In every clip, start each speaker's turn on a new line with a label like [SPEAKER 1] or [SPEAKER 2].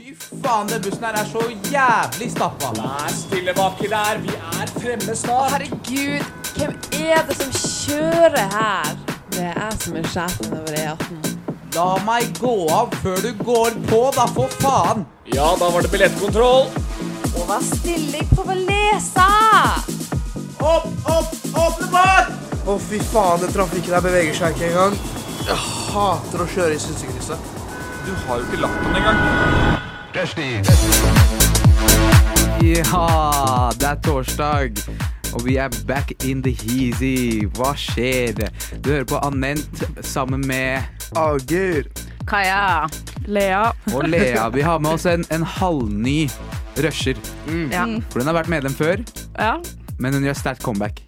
[SPEAKER 1] Faen, den bussen her er så jævlig stappa.
[SPEAKER 2] Vær stille baki der, vi er fremme snart.
[SPEAKER 3] Herregud, hvem er det som kjører her? Det er jeg som er sjefen over E18.
[SPEAKER 1] La meg gå av før du går på, da, for faen!
[SPEAKER 2] Ja, da var det billettkontroll.
[SPEAKER 3] Og vær stille, jeg prøver å lese!
[SPEAKER 1] Opp, opp, åpne båt!
[SPEAKER 4] Å, fy faen, den trafikken her beveger seg ikke engang. Jeg hater å kjøre i synsekrysset.
[SPEAKER 2] Du har jo ikke lagt den engang.
[SPEAKER 1] Ja, det er torsdag. Og vi er back in the heasy. Hva skjer? Du hører på Anent sammen med
[SPEAKER 4] Ager.
[SPEAKER 3] Kaja.
[SPEAKER 5] Lea.
[SPEAKER 1] og Lea. Vi har med oss en, en halvny rusher.
[SPEAKER 5] Ja.
[SPEAKER 1] For hun har vært medlem før,
[SPEAKER 5] ja.
[SPEAKER 1] men hun gjør sterkt comeback.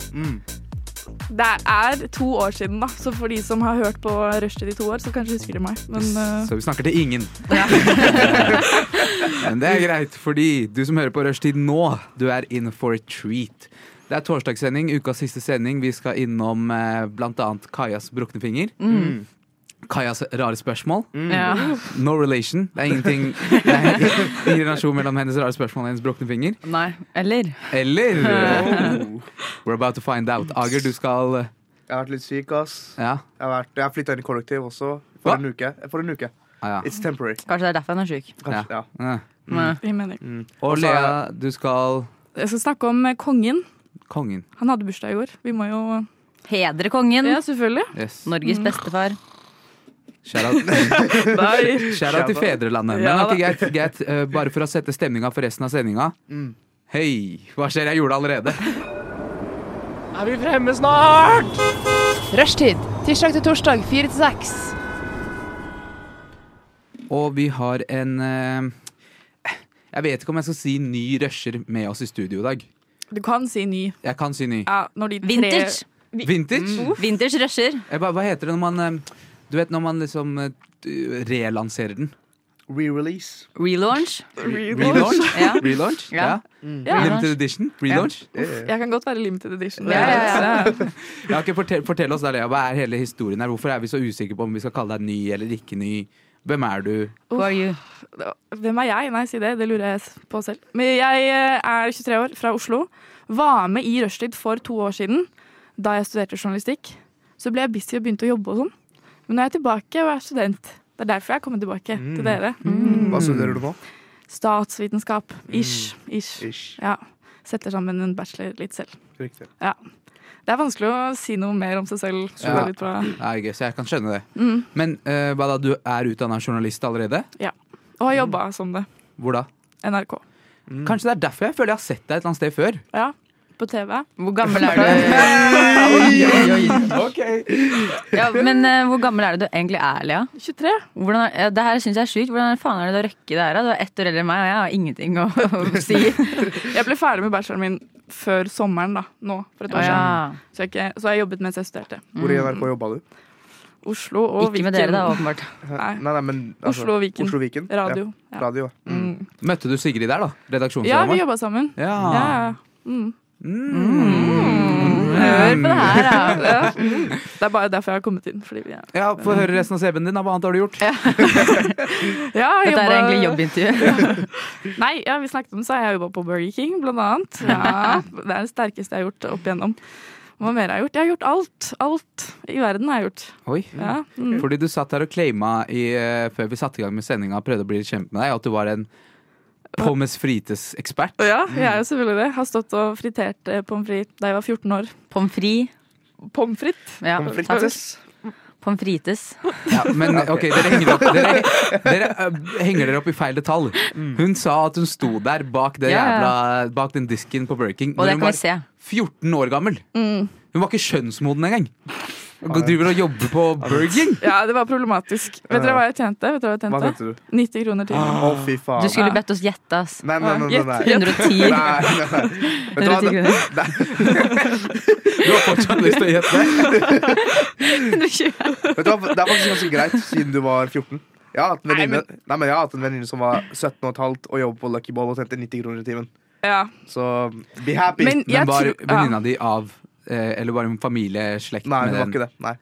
[SPEAKER 5] Det er to år siden, da, så for de som har hørt på Rushtid i to år, så kanskje husker de meg. Men eh,
[SPEAKER 1] Så vi snakker til ingen. Men det er greit, fordi du som hører på Rushtid nå, du er in for a treat. Det er torsdagssending, ukas siste sending. Vi skal innom eh, bl.a. Kajas brukne finger.
[SPEAKER 5] Mm.
[SPEAKER 1] Kajas rare spørsmål.
[SPEAKER 6] Ja.
[SPEAKER 1] No relation. Det er ingenting det er Ingen relasjon mellom hennes rare spørsmål og hennes brukne finger.
[SPEAKER 6] Nei. Eller?
[SPEAKER 1] Eller We're about to find out. Ager, du skal
[SPEAKER 4] Jeg har vært litt syk, ass.
[SPEAKER 1] Ja.
[SPEAKER 4] Jeg har, vært- jeg har flytta inn i kollektiv også. For
[SPEAKER 1] Hva?
[SPEAKER 4] en uke. For en uke.
[SPEAKER 1] Ah, ja.
[SPEAKER 4] It's temporary.
[SPEAKER 6] Kanskje det er derfor han er sjuk.
[SPEAKER 4] Kanskje, ja.
[SPEAKER 1] Ja.
[SPEAKER 6] Men-
[SPEAKER 5] vi mener ikke.
[SPEAKER 1] Og
[SPEAKER 4] så-
[SPEAKER 1] Lea, du skal
[SPEAKER 5] Jeg skal snakke om eh, kongen.
[SPEAKER 1] Kongen.
[SPEAKER 5] Han hadde bursdag i går. Vi må jo
[SPEAKER 6] Hedre kongen.
[SPEAKER 5] Ja, selvfølgelig.
[SPEAKER 1] Yes.
[SPEAKER 6] Norges bestefar.
[SPEAKER 1] Shout out.
[SPEAKER 5] Nei.
[SPEAKER 1] Shout out til fedrelandet. Men
[SPEAKER 5] Ja,
[SPEAKER 1] ok, greit, greit. Eh, bare for å sette stemninga for resten av sendinga. Hei, hva skjer? Jeg gjorde det allerede.
[SPEAKER 2] Er vi fremme snart?
[SPEAKER 3] Rushtid. Tirsdag til torsdag, fire til seks.
[SPEAKER 1] Og vi har en eh, Jeg vet ikke om jeg skal si ny rusher med oss i studio i dag.
[SPEAKER 5] Du kan si ny.
[SPEAKER 1] Jeg kan si ny.
[SPEAKER 5] Ja, når de tre
[SPEAKER 6] Vintage.
[SPEAKER 1] Vintage?
[SPEAKER 2] Mm.
[SPEAKER 6] Vintage rusher.
[SPEAKER 1] Jeg ba- hva heter det når man eh, Du vet når man liksom eh, relanserer den?
[SPEAKER 4] Re-release.
[SPEAKER 6] Relaunch.
[SPEAKER 1] Relaunch?
[SPEAKER 6] Ja.
[SPEAKER 1] Relaunch?
[SPEAKER 6] Ja.
[SPEAKER 1] Ja.
[SPEAKER 6] Ja.
[SPEAKER 1] Limited edition? Relaunch?
[SPEAKER 4] Eh,
[SPEAKER 5] Jeg kan godt være limited edition.
[SPEAKER 6] Ja, ja,
[SPEAKER 1] Ja, ok, fortell, fortell oss der, Lea. Hva er hele historien her? Hvorfor er vi så usikre på om vi skal kalle deg ny eller ikke ny? Hvem er du?
[SPEAKER 6] Who are you?
[SPEAKER 5] Hvem er jeg? Nei, si det. Det lurer jeg på selv. Men jeg eh, er 23 år, fra Oslo. Var med i Rushtid for to år siden, da jeg studerte journalistikk. Så ble jeg busy og begynte å jobbe og sånn. Men nå er jeg tilbake og er student. Det er derfor jeg kommer tilbake til dere. Mm.
[SPEAKER 4] Hva studerer du nå?
[SPEAKER 5] Statsvitenskap. Ish. Ish.
[SPEAKER 4] Ish.
[SPEAKER 5] Ja. Setter sammen en bachelor litt selv.
[SPEAKER 4] Riktig.
[SPEAKER 5] Ja. Det er vanskelig å si noe mer om seg selv. Så
[SPEAKER 1] Ja.
[SPEAKER 5] det er litt bra.
[SPEAKER 1] Ja, jeg, så jeg kan skjønne det. Men eh, hva da, du er utdanna journalist allerede?
[SPEAKER 5] Og har jobba som det.
[SPEAKER 1] Hvor da?
[SPEAKER 5] NRK.
[SPEAKER 1] Kanskje det er derfor jeg føler jeg har sett deg et eller annet sted før.
[SPEAKER 5] Ja. På TV.
[SPEAKER 6] Hvor gammel er du? Ja, men eh, hvor gammel er det du egentlig er, Lea?
[SPEAKER 5] 23.
[SPEAKER 6] Hvordan er, ja, det her syns jeg er sjukt. Hvordan faen er det du har røkket det her? da? Du er ett år eldre enn meg, og jeg har ingenting å, å si.
[SPEAKER 5] Jeg ble ferdig med bacheloren min før sommeren, da. Nå, for et år
[SPEAKER 6] Å, ja.
[SPEAKER 5] siden. Så jeg, ikke, så jeg jobbet mens jeg studerte.
[SPEAKER 4] Hvor i NRK jobba du?
[SPEAKER 5] Oslo og
[SPEAKER 6] Ikke
[SPEAKER 5] Viken.
[SPEAKER 6] med dere, da, åpenbart.
[SPEAKER 5] Nei.
[SPEAKER 4] Nei, nei, men altså,
[SPEAKER 5] Oslo og Viken.
[SPEAKER 4] Oslo Viken.
[SPEAKER 5] Radio.
[SPEAKER 4] Ja.
[SPEAKER 5] Ja,
[SPEAKER 4] Radio. ja.
[SPEAKER 5] mm.
[SPEAKER 1] Møtte du Sigrid der, da?
[SPEAKER 5] ja vi
[SPEAKER 1] Redaksjonsdamer?
[SPEAKER 5] jobba sammen.
[SPEAKER 1] Ja.
[SPEAKER 5] Ja, ja. Mm.
[SPEAKER 6] Mm. Hør på det her, da.
[SPEAKER 5] Ja. Mm. Det er bare derfor jeg har kommet inn. Fordi vi er.
[SPEAKER 1] ja, Få høre resten av CV-en din. da. Hva annet har du gjort?
[SPEAKER 5] Ja, jeg
[SPEAKER 6] Dette er
[SPEAKER 5] jobbet-
[SPEAKER 6] egentlig jobbintervju.
[SPEAKER 5] Nei, ja, vi snakket om det, så jeg har jobba på Burger King, blant annet. Ja, det er det sterkeste jeg har gjort opp igjennom. Hva mer har jeg gjort? Jeg har gjort alt. Alt i verden har jeg gjort.
[SPEAKER 1] Oi.
[SPEAKER 5] Ja. Mm.
[SPEAKER 1] Fordi du satt her og claima i, eh, før vi satte i gang med sendinga og prøvde å bli kjent med deg, at du var en pommes frites-ekspert.
[SPEAKER 5] Og ja, jeg er jo selvfølgelig det. Har stått og fritert eh, pommes frites da jeg var 14 år.
[SPEAKER 6] Pommes frites.
[SPEAKER 5] Pommes frites?
[SPEAKER 6] Ja,
[SPEAKER 4] Pommes
[SPEAKER 6] takk.
[SPEAKER 4] frites.
[SPEAKER 6] Pommes frites.
[SPEAKER 1] Ja, men ok, dere henger, opp, dere, dere eh, henger dere opp i feil detalj.
[SPEAKER 5] Mm.
[SPEAKER 1] Hun sa at hun sto der bak, det
[SPEAKER 6] Ja,
[SPEAKER 1] jævla, bak den disken på Burger King.
[SPEAKER 6] Og
[SPEAKER 1] når
[SPEAKER 6] det
[SPEAKER 1] hun
[SPEAKER 6] kan
[SPEAKER 1] var
[SPEAKER 6] vi se.
[SPEAKER 1] 14 år gammel.
[SPEAKER 5] Mm.
[SPEAKER 1] Hun var ikke skjønnsmoden engang. Og driver og jobber på Berging.
[SPEAKER 5] Ja, det var problematisk. Vet dere hva jeg tjente? Vet dere
[SPEAKER 4] Hva
[SPEAKER 5] hva jeg tjente?
[SPEAKER 4] tenkte du?
[SPEAKER 5] 90 kroner
[SPEAKER 7] Ah.
[SPEAKER 5] timen.
[SPEAKER 4] Å, fy faen.
[SPEAKER 6] Du skulle bedt oss gjette, ass.
[SPEAKER 4] Nei, nei, nei. nei, nei.
[SPEAKER 5] Gjett.
[SPEAKER 6] 110.
[SPEAKER 4] Nei, nei, nei. Vet du hva?
[SPEAKER 6] 110
[SPEAKER 4] Det,
[SPEAKER 6] kroner.
[SPEAKER 1] Du har fortsatt lyst til å gjette.
[SPEAKER 6] 120.
[SPEAKER 4] Vet du hva, det er faktisk ganske greit, siden du var 14. Jeg har hatt en
[SPEAKER 5] Nei,
[SPEAKER 4] venninne
[SPEAKER 5] men-
[SPEAKER 4] Nei, men jeg har hatt en venninne som var 17 og et halvt og jobbet på Lucky Ball og tjente 90 kroner i timen.
[SPEAKER 5] Ja.
[SPEAKER 4] Så be happy.
[SPEAKER 5] Men Mm, jeg
[SPEAKER 1] Men var
[SPEAKER 5] tror ja.
[SPEAKER 1] venninna di av eh, Eller var hun familieslekt
[SPEAKER 4] Nei,
[SPEAKER 1] med
[SPEAKER 4] det var
[SPEAKER 1] den?
[SPEAKER 4] ikke det. Nei.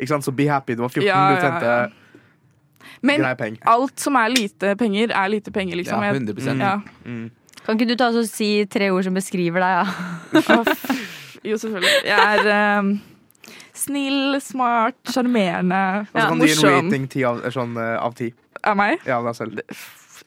[SPEAKER 4] Ikke sant, Så be happy. Du var 14,
[SPEAKER 5] Ja,
[SPEAKER 4] du
[SPEAKER 5] ja,
[SPEAKER 4] tjente
[SPEAKER 5] Men
[SPEAKER 7] Grei peng.
[SPEAKER 5] alt som er lite penger, er lite penger, liksom.
[SPEAKER 1] Ja,
[SPEAKER 5] Jeg-
[SPEAKER 1] 100
[SPEAKER 5] ja.
[SPEAKER 4] Mm.
[SPEAKER 6] Kan ikke du ta oss og si tre ord som beskriver deg? Ja?
[SPEAKER 5] Å, f- Jo, selvfølgelig. Jeg er eh, snill, smart, sjarmerende,
[SPEAKER 7] Og så kan du gi en
[SPEAKER 5] morsom.
[SPEAKER 7] rating 10 av, sånn, eh, av 10.
[SPEAKER 5] Av meg?
[SPEAKER 7] Ja, deg selv.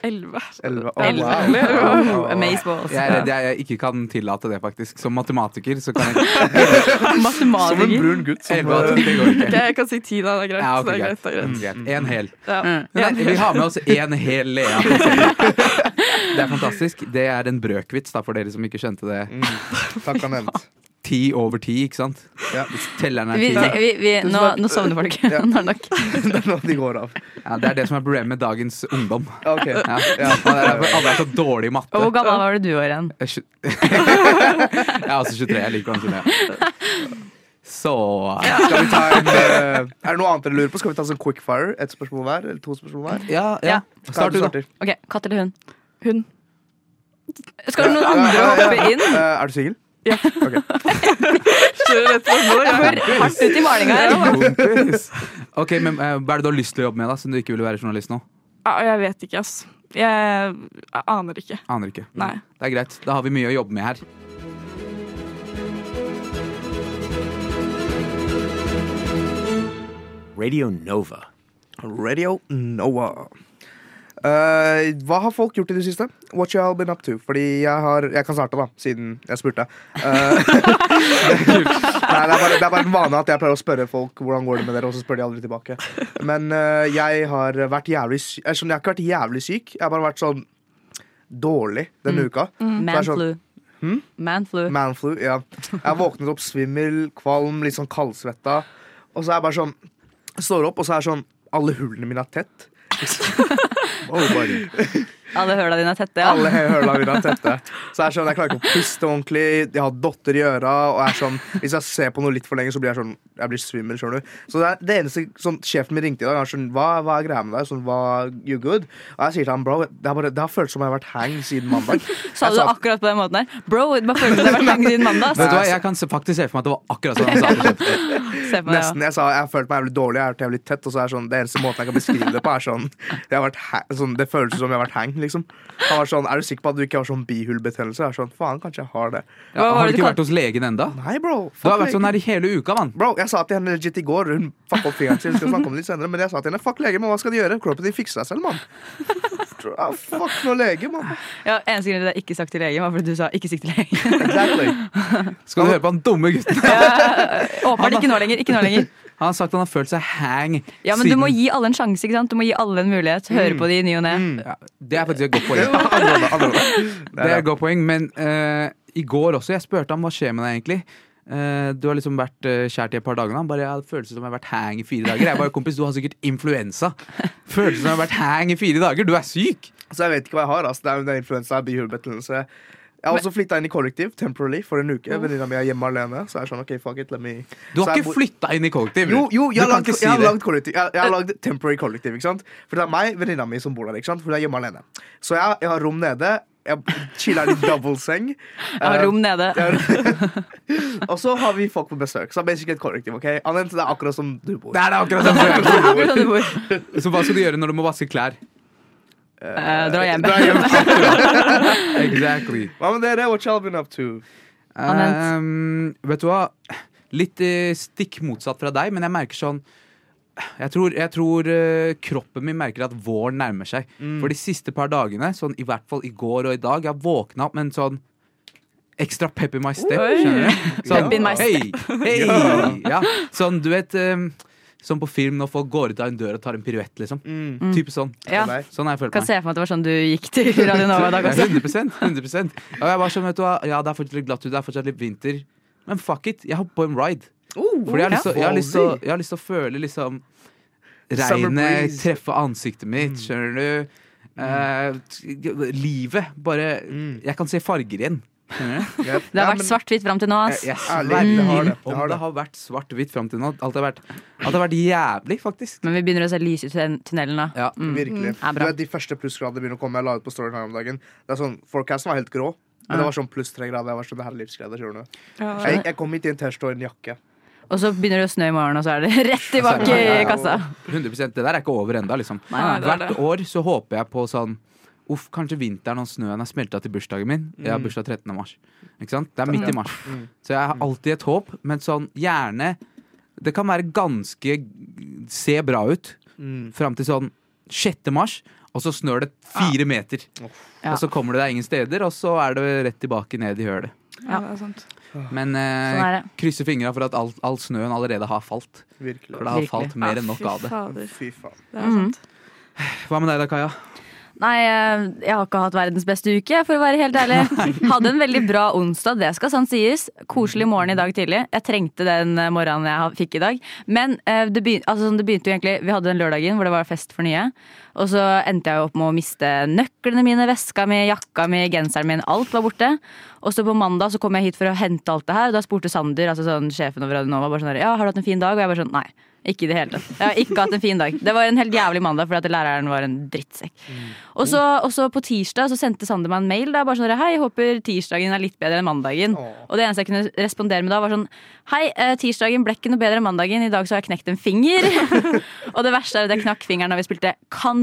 [SPEAKER 5] Elleve.
[SPEAKER 7] Elleve. Å,
[SPEAKER 5] Elleve.
[SPEAKER 7] wow.
[SPEAKER 6] Oh, Amaze balls.
[SPEAKER 1] Jeg er redd jeg, jeg ikke kan tillate det, faktisk. Som matematiker så kan jeg
[SPEAKER 7] Som en
[SPEAKER 6] Matematiker.
[SPEAKER 7] brun gutt. Som,
[SPEAKER 1] Elleve av ti, det går
[SPEAKER 5] Ok,
[SPEAKER 1] ikke.
[SPEAKER 5] jeg kan si ti, da. Det er greit.
[SPEAKER 1] Ja, ok,
[SPEAKER 5] det er greit, det er greit.
[SPEAKER 1] Greit. En hel.
[SPEAKER 5] Ja.
[SPEAKER 1] Nei, vi har med oss en hel Lea. på scenen. Det er fantastisk. Det er en brøkvits, da, for dere som ikke skjønte det.
[SPEAKER 4] Mm.
[SPEAKER 7] eh, takk han nevnte.
[SPEAKER 1] Ti over ti, ikke sant?
[SPEAKER 7] Ja.
[SPEAKER 1] Hvis Telleren er
[SPEAKER 6] Vi,
[SPEAKER 1] ti.
[SPEAKER 6] vi, vi, nå, nå sovner folk. Nå er det nok.
[SPEAKER 7] Det er nå de går av.
[SPEAKER 1] Ja, det er det som er problemet med dagens ungdom.
[SPEAKER 7] Ok.
[SPEAKER 1] Ja.
[SPEAKER 7] Ja.
[SPEAKER 1] Og det er derfor Alle er så dårlige i
[SPEAKER 6] Og
[SPEAKER 1] matte. Eh,
[SPEAKER 6] Hvor gammel var det du var igjen?
[SPEAKER 1] Jeg er tju- Jeg er også 23. Jeg liker han som jeg. Så
[SPEAKER 7] Skal vi ta en, eh, er det noe annet dere lurer på? Skal vi ta sånn quickfire? Ett spørsmål hver? Eller to spørsmål hver?
[SPEAKER 1] Ja, ja.
[SPEAKER 6] Ja.
[SPEAKER 1] Start du, da.
[SPEAKER 7] starter.
[SPEAKER 6] Ok, Katt eller hund?
[SPEAKER 5] Hun.
[SPEAKER 6] Skal noen andre hoppe inn?
[SPEAKER 7] Eh, Er du singel?
[SPEAKER 5] Kjører rett på bordet.
[SPEAKER 6] Jeg går hardt ut i malinga her. altså.
[SPEAKER 1] Kompis. Ok, men eh, Hva er det du har lyst til å jobbe med, da, siden du ikke ville være journalist nå?
[SPEAKER 5] Ja, Jeg vet ikke, ass. Jeg, jeg aner ikke.
[SPEAKER 1] Aner ikke.
[SPEAKER 5] Nei.
[SPEAKER 1] Det er greit. Da har vi mye å jobbe med her.
[SPEAKER 8] Radio Nova.
[SPEAKER 7] Radio Noah. Eh, hva har folk gjort i det siste? What you all been up to? Fordi jeg har Jeg kan starte, da, siden jeg spurte. Eh, nei, det, er bare, det er bare en vane at jeg pleier å spørre folk hvordan går det med dere, og så spør de aldri tilbake. Men eh, jeg har vært jævlig syk Jeg skjønner, jeg har ikke vært jævlig syk, jeg har bare vært sånn dårlig denne uka. Det er sånn-
[SPEAKER 6] Manflu.
[SPEAKER 1] Hmm?
[SPEAKER 6] Manflu.
[SPEAKER 7] Manflu, ja. Jeg våknet opp svimmel, kvalm, litt sånn kaldsvetta. Og så er jeg bare sånn Står opp, og så er jeg sånn Alle hullene mine er tett.
[SPEAKER 6] Alle høla dine er tette, ja.
[SPEAKER 7] Alle hullene mine er tette. Så jeg er sånn, jeg klarer ikke å puste ordentlig. Jeg har dotter i øra. Og jeg er sånn, hvis jeg ser på noe litt for lenge, så blir jeg sånn Jeg blir svimmel. skjønner du Så det, er det eneste sånn, Sjefen min ringte i dag. Han er sånn, hva, hva er greia med deg? Sånn, hva, you good? Og jeg sier til ham, bro, det, er bare, det har føltes som jeg har vært hang siden mandag.
[SPEAKER 6] Sa du det akkurat på den måten der? Bro, det bare føles som det har vært lenge siden mandag.
[SPEAKER 1] Vet du
[SPEAKER 6] ass.
[SPEAKER 1] hva, Jeg kan se- faktisk se for meg at det var akkurat sånn han sa det.
[SPEAKER 6] Se på meg,
[SPEAKER 7] Nesten. Jeg sa jeg har følt meg jævlig dårlig, jeg har vært jævlig tett. Og så er det sånn, det eneste måten jeg kan beskrive det på, er sånn, jeg har vært hang, sånn Det føles som jeg har vært hang, liksom. Han var sånn, Er du sikker på at du ikke har sånn bihulebetennelse? Jeg er sånn, faen, kanskje jeg har det.
[SPEAKER 1] Ja,
[SPEAKER 6] var
[SPEAKER 1] har
[SPEAKER 6] det
[SPEAKER 1] du ikke
[SPEAKER 6] du kalte-
[SPEAKER 1] vært hos legen enda?
[SPEAKER 7] Nei, bro.
[SPEAKER 1] Du har
[SPEAKER 7] fuck
[SPEAKER 1] vært sånn
[SPEAKER 7] legen.
[SPEAKER 1] her i hele uka, mann.
[SPEAKER 7] Bro, jeg sa til henne legit i går, hun fucka opp fingeren sin. Vi skal snakke om det litt senere, men jeg sa til henne fuck lege, men hva skal de gjøre? Kroppen din fikser seg selv, mann. Ah, Fuck noe lege, mann.
[SPEAKER 6] ja. ja, Eneste grunn til at jeg ikke sagt til legen, var fordi du sa 'ikke sikk til legen'.
[SPEAKER 7] Exactly.
[SPEAKER 1] Skal du høre på han dumme gutten?
[SPEAKER 6] Åpenbart ikke nå lenger. ikke nå lenger
[SPEAKER 1] Han har sagt han har følt seg hang
[SPEAKER 6] Ja, men Du må gi alle en sjanse. ikke sant? Du må gi alle en mulighet. Høre på de i ny og ne.
[SPEAKER 1] Ja, Det er faktisk et godt poeng.
[SPEAKER 7] Andre, ord, andre. ord.
[SPEAKER 1] Det er et godt poeng, men eh, i går også, jeg spurte ham hva skjer med deg egentlig. Eh, du har liksom vært eh, kjært i et par dager. Han bare jeg hadde følelse som jeg har vært hang i fire dager. Jeg bare, kompis, du har sikkert influensa. Følelse som jeg har vært hang i fire dager. Du er syk!
[SPEAKER 7] Så jeg vet ikke hva jeg har. Altså. Det er jo den influensa, bihulebetennelse. Jeg har også flytta inn i kollektiv temporarily for en uke. Venninna mi er hjemme alene. Så jeg er sånn, ok, fuck it, let me
[SPEAKER 1] Du
[SPEAKER 7] Så
[SPEAKER 1] har
[SPEAKER 7] jeg
[SPEAKER 1] ikke
[SPEAKER 7] bor-
[SPEAKER 1] flytta inn i kollektiv.
[SPEAKER 7] Jo, jo,
[SPEAKER 1] du
[SPEAKER 7] jeg har
[SPEAKER 1] kan
[SPEAKER 7] lagd
[SPEAKER 1] ikke si
[SPEAKER 7] jeg har
[SPEAKER 1] det. Eh.
[SPEAKER 7] lagd kollektiv. Jeg, jeg har lagd temporary kollektiv, ikke sant? For det er meg, venninna mi, som bor der, ikke sant? For hun er hjemme alene. Så jeg, jeg har rom nede. Jeg chiller i doubleseng.
[SPEAKER 6] Jeg har rom nede.
[SPEAKER 7] og så har vi folk på besøk. Så det er basically et kollektiv. ok? Annet, det er akkurat som du bor.
[SPEAKER 1] Det er det akkurat sånn som jeg er.
[SPEAKER 6] Hvor er det du bor?
[SPEAKER 1] Så hva skal du gjøre når du må vaske klær?
[SPEAKER 6] Eh, dra hjem.
[SPEAKER 7] Dra hjem.
[SPEAKER 1] Exactly.
[SPEAKER 7] Hva med dere? What y'all been up to?
[SPEAKER 1] Ehm, vet du hva? Litt eh, stikk motsatt fra deg, men jeg merker sånn Jeg tror, jeg tror eh, kroppen min merker at våren nærmer seg.
[SPEAKER 6] Mm.
[SPEAKER 1] For de siste par dagene, sånn i hvert fall i går og i dag, jeg våkna opp med en sånn ekstra pep in my step. skjønner du? Sånn,
[SPEAKER 6] Pep in my
[SPEAKER 1] hei, hei! Ja, sånn, du vet ehm, Sånn på film når folk går ut av en dør og tar en piruett, liksom.
[SPEAKER 7] Mm.
[SPEAKER 1] Type sånn.
[SPEAKER 6] Ja.
[SPEAKER 7] Nei.
[SPEAKER 1] Sånn har jeg følt
[SPEAKER 6] Mm. Kan
[SPEAKER 1] meg.
[SPEAKER 6] se for meg at det var sånn du gikk til Radio Nova i dag
[SPEAKER 1] Ja,
[SPEAKER 6] også.
[SPEAKER 1] 100, 100 Og jeg var sånn, vet du hva, ja, det er fortsatt litt glatt ut, det er fortsatt litt vinter. Men fuck it, jeg hopper på en ride. Fordi jeg har lyst til å- jeg har lyst til å- jeg har lyst til å føle liksom
[SPEAKER 7] Summer
[SPEAKER 1] regnet
[SPEAKER 7] breeze. Mm.
[SPEAKER 1] treffe ansiktet mitt, skjønner du? Eh, t- livet. Bare
[SPEAKER 7] Mm.
[SPEAKER 1] Jeg kan se farger igjen. skjønner du?
[SPEAKER 7] Yep.
[SPEAKER 6] Det har
[SPEAKER 7] Ja,
[SPEAKER 6] vært
[SPEAKER 7] men-
[SPEAKER 6] svart-hvitt fram til nå. ass
[SPEAKER 1] Jeg
[SPEAKER 7] Ærlig, det har
[SPEAKER 1] sverger
[SPEAKER 7] det, det
[SPEAKER 1] om
[SPEAKER 7] har
[SPEAKER 1] det
[SPEAKER 7] det.
[SPEAKER 1] har vært svart-hvitt fram til nå. Alt har vært, alt har vært jævlig, faktisk.
[SPEAKER 6] Men vi begynner å se lys ut i tun- tunnelen nå.
[SPEAKER 1] Ja.
[SPEAKER 7] Virkelig.
[SPEAKER 6] Ja,
[SPEAKER 7] Du
[SPEAKER 6] Mm, bra.
[SPEAKER 7] vet, de første plussgradene begynner å komme. Jeg la ut på storyen her om dagen. Det er sånn, Forecasten var helt grå, men det var sånn pluss tre grader. Jeg var sånn, det her er livsglede, skjønner du.
[SPEAKER 5] Ja,
[SPEAKER 7] Jeg, jeg kom hit i en T-skjorte og en jakke.
[SPEAKER 6] Og så begynner det å snø i morgen, og så er det rett tilbake i kassa.
[SPEAKER 1] 100 Det der er ikke over ennå, liksom.
[SPEAKER 6] Nei,
[SPEAKER 5] det er
[SPEAKER 1] Hvert år så håper jeg på sånn Uff, kanskje vinteren og snøen har smelta til bursdagen min. Jeg har bursdag 13. mars. Ikke sant? Det er midt i mars.
[SPEAKER 7] Mm,
[SPEAKER 1] Så jeg har alltid et håp, men sånn gjerne Det kan være ganske Se bra ut
[SPEAKER 7] mm,
[SPEAKER 1] fram til sånn 6. mars, og så snør det fire meter.
[SPEAKER 6] Ja.
[SPEAKER 1] Og så kommer du deg ingen steder, og så er det rett tilbake ned i hølet.
[SPEAKER 5] Ja, det er sant.
[SPEAKER 1] Men eh,
[SPEAKER 6] Sånn er det.
[SPEAKER 1] krysser fingra for at all, all snøen allerede har falt.
[SPEAKER 7] Virkelig.
[SPEAKER 1] For det har
[SPEAKER 6] Virkelig.
[SPEAKER 1] falt mer enn nok
[SPEAKER 5] Ja,
[SPEAKER 1] av
[SPEAKER 5] fy
[SPEAKER 1] det.
[SPEAKER 5] fader.
[SPEAKER 7] Fy faen.
[SPEAKER 5] Det er
[SPEAKER 6] Mhm.
[SPEAKER 5] sant.
[SPEAKER 1] Hva med deg da, Kaja?
[SPEAKER 6] Nei, eh, jeg har ikke hatt verdens beste uke, for å være helt ærlig. Hadde en veldig bra onsdag, det skal sant sies. Koselig morgen i dag tidlig. Jeg trengte den eh, morgenen jeg ha- fikk i dag. Men eh, det, begyn altså, sånn, det begynte jo egentlig Vi hadde den lørdagen hvor det var fest for nye. Og så endte jeg jo opp med å miste nøklene mine, veska mi, jakka mi, genseren min. Alt var borte. Og så på mandag så kom jeg hit for å hente alt det her, og da spurte Sander, altså sånn, sjefen over Radionova, bare sånn her, ja, har du hatt en fin dag? Og jeg bare sånn, nei. Ikke i det hele tatt. Jeg har ikke hatt en fin dag. Det var en helt jævlig mandag fordi at læreren var en drittsekk. Og så, og så på tirsdag så sendte Sander meg en mail. Da, bare sånn, Hei, jeg håper tirsdagen er litt bedre enn mandagen. Og det eneste jeg kunne respondere med da, var sånn Hei, eh, tirsdagen ble ikke noe bedre enn mandagen. I dag så har jeg knekt en finger. og det verste er at jeg knakk fingeren da vi spilte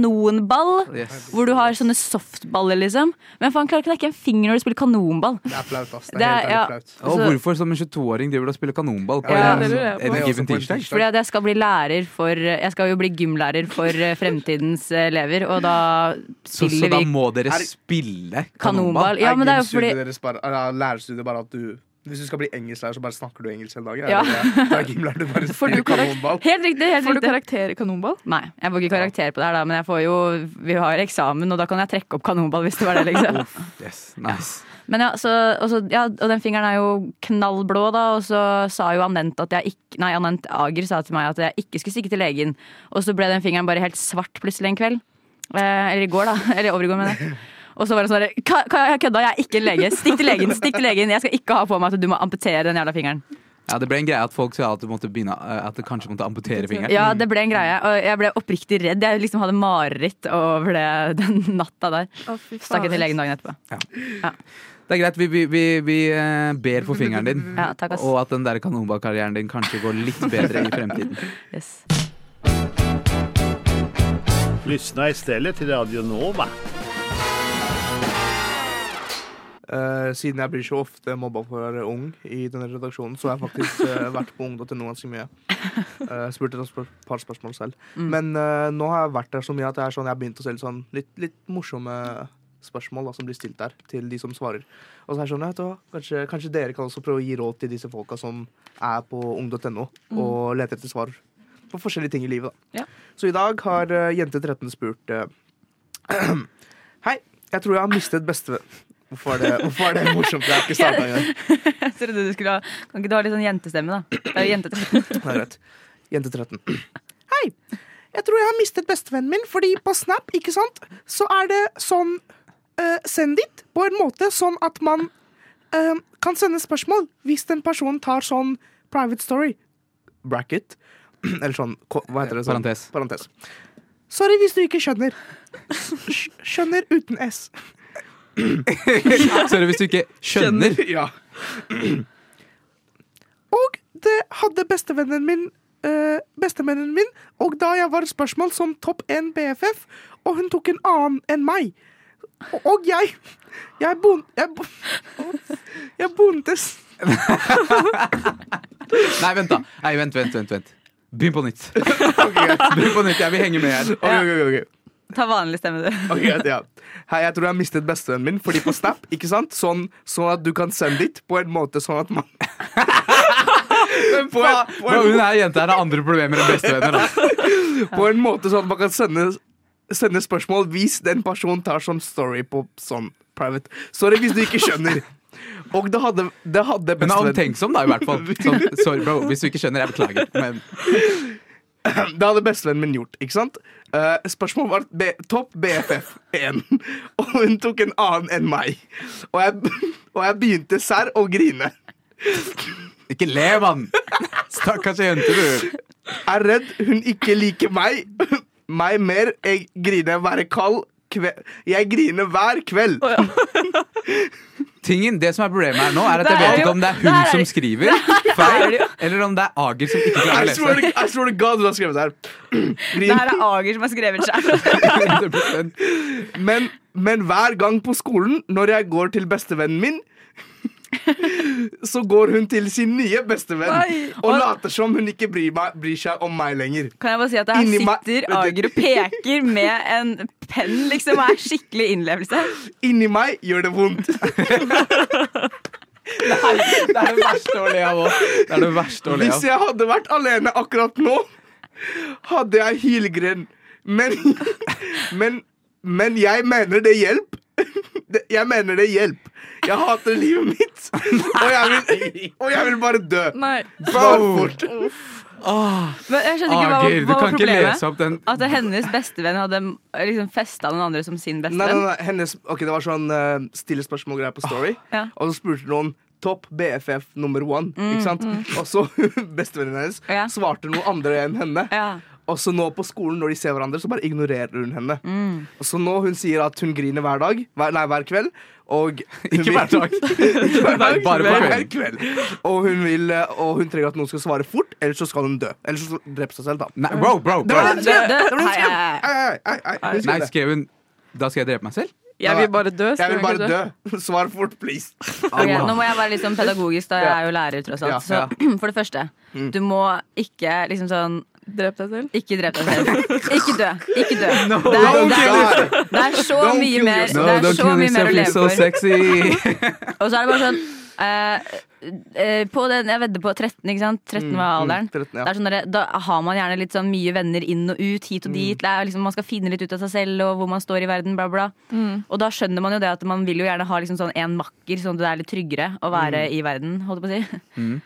[SPEAKER 6] kanonball.
[SPEAKER 1] Yes.
[SPEAKER 6] Hvor du har sånne softballer, liksom. Men faen, klarer å knekke en finger når du spiller kanonball.
[SPEAKER 7] Det er flaut, ass. Det
[SPEAKER 6] Det
[SPEAKER 7] er
[SPEAKER 6] er-
[SPEAKER 7] helt
[SPEAKER 6] ja.
[SPEAKER 7] ærlig flaut.
[SPEAKER 1] Og
[SPEAKER 6] Altså-
[SPEAKER 1] hvorfor som en 22-åring driver du og spiller kanonball på
[SPEAKER 6] Ja,
[SPEAKER 1] en,
[SPEAKER 5] det lurer jeg på.
[SPEAKER 1] en
[SPEAKER 7] Det er også
[SPEAKER 1] given
[SPEAKER 7] på en
[SPEAKER 1] tirsdag?
[SPEAKER 6] Fordi at jeg skal bli lærer for Jeg skal jo bli gymlærer for eh, fremtidens elever, og da
[SPEAKER 1] Så, så
[SPEAKER 6] spiller
[SPEAKER 1] da
[SPEAKER 6] vi
[SPEAKER 1] må dere
[SPEAKER 7] Er-
[SPEAKER 1] spille
[SPEAKER 6] kanonball.
[SPEAKER 1] kanonball?
[SPEAKER 6] Ja, men det er jo fordi
[SPEAKER 7] gymstudiet deres bare, eller, lærerstudiet bare at du Hvis du skal bli engelsklær, så bare snakker du engelsk hele dagen. er
[SPEAKER 6] Ja.
[SPEAKER 7] det det? Da er gymlærer, du bare
[SPEAKER 6] Får
[SPEAKER 7] spiller
[SPEAKER 6] du
[SPEAKER 7] kanonball.
[SPEAKER 6] Helt riktig. helt
[SPEAKER 5] Får du
[SPEAKER 6] riktig
[SPEAKER 5] karakter i kanonball?
[SPEAKER 6] Nei, jeg får ikke karakter på det her, da, men jeg får jo, vi har eksamen, og da kan jeg trekke opp kanonball hvis det var det, liksom.
[SPEAKER 1] Yes, nice.
[SPEAKER 6] Men ja, så, og, så, ja, og den fingeren er jo knallblå, da, og så sa jo Anent at jeg ikke Nei, Anent Ager sa til meg at jeg ikke skulle stikke til legen, og så ble den fingeren bare helt svart plutselig en kveld. Eh, eller i går, da. Eller over i går, mener jeg. Og så var det sånn der, "Ka- Ka- jeg kødda, jeg er ikke lege. Stikk til legen, stikk til legen. Jeg skal ikke ha på meg at du må amputere den jævla fingeren.
[SPEAKER 1] Ja, det ble en greie at folk sa at du, måtte begynne, eh, at du kanskje måtte amputere fingeren.
[SPEAKER 6] Ja, det ble en greie. Og jeg ble oppriktig redd. Jeg liksom hadde mareritt over det den natta der.
[SPEAKER 5] Å, fy
[SPEAKER 6] Stakk jeg
[SPEAKER 5] fader.
[SPEAKER 6] til legen dagen etterpå.
[SPEAKER 1] Det er greit, vi, vi, vi, vi eh, ber for fingeren din.
[SPEAKER 6] Ja, takk, ass.
[SPEAKER 1] og at den der kanonballkarrieren din kanskje går litt bedre i fremtiden.
[SPEAKER 6] Yes.
[SPEAKER 8] Lyssna istället till Radio Nova.
[SPEAKER 7] Eh, siden jeg blir så ofte mobba for å være ung i denne redaksjonen, så har jeg faktisk eh, vært på ung.no ganske mye. Uh, spurte et spør- par spørsmål selv. Men eh, nå har jeg vært der så mye at jeg, er sånn, jeg har begynt å se litt, sånn, litt, litt morsomme spørsmål da, som blir stilt der, til de som svarer. Og så er jeg sånn, ja, vet du hva, kanskje, kanskje dere kan også prøve å gi råd til disse folka som er på ung.no og leter etter svar på forskjellige ting i livet. Da.
[SPEAKER 6] Ja.
[SPEAKER 7] Så i dag har eh, jente 13 spurt eh, Hei, jeg tror jeg har mistet bestevenn... Hvorfor er det, hvorfor er det morsomt? Jeg har ikke starta engang.
[SPEAKER 6] Jeg trodde du skulle ha Kan ikke du ha litt sånn jentestemme, da? Det er jo jentetreff.
[SPEAKER 7] Det er greit. Jente 13. Hei! Jeg tror jeg har mistet bestevennen min, fordi på Snap, ikke sant, så er det sånn eh, Send dit, på en måte sånn at man eh, kan sende spørsmål hvis den personen tar sånn private story. Bracket. Eller sånn ko- Hva heter det? Sånn?
[SPEAKER 1] Parentes.
[SPEAKER 7] Parentes. Sorry hvis du ikke skjønner. Sk- Skjønner uten S.
[SPEAKER 1] Sorry hvis du ikke skjønner.
[SPEAKER 7] Ja. Og det hadde bestevennen min eh, Bestevennen min, og da jeg var spørsmål som topp 1 BFF, og hun tok en annen enn meg. Og- Og jeg Jeg bon... Jeg, bo- jeg bontes.
[SPEAKER 1] Nei, vent, da. Nei, vent, vent, vent. vent. Begynn på nytt. Begynn på nytt, Jeg vil henge med her.
[SPEAKER 6] Ta vanlig stemme, du.
[SPEAKER 7] Ok, greit, ja. Hei, jeg tror jeg har mistet bestevennen min, fordi på Snap, ikke sant? Sånn, sånn at du kan sende dit på en måte sånn at man på, en, på,
[SPEAKER 1] Bro,
[SPEAKER 7] en,
[SPEAKER 1] hun her jenta her har andre problemer enn bestevenner. Da.
[SPEAKER 7] på en måte sånn at man kan sende, sende spørsmål hvis den personen tar sånn story på sånn private. Sorry hvis du ikke skjønner. Og det hadde, det hadde
[SPEAKER 1] Hun er
[SPEAKER 7] bestevennen
[SPEAKER 1] omtenksom, da, i hvert fall. Sånn, sorry, bro. Hvis du ikke skjønner, jeg beklager. Men
[SPEAKER 7] Det hadde bestevennen min gjort, ikke sant? Eh, spørsmålet var B topp BFF1, og hun tok en annen enn meg. Og jeg, og jeg begynte sær å grine.
[SPEAKER 1] ikke le, mann! Stakkars jente, du.
[SPEAKER 7] er redd hun ikke liker meg. Meg mer. Jeg griner hver kald kve Jeg griner hver kveld.
[SPEAKER 1] Tingen, det som er problemet her nå, er at
[SPEAKER 6] Det
[SPEAKER 1] jeg
[SPEAKER 6] er
[SPEAKER 1] vet
[SPEAKER 6] jo-
[SPEAKER 1] ikke om det er
[SPEAKER 6] det
[SPEAKER 1] hun
[SPEAKER 6] er-
[SPEAKER 1] som skriver feil, eller om det er Ager som ikke klarer å
[SPEAKER 4] I swear,
[SPEAKER 1] lese.
[SPEAKER 4] to, I swear to God, du har skrevet det her.
[SPEAKER 6] Det her er Ager som har skrevet sjøl.
[SPEAKER 1] 100%.
[SPEAKER 7] Men, men hver gang på skolen, når jeg går til bestevennen min så går hun til sin nye bestevenn
[SPEAKER 6] Nei.
[SPEAKER 7] og later som hun ikke bryr, meg, bryr seg om meg lenger.
[SPEAKER 6] Kan jeg bare si at her
[SPEAKER 7] Inni meg-
[SPEAKER 6] sitter Ager og peker med en penn, liksom. og Er skikkelig innlevelse.
[SPEAKER 7] Inni meg gjør det vondt.
[SPEAKER 1] Det er det verste å le av òg. Det er det verste å le
[SPEAKER 7] Hvis
[SPEAKER 1] av.
[SPEAKER 7] jeg hadde vært alene akkurat nå, hadde jeg hylgren. Men, men, men jeg mener det hjelp. Det- Jeg mener det hjelp. Jeg hater livet mitt, og jeg vil, og jeg vil bare dø.
[SPEAKER 5] Nei.
[SPEAKER 7] Bare fort.
[SPEAKER 6] Men jeg skjønner ikke hva,
[SPEAKER 1] Ager, du
[SPEAKER 6] hva var
[SPEAKER 1] kan ikke
[SPEAKER 6] problemet.
[SPEAKER 1] lese opp den.
[SPEAKER 6] At hennes bestevenn hadde liksom festa den andre som sin
[SPEAKER 7] Nei, nei,
[SPEAKER 6] bestevenn.
[SPEAKER 7] nei, hennes, ok, Det var sånn uh, stille spørsmål-greier på Story.
[SPEAKER 6] Ja.
[SPEAKER 7] Og så spurte noen topp BFF nummer one. Ikke sant? Og så bestevennen hennes
[SPEAKER 6] Ja.
[SPEAKER 7] svarte noe andre enn henne.
[SPEAKER 6] Ja.
[SPEAKER 7] Og så nå på skolen når de ser hverandre, så bare ignorerer hun henne. Og så nå hun sier at hun griner hver dag, hver, nei, hver kveld. Og hun
[SPEAKER 1] Ikke hver dag.
[SPEAKER 7] Ikke hver dag,
[SPEAKER 1] Bare på
[SPEAKER 7] men
[SPEAKER 1] kvelden.
[SPEAKER 7] hver kveld. Og hun, vil, eh, og hun trenger at noen skal svare fort, ellers så skal hun dø. Ellers så dreper hun seg selv, da.
[SPEAKER 1] Nei, bro, bro,
[SPEAKER 7] Det
[SPEAKER 1] bro.
[SPEAKER 7] var det hun skrev!
[SPEAKER 6] Dø, dø.
[SPEAKER 7] Det var det hun
[SPEAKER 6] Hei,
[SPEAKER 7] skrev! Ei,
[SPEAKER 6] hei,
[SPEAKER 7] ei, ei, ei, hun skrev
[SPEAKER 1] Nei,
[SPEAKER 7] det.
[SPEAKER 1] skrev hun Da skal jeg drepe meg selv?
[SPEAKER 5] Jeg vil bare dø.
[SPEAKER 7] Jeg
[SPEAKER 5] skal
[SPEAKER 7] vil bare
[SPEAKER 5] ikke
[SPEAKER 7] dø. Svar fort, please.
[SPEAKER 6] Ok, nå må jeg være litt sånn pedagogisk, da. Jeg er jo lærer, tross alt.
[SPEAKER 1] Ja,
[SPEAKER 6] Så for det første,
[SPEAKER 7] Mm.
[SPEAKER 6] du må ikke liksom sånn
[SPEAKER 5] Drep deg selv.
[SPEAKER 6] Ikke drep deg selv. Ikke dø. Ikke dø. det, er,
[SPEAKER 7] Don't
[SPEAKER 6] det, er,
[SPEAKER 7] kill
[SPEAKER 6] det er så
[SPEAKER 7] Don't
[SPEAKER 6] mye
[SPEAKER 7] kill
[SPEAKER 6] mer
[SPEAKER 7] yourself.
[SPEAKER 6] Det er så mye mer å leve
[SPEAKER 1] so
[SPEAKER 6] for.
[SPEAKER 1] sexy.
[SPEAKER 6] Og så er det bare sånn eh, eh, På den, Jeg vedder på 13, ikke sant? 13 var alderen.
[SPEAKER 7] Mm, 13, ja.
[SPEAKER 6] Det er sånn der, da har man gjerne litt sånn mye venner inn og ut, hit
[SPEAKER 7] Mm.
[SPEAKER 6] og dit. Det er liksom, man skal finne litt ut av seg selv og hvor man står i verden, bla, bla. Og da skjønner man jo det at man vil jo gjerne ha liksom sånn en makker, sånn at det er litt tryggere å være
[SPEAKER 7] Mm.
[SPEAKER 6] i verden, holdt jeg på å si.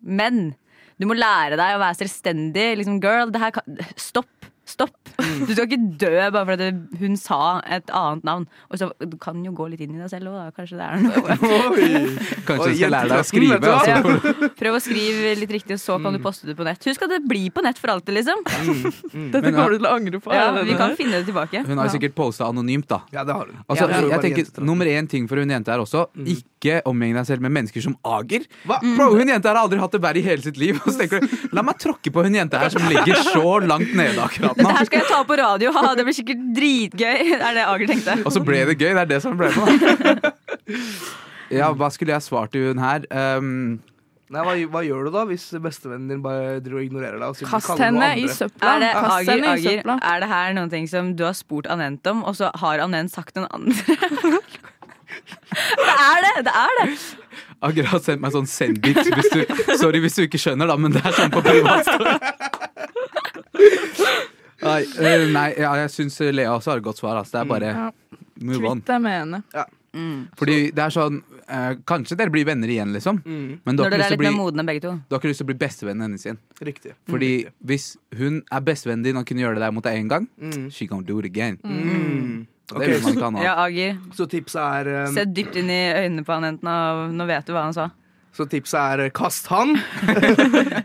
[SPEAKER 6] Men du må lære deg å være selvstendig. Liksom, girl, det her kan Stopp. Stopp.
[SPEAKER 7] Mm.
[SPEAKER 6] Du skal ikke dø bare fordi hun sa et annet navn. Og så, Du kan jo gå litt inn i deg selv òg, da. Kanskje det er noe.
[SPEAKER 7] Oi.
[SPEAKER 1] Kanskje
[SPEAKER 7] Oi,
[SPEAKER 1] du skal lære deg å
[SPEAKER 7] jenteklassen, vet du
[SPEAKER 1] skrive.
[SPEAKER 7] hva?
[SPEAKER 1] Altså.
[SPEAKER 6] Prøv å skrive litt riktig, og så kan du poste det på nett. Husk at det blir på nett for alltid, liksom.
[SPEAKER 5] Dette
[SPEAKER 1] Men, ja.
[SPEAKER 5] kommer du til å angre på.
[SPEAKER 6] Ja,
[SPEAKER 5] er det
[SPEAKER 6] vi
[SPEAKER 5] det
[SPEAKER 6] kan
[SPEAKER 5] der?
[SPEAKER 6] finne det tilbake.
[SPEAKER 1] Hun har jo sikkert posta anonymt, da.
[SPEAKER 7] Ja, det har hun.
[SPEAKER 1] Altså,
[SPEAKER 7] Ja, hun
[SPEAKER 1] jeg
[SPEAKER 7] var
[SPEAKER 1] tenker
[SPEAKER 7] jenteklassen. Mm.
[SPEAKER 1] Nummer én ting for hun jente her også, ikke omgjeng deg selv med mennesker som Ager.
[SPEAKER 7] Hva? Mm.
[SPEAKER 1] Bro, Hun jente her har aldri hatt det verre i hele sitt liv. Og så tenker du, La meg tråkke på hun jente her som ligger så langt nede akkurat
[SPEAKER 6] Det
[SPEAKER 1] nå.
[SPEAKER 6] her skal jeg ta på radio. Ha, det blir sikkert dritgøy. Er det Ager tenkte.
[SPEAKER 1] Og så ble det gøy. Det er det som ble med. Ja, hva skulle jeg svart til hun her? Um,
[SPEAKER 7] Nei, hva, hva gjør du da hvis bestevennen din bare driver og ignorerer deg? Og sier-
[SPEAKER 5] Kast
[SPEAKER 7] kaller noe
[SPEAKER 5] henne i
[SPEAKER 7] andre?
[SPEAKER 5] søpla.
[SPEAKER 6] Er det,
[SPEAKER 5] Kast
[SPEAKER 6] Ager,
[SPEAKER 5] henne i
[SPEAKER 6] Ager,
[SPEAKER 5] søpla.
[SPEAKER 6] er det her noen ting som du har spurt Anent om, og så har Anent sagt noen andre? Det er det! Det er det!
[SPEAKER 1] Ager har sendt meg sånn send-bit. Hvis du, sorry hvis du ikke skjønner, da, men det er sånn på privat. Nei, eh, nei ja, jeg syns Lea også har et godt svar. Altså. Det er
[SPEAKER 6] Mm.
[SPEAKER 1] bare
[SPEAKER 5] Ja.
[SPEAKER 1] move on.
[SPEAKER 5] Kvitt deg med henne.
[SPEAKER 1] Fordi det er sånn eh, Kanskje dere blir venner igjen, liksom. Men du har, ikke
[SPEAKER 6] Mm. Når dere
[SPEAKER 1] lyst
[SPEAKER 6] er
[SPEAKER 1] til å
[SPEAKER 6] litt
[SPEAKER 1] bli,
[SPEAKER 6] mer Mm. modne, begge to.
[SPEAKER 1] du har ikke lyst til å bli bestevennen hennes igjen.
[SPEAKER 7] Riktig.
[SPEAKER 1] Fordi hvis hun er bestevennen din og kunne gjøre det der mot deg én gang, she gonna do it again. Og
[SPEAKER 7] Ok,
[SPEAKER 1] Det vil man ikke ha nå.
[SPEAKER 6] Mm. Ja, Ager,
[SPEAKER 7] Så tipset er um,
[SPEAKER 6] se dypt inn i øynene på Anent nå. Nå vet du hva han sa.
[SPEAKER 7] Så tipset er eh, kast han.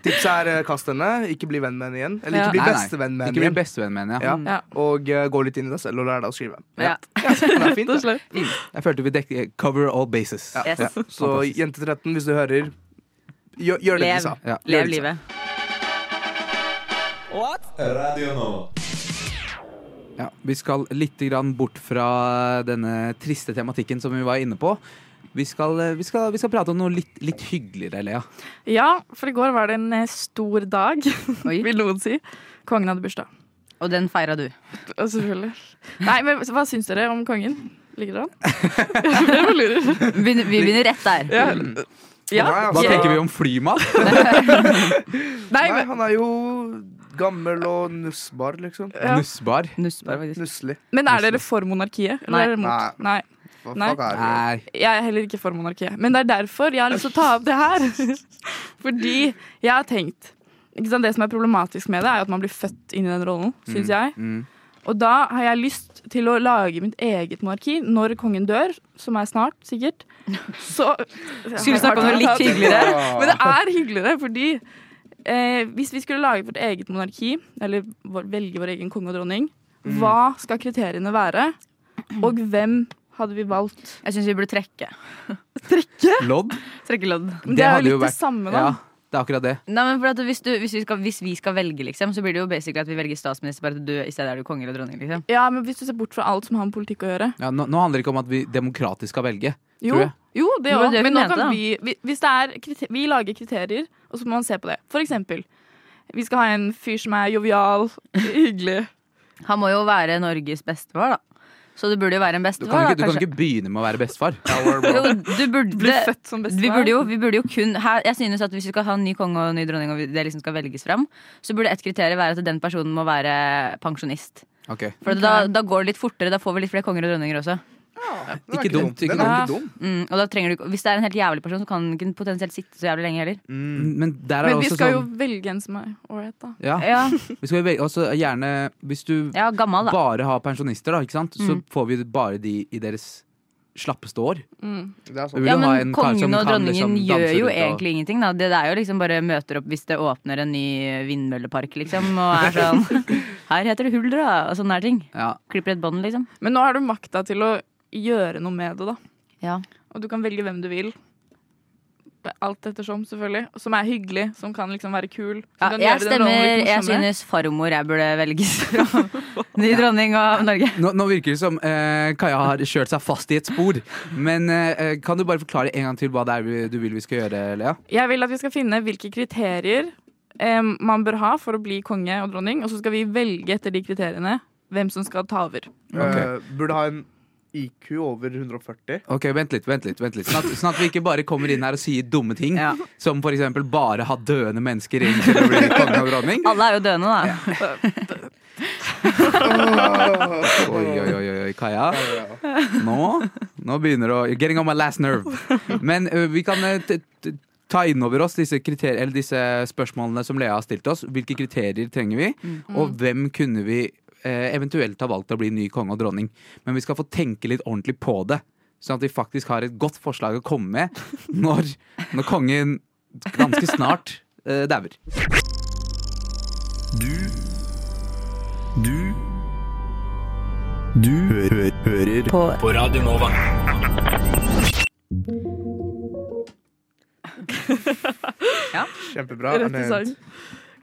[SPEAKER 7] tipset er eh, kast henne. Ikke bli venn med henne igjen. Eller
[SPEAKER 5] Ja.
[SPEAKER 7] ikke bli
[SPEAKER 1] Nei, nei.
[SPEAKER 7] bestevenn med
[SPEAKER 1] Ikke
[SPEAKER 7] henne
[SPEAKER 1] bli
[SPEAKER 7] igjen.
[SPEAKER 1] bestevenn med henne. Ja.
[SPEAKER 7] Ja.
[SPEAKER 5] Ja.
[SPEAKER 7] Og eh, gå litt inn i deg selv og lære deg å skrive.
[SPEAKER 6] Ja.
[SPEAKER 7] Det er fint,
[SPEAKER 5] Rett
[SPEAKER 7] det.
[SPEAKER 5] og slett.
[SPEAKER 1] Jeg følte vi dekket cover all bases.
[SPEAKER 7] Ja.
[SPEAKER 6] Yes.
[SPEAKER 7] Så jente 13, hvis du hører, gjør, gjør det
[SPEAKER 6] Lev.
[SPEAKER 7] de sa.
[SPEAKER 1] Ja.
[SPEAKER 6] Lev livet.
[SPEAKER 1] Ja, vi skal litt grann bort fra denne triste tematikken som vi var inne på. Vi skal, vi skal, vi skal prate om noe litt, litt hyggeligere, Lea.
[SPEAKER 5] Ja, for i går var det en eh, stor dag,
[SPEAKER 6] Oi.
[SPEAKER 5] vil noen si. Kongen hadde bursdag.
[SPEAKER 6] Og den feira du.
[SPEAKER 5] Og selvfølgelig. Nei, men hva syns dere om kongen? Ligger det an? Jeg bare lurer.
[SPEAKER 6] Begynner- Vi begynner rett der.
[SPEAKER 5] Ja. ja.
[SPEAKER 1] Hva
[SPEAKER 7] altså.
[SPEAKER 1] tenker vi om flymat?
[SPEAKER 5] Nei,
[SPEAKER 7] Nei,
[SPEAKER 5] men,
[SPEAKER 7] han er jo gammel og nussbar, liksom.
[SPEAKER 5] Ja.
[SPEAKER 1] Nussbar?
[SPEAKER 6] Nussbar, faktisk.
[SPEAKER 7] Nusslig.
[SPEAKER 5] men er dere for monarkiet? Eller er dere mot? Nei.
[SPEAKER 7] Hva
[SPEAKER 5] Nei.
[SPEAKER 7] fuck er det?
[SPEAKER 1] Nei.
[SPEAKER 5] Jeg er heller ikke for monarkiet. Men det er derfor jeg har lyst til å ta opp det her. Fordi jeg har tenkt ikke sant, Det som er problematisk med det, er jo at man blir født inn i den rollen, syns jeg.
[SPEAKER 1] mm.
[SPEAKER 5] Og da har jeg lyst til å lage mitt eget monarki når kongen dør, som er snart, sikkert. Så
[SPEAKER 6] Skulle snakke om noe litt hyggeligere.
[SPEAKER 5] Men det er hyggeligere, fordi eh, hvis vi skulle lage vårt eget monarki, eller vår, velge vår egen konge og dronning, hva skal kriteriene være? Og hvem hadde vi valgt?
[SPEAKER 6] Jeg syns vi burde trekke.
[SPEAKER 5] Trekke?
[SPEAKER 1] Lodd?
[SPEAKER 6] Trekke lodd.
[SPEAKER 5] Men det er
[SPEAKER 1] hadde
[SPEAKER 5] jo litt det samme, da.
[SPEAKER 1] Ja, det er akkurat det.
[SPEAKER 6] Nei, men for at hvis, du, hvis, vi skal, hvis vi skal velge, liksom, så blir det jo basically at vi velger statsminister, bare at du i stedet er du konge eller dronning. liksom
[SPEAKER 5] Ja, men hvis du ser bort fra alt som har med politikk å gjøre.
[SPEAKER 1] Ja, nå, nå handler det ikke om at vi demokratisk skal velge.
[SPEAKER 5] Jo,
[SPEAKER 1] Tror jeg.
[SPEAKER 5] jo det
[SPEAKER 6] Det var
[SPEAKER 5] gjør
[SPEAKER 6] det
[SPEAKER 5] det.
[SPEAKER 6] vi
[SPEAKER 5] Men nå
[SPEAKER 6] mente, da.
[SPEAKER 5] kan vi, vi- hvis det er kriter, vi lager kriterier, og så må man se på det. For eksempel, vi skal ha en fyr som er jovial, hyggelig.
[SPEAKER 6] Han må jo være Norges bestefar, da. Så det burde jo være
[SPEAKER 1] Du
[SPEAKER 6] en
[SPEAKER 1] kan,
[SPEAKER 6] bestefar.
[SPEAKER 1] ikke, du kan ikke begynne med å være bestefar.
[SPEAKER 6] da, kanskje. Jo, du burde,
[SPEAKER 5] Bli født som bestefar.
[SPEAKER 6] vi burde jo, vi burde jo kun her, Jeg synes at Hvis vi skal ha en ny konge og en ny dronning, og vi- det liksom skal velges fram, så burde et kriterium være at den personen må være pensjonist.
[SPEAKER 1] Ok.
[SPEAKER 6] For da, da går det litt fortere. Da får vi litt flere konger og dronninger også.
[SPEAKER 7] Den er
[SPEAKER 1] Ikke dumt, ikke
[SPEAKER 7] Den er
[SPEAKER 5] dumt.
[SPEAKER 7] ikke dum.
[SPEAKER 6] Mm, og da trenger du, ikke- Hvis det er en helt jævlig person, så kan den ikke potensielt sitte så jævlig lenge heller.
[SPEAKER 1] Mm, Men der er
[SPEAKER 5] Men vi
[SPEAKER 1] også
[SPEAKER 5] skal jo
[SPEAKER 1] sånn
[SPEAKER 5] velge en som er ålreit, da.
[SPEAKER 1] ja,
[SPEAKER 6] Ja,
[SPEAKER 1] vi skal jo velge, også gjerne, Hvis du
[SPEAKER 6] ja gammal, da.
[SPEAKER 1] bare har pensjonister, da, ikke sant? så
[SPEAKER 5] Mm.
[SPEAKER 1] får vi bare de i deres slappeste år.
[SPEAKER 7] Det
[SPEAKER 1] Vi
[SPEAKER 7] er sånn.
[SPEAKER 1] vil
[SPEAKER 6] Ja,
[SPEAKER 1] jo ha
[SPEAKER 6] men
[SPEAKER 1] en kar som
[SPEAKER 6] kongen og
[SPEAKER 1] kan
[SPEAKER 6] dronningen
[SPEAKER 1] liksom danse
[SPEAKER 6] gjør jo
[SPEAKER 1] rundt og-
[SPEAKER 6] egentlig ingenting, da. Det, det er jo liksom bare møter opp hvis det åpner en ny vindmøllepark, liksom, og er sånn Her heter det hull, da, og sånne her ting.
[SPEAKER 1] Ja.
[SPEAKER 6] Klipper et bånd, liksom.
[SPEAKER 5] Men nå har du makta til å gjøre noe med det, da.
[SPEAKER 6] Ja.
[SPEAKER 5] Og du kan velge hvem du vil. Alt ettersom, selvfølgelig. Som er hyggelig, som kan liksom være kul. Som
[SPEAKER 6] Ja,
[SPEAKER 5] kan
[SPEAKER 6] jeg
[SPEAKER 5] gjøre den rollen
[SPEAKER 6] stemmer.
[SPEAKER 5] litt
[SPEAKER 6] Jeg
[SPEAKER 5] morsommere.
[SPEAKER 6] synes farmor jeg burde velges fram. Ny dronning av Norge.
[SPEAKER 1] Nå, nå virker det som eh, Kaja har kjørt seg fast i et spor. Men eh, kan du bare forklare en gang til hva det er vi- du vil vi skal gjøre, Lea?
[SPEAKER 5] Jeg vil at vi skal finne hvilke kriterier eh, man bør ha for å bli konge og dronning, og så skal vi velge etter de kriteriene hvem som skal ta over.
[SPEAKER 7] Eh, burde ha en IQ over 140.
[SPEAKER 1] Ok, Vent litt, vent litt. vent litt Sånn at, sånn at vi ikke bare kommer inn her og sier dumme ting.
[SPEAKER 6] Ja.
[SPEAKER 1] Som for eksempel bare ha døende mennesker inn til å bli konge og dronning.
[SPEAKER 6] Alle er jo døende, da.
[SPEAKER 1] Oi, oi, oi, oi, oi, Kaja. Nå, nå begynner det å Getting on my last nerve. Men ø, vi kan ø, t t ta innover oss disse, kriterier, eller disse spørsmålene som Lea har stilt oss. Hvilke kriterier trenger vi, og hvem kunne vi eh, eventuelt ha valgt å bli ny konge og dronning? Men vi skal få tenke litt ordentlig på det, sånn at vi faktisk har et godt forslag å komme med når, når kongen ganske snart eh, dauer.
[SPEAKER 9] Du Du Du hø hø hører på. på Radio Nova.
[SPEAKER 7] Kjempebra.
[SPEAKER 5] Rett i sang.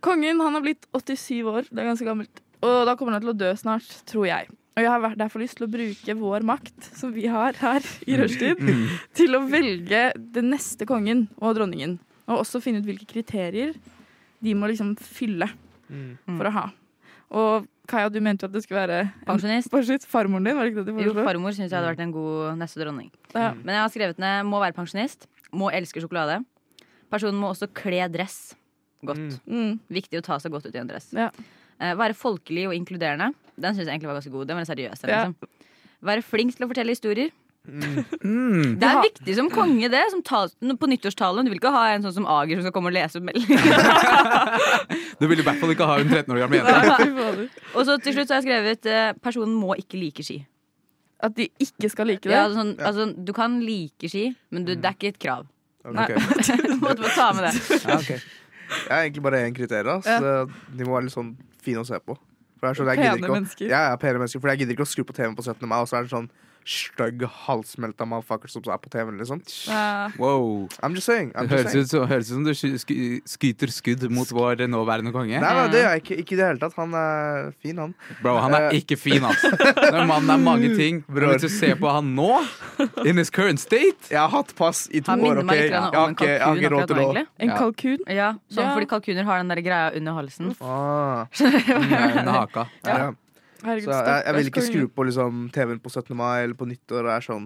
[SPEAKER 5] Kongen han har blitt 87 år, det er ganske gammelt. Og da kommer han til å dø snart, tror jeg. Og jeg har vært- derfor lyst til å bruke vår makt, som vi har her i rushtid, til å velge den neste kongen og dronningen. Og også finne ut hvilke kriterier de må liksom fylle for å ha. Og Kaja, du mente jo at det skulle være en-
[SPEAKER 6] Pensjonist.
[SPEAKER 5] Pensjonist. Farmoren din, var det ikke det du
[SPEAKER 6] Jo,
[SPEAKER 5] foreslo?
[SPEAKER 6] farmor syns jeg hadde vært en god neste dronning.
[SPEAKER 5] Ja.
[SPEAKER 6] Men jeg har skrevet ned må være pensjonist, må elske sjokolade. Personen må også kle dress godt.
[SPEAKER 5] Mm.
[SPEAKER 6] Viktig å ta seg godt ut i en dress.
[SPEAKER 5] Ja.
[SPEAKER 6] Eh, være folkelig og inkluderende. Den syns jeg egentlig var ganske god. Den var litt seriøs.
[SPEAKER 5] Ja.
[SPEAKER 6] Liksom. Være flink til å fortelle historier.
[SPEAKER 1] Mm.
[SPEAKER 6] Det er viktig som konge, det. Som tal- på nyttårstalen. Du vil ikke ha en sånn som Ager som skal komme og lese opp meldinger.
[SPEAKER 1] Du vil i hvert fall ikke ha en 13 år gammel jente.
[SPEAKER 5] Fy fader.
[SPEAKER 6] og så til slutt så har jeg skrevet eh, personen må ikke like ski.
[SPEAKER 5] At de ikke skal like det?
[SPEAKER 6] Ja, sånn, altså, du kan like ski, men du, det er ikke et krav.
[SPEAKER 1] Ok.
[SPEAKER 6] Du må bare ta med det.
[SPEAKER 1] Ja, ok.
[SPEAKER 7] Jeg har egentlig bare én kriterier. da, Så De må være litt sånn fine å se på. For det er sånn, jeg
[SPEAKER 5] Pene
[SPEAKER 7] gidder ikke å-
[SPEAKER 5] mennesker.
[SPEAKER 7] Ja, ja, pene mennesker. For jeg gidder ikke å skru på TV-en på 17. mai, og så er det sånn stygg, halvsmelta motherfucker som er på TV-en, liksom.
[SPEAKER 5] Ja.
[SPEAKER 1] Wow.
[SPEAKER 7] I'm just saying. I'm
[SPEAKER 1] Det
[SPEAKER 7] just
[SPEAKER 1] høres
[SPEAKER 7] saying.
[SPEAKER 1] ut, som- høres ut som du sky- sky- skyter skudd mot vår nåværende konge.
[SPEAKER 7] Nei, nei, det gjør jeg ikke. Ikke i det hele tatt. Han er fin, han.
[SPEAKER 1] Bro, han er
[SPEAKER 7] Eh.
[SPEAKER 1] ikke fin, altså. Den mannen er mange ting. Men
[SPEAKER 7] Bror.
[SPEAKER 1] Hvis du ser på han nå, in his current state
[SPEAKER 7] Jeg har hatt pass i to
[SPEAKER 6] Han
[SPEAKER 7] år,
[SPEAKER 6] minner
[SPEAKER 7] OK?
[SPEAKER 6] meg litt
[SPEAKER 7] Jeg
[SPEAKER 6] grann
[SPEAKER 7] har
[SPEAKER 6] om en
[SPEAKER 7] ikke, jeg har
[SPEAKER 6] kalkun
[SPEAKER 7] ikke råd
[SPEAKER 6] akkurat
[SPEAKER 7] til
[SPEAKER 6] nå,
[SPEAKER 7] å
[SPEAKER 6] egentlig.
[SPEAKER 5] En
[SPEAKER 1] Ja.
[SPEAKER 5] kalkun?
[SPEAKER 6] Ja, sånn
[SPEAKER 5] Ja.
[SPEAKER 6] fordi kalkuner har den der greia under halsen.
[SPEAKER 7] ah,
[SPEAKER 1] Ja, under haka.
[SPEAKER 7] ja.
[SPEAKER 1] Ja.
[SPEAKER 5] Herregud,
[SPEAKER 7] Så jeg,
[SPEAKER 5] stakkars
[SPEAKER 7] jeg vil ikke
[SPEAKER 5] kongen.
[SPEAKER 7] skru på liksom, TV-en på 17. mai eller på nyttår. Det er sånn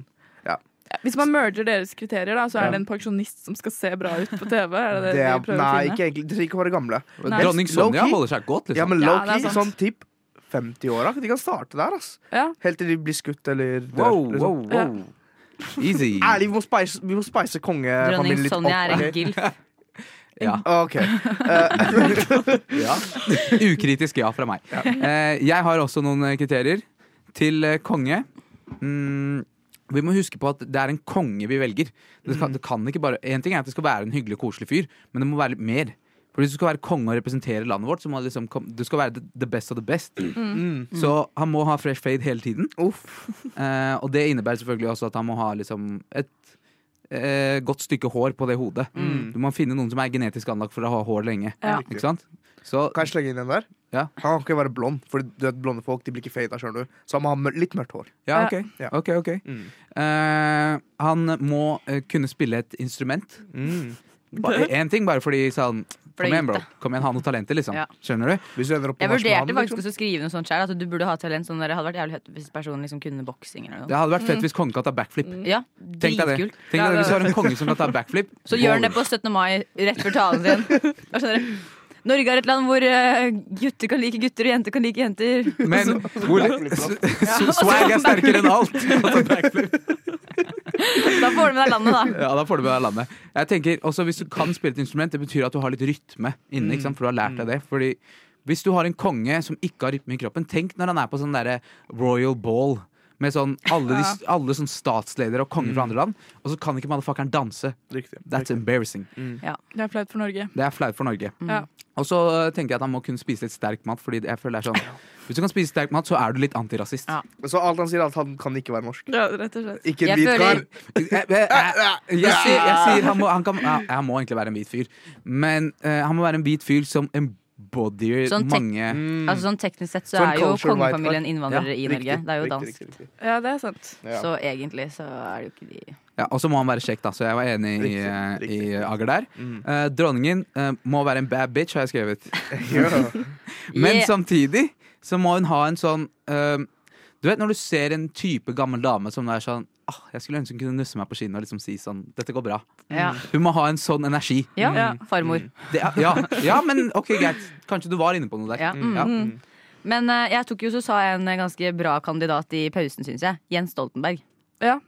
[SPEAKER 5] Hvis man merger deres kriterier, da, så er
[SPEAKER 7] Ja.
[SPEAKER 5] det en pensjonist som skal se bra ut på TV? Er det det,
[SPEAKER 7] det er,
[SPEAKER 5] vi prøver
[SPEAKER 7] Nei,
[SPEAKER 5] å finne?
[SPEAKER 7] ikke egentlig. Det trenger ikke å være gamle.
[SPEAKER 5] Nei.
[SPEAKER 1] Dronning Sonja
[SPEAKER 7] Low-key.
[SPEAKER 1] holder seg godt,
[SPEAKER 7] Ja,
[SPEAKER 1] liksom.
[SPEAKER 7] men
[SPEAKER 5] Ja,
[SPEAKER 7] low-key,
[SPEAKER 5] det er
[SPEAKER 7] sånn
[SPEAKER 5] sant.
[SPEAKER 7] tipp 50-åra. De kan starte der, ass.
[SPEAKER 5] Ja.
[SPEAKER 7] Helt til de blir skutt eller dør.
[SPEAKER 1] Wow,
[SPEAKER 7] liksom.
[SPEAKER 1] wow, wow. Easy.
[SPEAKER 7] Ærlig, vi må spice, vi må spice
[SPEAKER 6] Dronning
[SPEAKER 7] kongefamilien litt
[SPEAKER 6] Sonja er
[SPEAKER 7] opp.
[SPEAKER 6] en gilf.
[SPEAKER 1] Ja.
[SPEAKER 7] ok?
[SPEAKER 1] ja. Ukritisk ja fra meg. Eh, Jeg har også noen eh, kriterier til eh, konge. Mm, vi må huske på at det er en konge vi velger. Det skal, det kan ikke bare, en ting er at det skal være en hyggelig og koselig fyr, men det må være litt mer. For Hvis du skal være konge og representere landet vårt, så må det liksom, kom- du skal være the- the best of the best. Så han må ha fresh fade hele tiden. Eh, og det innebærer selvfølgelig også at han må ha liksom et eh, godt stykke hår på det hodet. Du må finne noen som er genetisk anlagt for å ha hår lenge.
[SPEAKER 5] Ja.
[SPEAKER 1] Ikke sant? Så
[SPEAKER 7] Kan jeg slenge inn en der?
[SPEAKER 1] Ja.
[SPEAKER 7] Han kan ikke være blond, for du vet, blonde folk de blir ikke fada. skjønner du. Så han må ha mør- litt mørkt hår.
[SPEAKER 1] ja, ok.
[SPEAKER 7] Ja.
[SPEAKER 1] ok, ok. Eh, han må eh, kunne spille et instrument. Mm. Én ting bare fordi sånn Kom
[SPEAKER 6] Fordi
[SPEAKER 1] igjen, bro.
[SPEAKER 6] det.
[SPEAKER 1] Kom igjen, ha noe talent til, liksom.
[SPEAKER 6] Ja.
[SPEAKER 1] Skjønner du?
[SPEAKER 7] Hvis du ender opp på liksom.
[SPEAKER 6] Jeg vurderte
[SPEAKER 7] Marsmannen,
[SPEAKER 6] faktisk også å skrive noe sånt selv, at du burde ha talent. Sånn der, det hadde vært jævlig høyt hvis personen liksom kunne boksing eller noe.
[SPEAKER 1] Det hadde vært fett hvis kongen kan ta backflip.
[SPEAKER 6] Ja,
[SPEAKER 1] Tenk deg det.
[SPEAKER 6] Mm. dritkult.
[SPEAKER 1] Tenk deg det. Hvis du har en konge som kan ta backflip,
[SPEAKER 6] Så gjør
[SPEAKER 1] baller.
[SPEAKER 6] han det på 17. mai rett før talen sin. Hva skjønner du? Norge er et land hvor eh, gutter kan like gutter og jenter kan like jenter.
[SPEAKER 1] Men hvor, s- swag er sterkere enn alt! Altså, backflip.
[SPEAKER 6] Da får du med deg landet, da.
[SPEAKER 1] Ja, da får du med deg landet. Jeg tenker også Hvis du kan spille et instrument, det betyr at du har litt rytme inne. Ikke sant? For du har lært deg
[SPEAKER 7] Mm.
[SPEAKER 1] det. Fordi hvis du har en konge som ikke har rytme i kroppen Tenk når han er på sånn derre royal ball med sånn alle, de, alle sånn statsledere og konger fra andre land, og så kan ikke motherfuckeren danse.
[SPEAKER 7] Mm. Riktig. Mm.
[SPEAKER 1] That's embarrassing.
[SPEAKER 5] Det er flaut for Norge.
[SPEAKER 1] Det er flaut for Norge.
[SPEAKER 5] Ja.
[SPEAKER 1] Og så øh, tenker jeg at han må kunne spise litt sterk mat. Fordi jeg føler det er sånn Hvis du kan spise sterk mat, så er du litt antirasist.
[SPEAKER 6] Ja.
[SPEAKER 7] Så alt han sier, er at han kan ikke være norsk.
[SPEAKER 5] Ja, rett og slett.
[SPEAKER 7] Ikke en
[SPEAKER 6] Jeg
[SPEAKER 7] hvit kar.
[SPEAKER 6] føler-
[SPEAKER 1] Jeg, jeg, jeg, jeg, sier, jeg sier han må, han kan, ja, han må egentlig være en hvit fyr. Men øh, han må være en hvit fyr som embodyer
[SPEAKER 6] Sånn tek-
[SPEAKER 1] mange
[SPEAKER 6] Altså sånn Teknisk sett så
[SPEAKER 7] Sånn
[SPEAKER 6] er jo
[SPEAKER 7] culture white
[SPEAKER 6] kongefamilien
[SPEAKER 7] card.
[SPEAKER 6] innvandrere i
[SPEAKER 7] Riktig,
[SPEAKER 6] Norge. Det er jo
[SPEAKER 7] riktig,
[SPEAKER 6] dansk.
[SPEAKER 7] riktig, riktig.
[SPEAKER 5] Ja, det er sant.
[SPEAKER 7] Ja.
[SPEAKER 6] Så egentlig så er det jo ikke de
[SPEAKER 1] ja, Og så må han være kjekk, da. Så jeg var enig i,
[SPEAKER 7] Riktig,
[SPEAKER 1] i
[SPEAKER 7] riktig.
[SPEAKER 1] Ager der.
[SPEAKER 6] Mm.
[SPEAKER 1] Eh, dronningen eh, må være en bad bitch, har jeg skrevet.
[SPEAKER 7] Ja.
[SPEAKER 1] Men
[SPEAKER 6] Yeah.
[SPEAKER 1] samtidig så må hun ha en sånn eh, Du vet når du ser en type gammel dame som er sånn ah, Jeg skulle ønske hun kunne nusse meg på kinnet og liksom si sånn Dette går bra.
[SPEAKER 6] Ja,
[SPEAKER 1] Hun må ha en sånn energi.
[SPEAKER 6] ja. farmor.
[SPEAKER 1] Det er, ja, ja, men ok, greit. Kanskje du var inne på noe der.
[SPEAKER 6] Ja. Mm, Men eh, jeg tok jo så sa jeg en eh, ganske bra kandidat i pausen, syns jeg. Jens Stoltenberg.
[SPEAKER 5] Ja.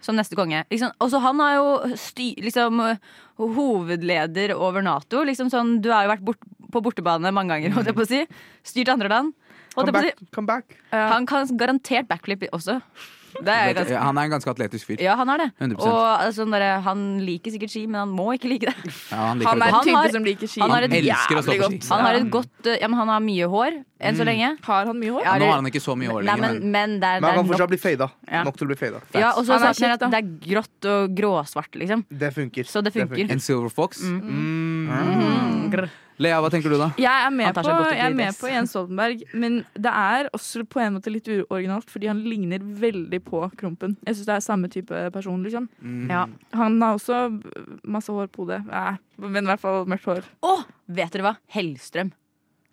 [SPEAKER 6] Som neste konge. Liksom, også han er jo sty, liksom, eh, hovedleder over Nato. Liksom sånn, du har jo vært bort, på bortebane mange ganger, holdt jeg på å si. Styrt andre land. Holdt
[SPEAKER 7] Come
[SPEAKER 6] jeg på å si.
[SPEAKER 7] back. Come back.
[SPEAKER 6] Han kan garantert backflip også. Det er jeg
[SPEAKER 1] Ja,
[SPEAKER 6] ganske
[SPEAKER 1] Han er en ganske atletisk fyr.
[SPEAKER 6] ja, han er det.
[SPEAKER 1] 100%.
[SPEAKER 6] Og altså, sånn derre, han liker sikkert ski, men han må ikke like det.
[SPEAKER 1] Ja, han liker
[SPEAKER 5] Han er
[SPEAKER 1] det godt.
[SPEAKER 5] en type
[SPEAKER 6] har-
[SPEAKER 5] som liker ski.
[SPEAKER 6] han har
[SPEAKER 5] Har,
[SPEAKER 6] et-
[SPEAKER 1] elsker å stå
[SPEAKER 5] jævlig
[SPEAKER 1] på
[SPEAKER 5] godt.
[SPEAKER 1] ski.
[SPEAKER 6] Han har, et godt, eh, ja, men han har mye hår enn så lenge.
[SPEAKER 5] han mye hår?
[SPEAKER 6] Ja,
[SPEAKER 1] Ja, nå
[SPEAKER 6] det-
[SPEAKER 1] har han ikke så mye år
[SPEAKER 6] Nei, men,
[SPEAKER 1] lenger. men-
[SPEAKER 6] men det
[SPEAKER 7] Men
[SPEAKER 6] er,
[SPEAKER 7] han
[SPEAKER 6] det er
[SPEAKER 7] kan fortsatt
[SPEAKER 6] nok.
[SPEAKER 7] bli fada.
[SPEAKER 6] Ja.
[SPEAKER 7] Nok til å bli fada.
[SPEAKER 6] Ja, og så
[SPEAKER 5] Han er
[SPEAKER 6] sa han
[SPEAKER 5] kjekk,
[SPEAKER 6] at det er grått og gråsvart, liksom.
[SPEAKER 7] Det funker.
[SPEAKER 6] Så det funker.
[SPEAKER 1] En silver fox.
[SPEAKER 6] Mm, grr.
[SPEAKER 1] Lea, hva tenker du da?
[SPEAKER 5] Jeg er med,
[SPEAKER 6] Han tar
[SPEAKER 5] på,
[SPEAKER 6] seg godt ut i
[SPEAKER 5] jeg er med
[SPEAKER 6] dress.
[SPEAKER 5] på Jens Stoltenberg, men det er også på en måte litt uoriginalt, fordi han ligner veldig på Krompen. Jeg syns det er samme type person, liksom.
[SPEAKER 6] Mm. Ja.
[SPEAKER 5] Han har også øh, masse hår på hodet. Nei, men i hvert fall mørkt hår.
[SPEAKER 6] Å, vet dere hva? Hellstrøm.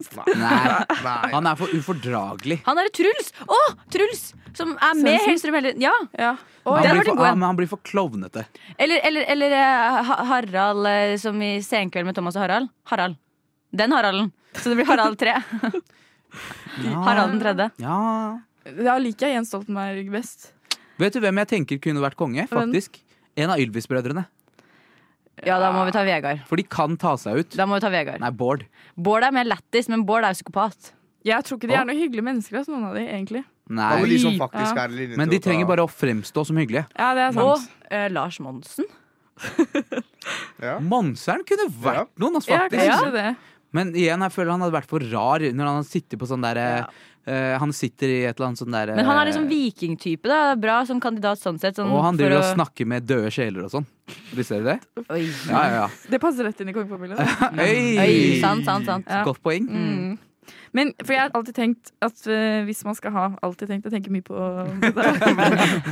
[SPEAKER 1] Nei,
[SPEAKER 7] Nei.
[SPEAKER 1] han er for ufordragelig.
[SPEAKER 6] Han er Truls! Å, Truls! Som er med
[SPEAKER 5] Svendsen?
[SPEAKER 6] Hellstrøm hele Ja.
[SPEAKER 5] Ja.
[SPEAKER 1] Han blir,
[SPEAKER 6] det var det
[SPEAKER 1] for,
[SPEAKER 6] gode.
[SPEAKER 1] ja, men han blir for klovnete.
[SPEAKER 6] Eller, eller, eller eh, Ha- Harald eh, som i Senkveld med Thomas og Harald. Harald. Den Haralden. Så det blir Harald 3. Harald den tredje.
[SPEAKER 1] Ja.
[SPEAKER 5] Da liker jeg Jens Stoltenberg best.
[SPEAKER 1] Vet du hvem jeg tenker kunne vært konge? Faktisk. En av Ylvis-brødrene.
[SPEAKER 6] Ja, da må vi ta Vegard.
[SPEAKER 1] For de kan ta seg ut.
[SPEAKER 6] Da må vi ta Vegard.
[SPEAKER 1] Nei, Bård.
[SPEAKER 6] Bård er mer lættis, men Bård er jo psykopat.
[SPEAKER 5] Jeg tror ikke de er noen hyggelige mennesker, altså, noen av de, egentlig.
[SPEAKER 7] Alle de
[SPEAKER 1] Nei.
[SPEAKER 7] som faktisk
[SPEAKER 5] Ja.
[SPEAKER 7] er i linje
[SPEAKER 1] Men
[SPEAKER 7] til
[SPEAKER 1] de
[SPEAKER 7] å ta-
[SPEAKER 1] trenger bare å fremstå som hyggelige.
[SPEAKER 5] Ja, det er
[SPEAKER 6] Og
[SPEAKER 5] sant.
[SPEAKER 6] eh, Lars Monsen.
[SPEAKER 1] Monseren kunne vært noen, altså,
[SPEAKER 5] Ja,
[SPEAKER 1] faktisk.
[SPEAKER 5] kanskje det.
[SPEAKER 1] Men igjen, jeg føler han hadde vært for rar når han sitter på sånn der eh, Han sitter i et eller annet sånn der
[SPEAKER 6] Men han er liksom
[SPEAKER 1] eh,
[SPEAKER 6] vikingtype. da Bra som kandidat sånn sett. Sånn,
[SPEAKER 1] Og han driver
[SPEAKER 6] for
[SPEAKER 1] og
[SPEAKER 6] å-
[SPEAKER 1] snakker med døde sjeler og sånn. Visste dere det?
[SPEAKER 6] Oi.
[SPEAKER 1] Ja, ja, ja.
[SPEAKER 5] Det passer rett inn i kongefamilien.
[SPEAKER 6] Oi, sant, sant, sant.
[SPEAKER 5] Ja.
[SPEAKER 1] Godt poeng.
[SPEAKER 5] Mm. Men for jeg har alltid tenkt at øh, hvis man skal ha Alltid tenkt, jeg tenker mye på det.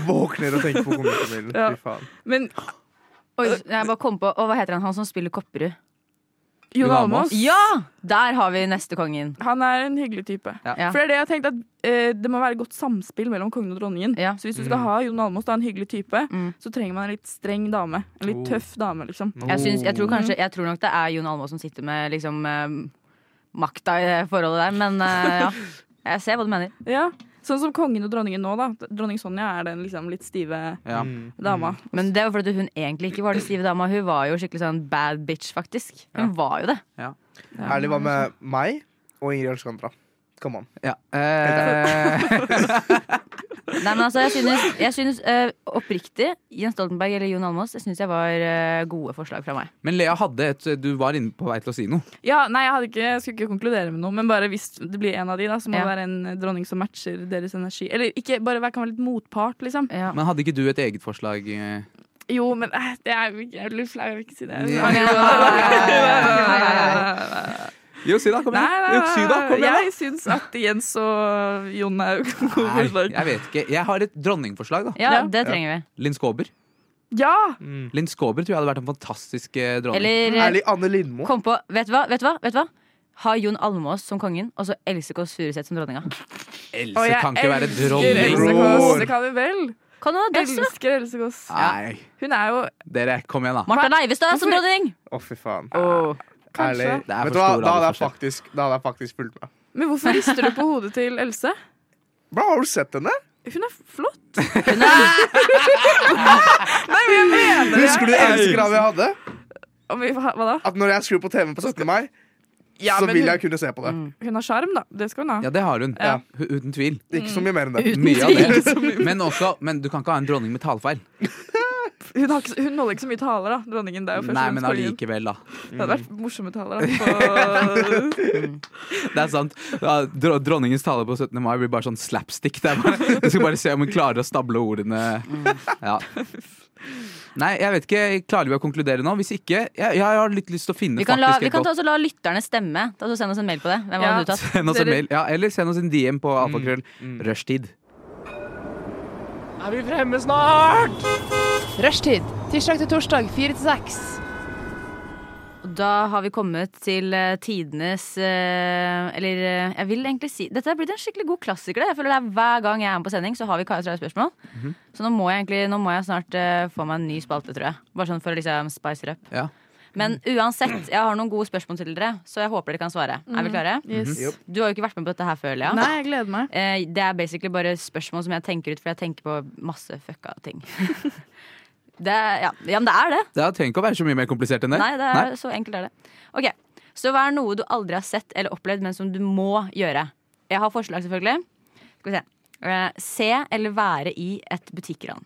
[SPEAKER 7] Våkner og tenker på kongefamilien.
[SPEAKER 5] Ja.
[SPEAKER 7] Fy faen.
[SPEAKER 5] Men
[SPEAKER 6] Oi, jeg bare kom på, og hva heter han, han som spiller Kopperud?
[SPEAKER 5] Jon
[SPEAKER 1] Jon Almaas.
[SPEAKER 5] Almaas,
[SPEAKER 6] Ja! Der har vi neste kongen.
[SPEAKER 5] han er en hyggelig type.
[SPEAKER 6] Ja.
[SPEAKER 5] For det er det jeg har tenkt at eh, det må være godt samspill mellom kongen og dronningen.
[SPEAKER 6] Ja.
[SPEAKER 5] Så hvis du skal ha Jon Almaas, da en hyggelig type,
[SPEAKER 6] Mm.
[SPEAKER 5] så trenger man en litt streng dame. En litt
[SPEAKER 7] Oh.
[SPEAKER 5] tøff dame, liksom.
[SPEAKER 6] Jeg, syns,
[SPEAKER 1] Oh.
[SPEAKER 6] jeg, tror kanskje, jeg tror nok det er Jon Almaas som sitter med liksom, eh, makta i det forholdet der, men eh, ja. Jeg ser hva du mener.
[SPEAKER 5] Ja. Sånn som kongen og dronningen nå, da. Dronning Sonja er den liksom litt stive
[SPEAKER 1] Ja.
[SPEAKER 5] dama.
[SPEAKER 1] Mm.
[SPEAKER 6] Men det var fordi hun egentlig ikke var den stive dama. Hun var jo skikkelig sånn bad bitch, faktisk. Hun var jo det.
[SPEAKER 7] Ærlig, hva med meg og Ingrid Alexandra? Come on.
[SPEAKER 1] Ja. Eh,
[SPEAKER 6] Nei, men altså, jeg synes, jeg synes eh, oppriktig, Jens Stoltenberg eller Jon Almaas, jeg syns jeg var eh, gode forslag fra meg.
[SPEAKER 1] men Lea hadde et eh, Du var inne på vei til å si noe.
[SPEAKER 5] Ja, nei, jeg, hadde ikke, jeg skulle ikke konkludere med noe, men bare hvis det blir en av de, da, så må
[SPEAKER 6] Ja.
[SPEAKER 5] det være en eh, dronning som matcher deres energi. Eller ikke, bare vær- kan være litt motpart, liksom.
[SPEAKER 6] Ja.
[SPEAKER 1] Men hadde ikke du et eget forslag? eh?
[SPEAKER 5] Jo, men eh, det er jeg blir flau, jeg vil ikke si det.
[SPEAKER 1] Ja.
[SPEAKER 5] Nei,
[SPEAKER 1] Jo, si da, kom
[SPEAKER 5] nei,
[SPEAKER 1] igjen.
[SPEAKER 5] nei.
[SPEAKER 1] Jo, si da, kom igjen. da.
[SPEAKER 5] Jeg syns at Jens og Jon er gode
[SPEAKER 1] Nei,
[SPEAKER 5] forslag.
[SPEAKER 1] jeg vet ikke. Jeg har et dronningforslag, da.
[SPEAKER 6] Ja,
[SPEAKER 5] Ja.
[SPEAKER 6] det trenger vi.
[SPEAKER 1] Linn Skåber.
[SPEAKER 5] Ja!
[SPEAKER 1] Linn Skåber tror jeg hadde vært en fantastisk eh, dronning.
[SPEAKER 6] Eller eh,
[SPEAKER 7] Ærlig, Anne Lindmo.
[SPEAKER 6] kom på Vet du hva? vet du hva, vet du hva? Ha Jon Almås som kongen, og så Else Kåss Furuseth som dronninga.
[SPEAKER 5] Og
[SPEAKER 1] Else
[SPEAKER 5] jeg
[SPEAKER 1] kan ikke være
[SPEAKER 5] elsker
[SPEAKER 1] dronning.
[SPEAKER 7] Else.
[SPEAKER 5] Else Kåss.
[SPEAKER 7] Bror.
[SPEAKER 5] Det kan vi vel?
[SPEAKER 6] Kan du ha Dags, da?
[SPEAKER 5] Elsker Else Kåss.
[SPEAKER 1] Nei,
[SPEAKER 5] Hun er jo
[SPEAKER 1] dere, kom igjen, da.
[SPEAKER 6] Martha Leivestad som
[SPEAKER 5] Hvorfor-
[SPEAKER 6] dronning!
[SPEAKER 7] Å, fy faen.
[SPEAKER 5] kanskje.
[SPEAKER 7] Ærlig.
[SPEAKER 1] Det er
[SPEAKER 7] Vet
[SPEAKER 1] for
[SPEAKER 7] du hva,
[SPEAKER 1] stor
[SPEAKER 7] da hadde jeg
[SPEAKER 1] aldersforskjell.
[SPEAKER 7] faktisk, da hadde jeg faktisk fulgt med.
[SPEAKER 5] Men hvorfor rister du på hodet til Else?
[SPEAKER 7] Bra, har du sett henne?
[SPEAKER 5] Hun er flott.
[SPEAKER 6] Hun er,
[SPEAKER 7] Husker du eneste kravet jeg hadde?
[SPEAKER 5] Om vi- Hva hva da?
[SPEAKER 7] At når jeg skrur på TV på 17. mai,
[SPEAKER 5] Ja,
[SPEAKER 7] så
[SPEAKER 5] men
[SPEAKER 7] vil
[SPEAKER 5] hun-
[SPEAKER 7] jeg kunne se på det.
[SPEAKER 6] Mm.
[SPEAKER 5] Hun har sjarm, da. Det skal hun ha.
[SPEAKER 1] Ja, det har hun.
[SPEAKER 7] Ja.
[SPEAKER 1] Hu- Uten tvil.
[SPEAKER 7] Ikke
[SPEAKER 6] Mm.
[SPEAKER 7] så mye mer enn det.
[SPEAKER 1] Mye av det. Men også, men du kan ikke ha en dronning med talefeil.
[SPEAKER 5] Hun, har ikke, hun holder ikke så mye taler, da. Dronningen. Det er jo først
[SPEAKER 1] Nei,
[SPEAKER 5] og fremst
[SPEAKER 1] men
[SPEAKER 5] kongen.
[SPEAKER 1] allikevel, da.
[SPEAKER 5] Det hadde vært morsomme taler, da. På
[SPEAKER 1] Det er sant. Ja, dro- Dronningens tale på 17. mai blir bare sånn slapstick. Det er bare, du skal bare se om hun klarer å stable ordene. Ja. Nei, jeg vet ikke. Klarer vi å konkludere nå? Hvis ikke, jeg, jeg har litt lyst til å finne
[SPEAKER 6] vi kan, la,
[SPEAKER 1] faktisk
[SPEAKER 6] vi
[SPEAKER 1] et
[SPEAKER 6] kan ta
[SPEAKER 1] godt
[SPEAKER 6] oss og la lytterne stemme. Da så Send oss en mail på det. Hvem
[SPEAKER 5] Ja.
[SPEAKER 6] hadde du tatt?
[SPEAKER 1] Send oss en
[SPEAKER 5] Dere-
[SPEAKER 1] mail. Ja, eller send oss en DM på alfakrøll rushtid.
[SPEAKER 2] Er vi fremme snart?
[SPEAKER 3] Rushtid. Tirsdag til torsdag, fire til seks.
[SPEAKER 6] Og Da har vi kommet til eh, tidenes eh, Eller eh, jeg vil egentlig si Dette er blitt en skikkelig god klassiker. det. Jeg føler det er Hver gang jeg er med på sending, så har vi Kajas rare spørsmål. Så nå må jeg egentlig Nå må jeg snart eh, få meg en ny spalte, tror jeg. Bare sånn for å liksom spice it up.
[SPEAKER 1] Ja.
[SPEAKER 6] Men uansett, jeg har noen gode spørsmål til dere, så jeg håper dere kan svare. Er vi klare?
[SPEAKER 5] yes.
[SPEAKER 6] Du har jo ikke vært med på dette her før, Lea.
[SPEAKER 5] Nei, jeg gleder meg.
[SPEAKER 6] Eh, Det er basically bare spørsmål som jeg tenker ut, for jeg tenker på masse fucka ting. det er, ja. ja, men det er det.
[SPEAKER 1] Det er- trenger ikke å være så mye mer komplisert enn det.
[SPEAKER 6] Nei, det er, Så enkelt er det. Ok, Så hva er noe du aldri har sett eller opplevd, men som du må gjøre? Jeg har forslag, selvfølgelig. Skal vi se. Eh, se eller være i et butikkran.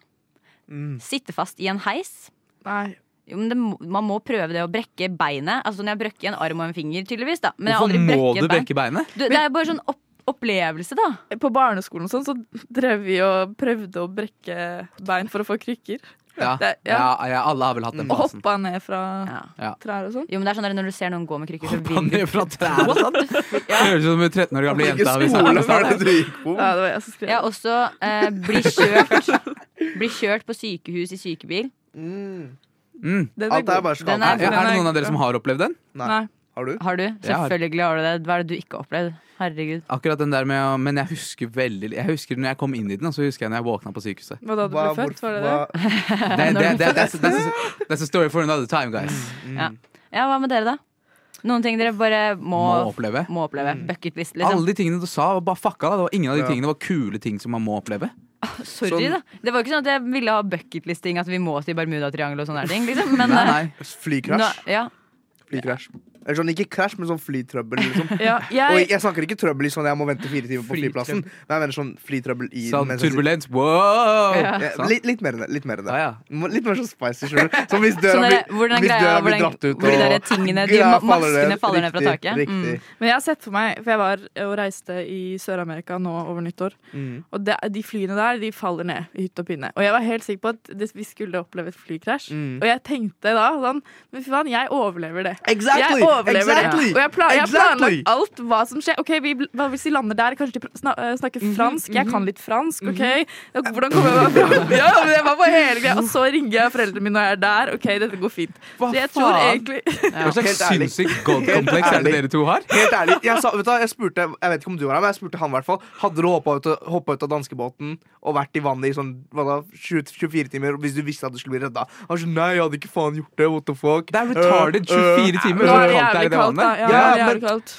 [SPEAKER 6] Sitte fast i en heis.
[SPEAKER 5] Nei.
[SPEAKER 6] Jo, men det, må- man må prøve det å brekke beinet. Altså, når jeg brøkker en arm og en finger, tydeligvis. da Men jeg har
[SPEAKER 1] Hvorfor
[SPEAKER 6] aldri
[SPEAKER 1] må
[SPEAKER 6] brekket
[SPEAKER 1] du
[SPEAKER 6] et bein.
[SPEAKER 1] brekke beinet?
[SPEAKER 6] Du, det er bare sånn opp opplevelse, da.
[SPEAKER 5] På barneskolen og sånn, så drev vi og prøvde å brekke bein for å få krykker.
[SPEAKER 1] Ja.
[SPEAKER 5] Det-
[SPEAKER 1] Ja, ja, alle har vel hatt den
[SPEAKER 5] Og
[SPEAKER 1] fasen.
[SPEAKER 5] hoppa ned fra
[SPEAKER 6] Ja.
[SPEAKER 5] trær og sånn.
[SPEAKER 6] Jo, men det er sånn der, Når du ser noen gå med krykker, så
[SPEAKER 1] Han
[SPEAKER 6] vil du
[SPEAKER 1] er fra trær og sånn. Høres ut som en 13 år gamle jente.
[SPEAKER 7] Hvilken
[SPEAKER 1] har vi
[SPEAKER 7] skole
[SPEAKER 1] snakket om.
[SPEAKER 7] var det du gikk på?
[SPEAKER 5] Ja, det var jeg som skrev.
[SPEAKER 6] Jeg har også eh, bli, kjørt, bli kjørt på sykehus i sykebil.
[SPEAKER 1] Mm.
[SPEAKER 5] Den
[SPEAKER 7] Alt er
[SPEAKER 5] god.
[SPEAKER 7] bare
[SPEAKER 6] Den
[SPEAKER 1] Er,
[SPEAKER 7] skade.
[SPEAKER 6] er-
[SPEAKER 1] er det noen av dere som har opplevd den?
[SPEAKER 5] Nei.
[SPEAKER 7] Har du?
[SPEAKER 6] Har du?
[SPEAKER 1] har jeg.
[SPEAKER 6] Selvfølgelig har du det. Hva er det du ikke har opplevd? Herregud.
[SPEAKER 1] Akkurat den der med å- Men jeg husker veldig Jeg husker når jeg kom inn i den, og så husker jeg når jeg våkna på sykehuset.
[SPEAKER 5] Hva da du ble
[SPEAKER 7] Hva-
[SPEAKER 5] født? Var det det?
[SPEAKER 7] hvorfor- hva-
[SPEAKER 1] Det, det, det, that's, that's, a, that's a story for another time, guys.
[SPEAKER 6] Ja, Hva med dere, da? Noen ting dere bare må,
[SPEAKER 1] Må
[SPEAKER 6] må oppleve.
[SPEAKER 1] oppleve.
[SPEAKER 6] Bucketlist, liksom.
[SPEAKER 1] Alle de tingene du sa, var bare fucka. Da. Det var ingen av de
[SPEAKER 7] Ja.
[SPEAKER 1] tingene var kule ting som man må oppleve.
[SPEAKER 6] Sorry, da. Det var jo ikke sånn at jeg ville ha bucketlist-ting, at vi må til Bermudatriangelet og sånne her ting. Liksom. Men,
[SPEAKER 1] Nei, nei.
[SPEAKER 6] eh, nå,
[SPEAKER 7] Flykrasj.
[SPEAKER 6] ja.
[SPEAKER 7] Flykrasj. Eller sånn, ikke krasj, men sånn flytrøbbel. Liksom.
[SPEAKER 5] Ja,
[SPEAKER 7] Og
[SPEAKER 5] jeg,
[SPEAKER 7] jeg snakker ikke trøbbel i sånn jeg må vente fire timer på flyplassen. Men jeg mener sånn flytrøbbel i
[SPEAKER 1] Sånn
[SPEAKER 7] mens jeg sitter-
[SPEAKER 1] turbulens. Wow!
[SPEAKER 7] Ja,
[SPEAKER 1] Sånn.
[SPEAKER 7] litt, litt mer enn det. Litt mer enn det.
[SPEAKER 1] Ja, ja.
[SPEAKER 7] Må- Litt mer sånn spicy. skjønner du? Som hvis døra
[SPEAKER 6] Sånn
[SPEAKER 7] blir,
[SPEAKER 6] der- hvor den
[SPEAKER 7] hvis
[SPEAKER 6] greia-
[SPEAKER 7] døra blir
[SPEAKER 6] hvor den-
[SPEAKER 7] dratt ut
[SPEAKER 6] hvor de
[SPEAKER 7] og
[SPEAKER 6] der tingene, de
[SPEAKER 7] Ja,
[SPEAKER 6] ma- maskene faller ned fra
[SPEAKER 7] Riktig,
[SPEAKER 6] taket. Mm.
[SPEAKER 7] Riktig.
[SPEAKER 5] men jeg har sett for meg, for jeg var og reiste i Sør-Amerika nå over nyttår,
[SPEAKER 7] Mm.
[SPEAKER 5] og det, de flyene der, de faller ned i hytt og pinne. Og jeg var helt sikker på at det, vi skulle oppleve et flykrasj.
[SPEAKER 7] Mm.
[SPEAKER 5] Og jeg tenkte da sånn Men fy faen, jeg overlever det.
[SPEAKER 7] Exactly!
[SPEAKER 5] Jeg overlever
[SPEAKER 7] exactly.
[SPEAKER 5] det. Og jeg, pla jeg har
[SPEAKER 7] Exactly.
[SPEAKER 5] planlagt alt hva som skjer. Ok, vi, bl- hva Hvis de lander der, kanskje de pr- sna eh, snakker
[SPEAKER 1] Mhm,
[SPEAKER 5] fransk. Jeg kan litt fransk, OK? Hvordan kommer jeg meg fram? Ja, men jeg var på hele greia. Og så ringer jeg foreldrene mine når jeg er der. OK, dette går fint.
[SPEAKER 1] Hva
[SPEAKER 5] Så jeg tror
[SPEAKER 1] faen?
[SPEAKER 5] egentlig
[SPEAKER 1] Hva slags
[SPEAKER 7] Helt ærlig.
[SPEAKER 1] sinnssykt god-kompleks er det
[SPEAKER 7] ærlig.
[SPEAKER 1] dere to har?
[SPEAKER 7] Helt ærlig, jeg, sa, vet du, hva, jeg spurte Jeg vet ikke om du var her, men jeg spurte han i hvert fall. Hadde du hoppa ut, hoppa ut av danskebåten og vært i vannet i sånn hva da, 20, 24 timer hvis du visste at du skulle bli redda? Han var sånn, Nei, jeg hadde ikke faen gjort det. What the fuck?
[SPEAKER 1] Det er retarded
[SPEAKER 7] Øh,
[SPEAKER 1] 24 timer.
[SPEAKER 5] Nå
[SPEAKER 1] så
[SPEAKER 5] er øh. det
[SPEAKER 1] kaldt det er i
[SPEAKER 5] jævlig
[SPEAKER 1] det
[SPEAKER 5] kaldt, da.
[SPEAKER 1] vannet.
[SPEAKER 5] Ja,
[SPEAKER 7] Ja,
[SPEAKER 5] det er jævlig
[SPEAKER 7] men-
[SPEAKER 5] kaldt.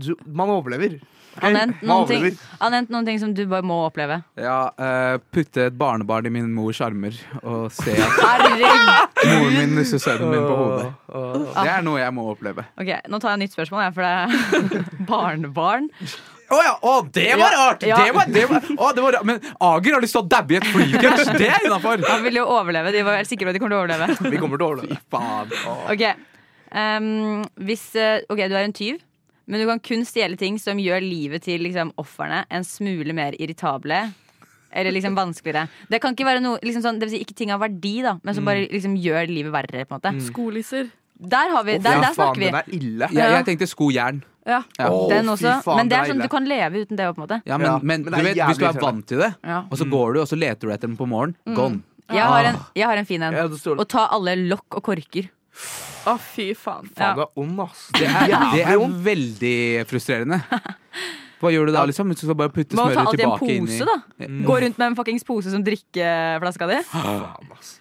[SPEAKER 7] Du, man overlever.
[SPEAKER 6] Han
[SPEAKER 7] Man
[SPEAKER 6] nevnte noen, ting-
[SPEAKER 7] overlever.
[SPEAKER 6] han nevnte noen ting som du bare må oppleve.
[SPEAKER 1] Ja, eh, putte et barnebarn i min mors armer og se at
[SPEAKER 6] Herregud!
[SPEAKER 1] moren min nusser sønnen min på hodet. Det er noe jeg må oppleve.
[SPEAKER 6] Ok, Nå tar jeg et nytt spørsmål, jeg, for det er barnebarn.
[SPEAKER 1] Å ja, å, det var rart!
[SPEAKER 6] Ja.
[SPEAKER 1] Det var, det var, å, det var, rart. men Ager har lyst til å dabbe i et flykrasj! Det er innafor!
[SPEAKER 6] Han ville jo overleve. De var helt sikre på at de kommer til å overleve.
[SPEAKER 1] Vi kommer til å overleve. Fy faen.
[SPEAKER 6] Ok, Ehm, hvis, eh, ok, du er en tyv, men du kan kun stjele ting som gjør livet til liksom, ofrene en smule mer irritable Eller liksom vanskeligere. Det kan ikke være noe liksom sånn, Det vil si ikke ting av verdi, da, men som
[SPEAKER 7] Mm.
[SPEAKER 6] bare liksom gjør livet verre, på en måte.
[SPEAKER 5] Skolisser.
[SPEAKER 6] Der, har vi,
[SPEAKER 7] Å, fy
[SPEAKER 6] der, der
[SPEAKER 7] faen,
[SPEAKER 6] snakker vi.
[SPEAKER 7] Den er ille.
[SPEAKER 1] Jeg,
[SPEAKER 5] Ja.
[SPEAKER 1] jeg tenkte skojern.
[SPEAKER 5] Ja.
[SPEAKER 1] Ja.
[SPEAKER 7] Å,
[SPEAKER 6] Den
[SPEAKER 7] fy
[SPEAKER 6] også.
[SPEAKER 7] faen,
[SPEAKER 6] Men det
[SPEAKER 7] den
[SPEAKER 6] er sånn
[SPEAKER 7] ille.
[SPEAKER 6] du kan leve uten det, på en måte.
[SPEAKER 1] Ja, men,
[SPEAKER 7] Ja,
[SPEAKER 1] men,
[SPEAKER 7] men det
[SPEAKER 1] du
[SPEAKER 7] er
[SPEAKER 1] vet, hvis du
[SPEAKER 7] jævlig
[SPEAKER 1] er Mm. vant til det,
[SPEAKER 6] Ja.
[SPEAKER 1] og så går du og så leter du etter den på morgenen,
[SPEAKER 6] Mm.
[SPEAKER 1] gone.
[SPEAKER 6] Jeg har en, jeg har en fin en.
[SPEAKER 7] Ah. Ja, det står-
[SPEAKER 6] Å ta alle lokk og korker.
[SPEAKER 5] Å, fy faen.
[SPEAKER 7] Faen,
[SPEAKER 6] Ja.
[SPEAKER 7] du er ond, ass.
[SPEAKER 1] Det er, det
[SPEAKER 7] Jævlig
[SPEAKER 1] er
[SPEAKER 7] ond.
[SPEAKER 1] veldig frustrerende. Hva gjør du da, liksom? Du skal bare putte
[SPEAKER 6] Må ta
[SPEAKER 1] smøret
[SPEAKER 6] alltid en
[SPEAKER 1] tilbake inn
[SPEAKER 6] pose,
[SPEAKER 1] i Mm.
[SPEAKER 6] da. Gå rundt med en fuckings pose som drikkeflaska di.
[SPEAKER 7] Faen, ass.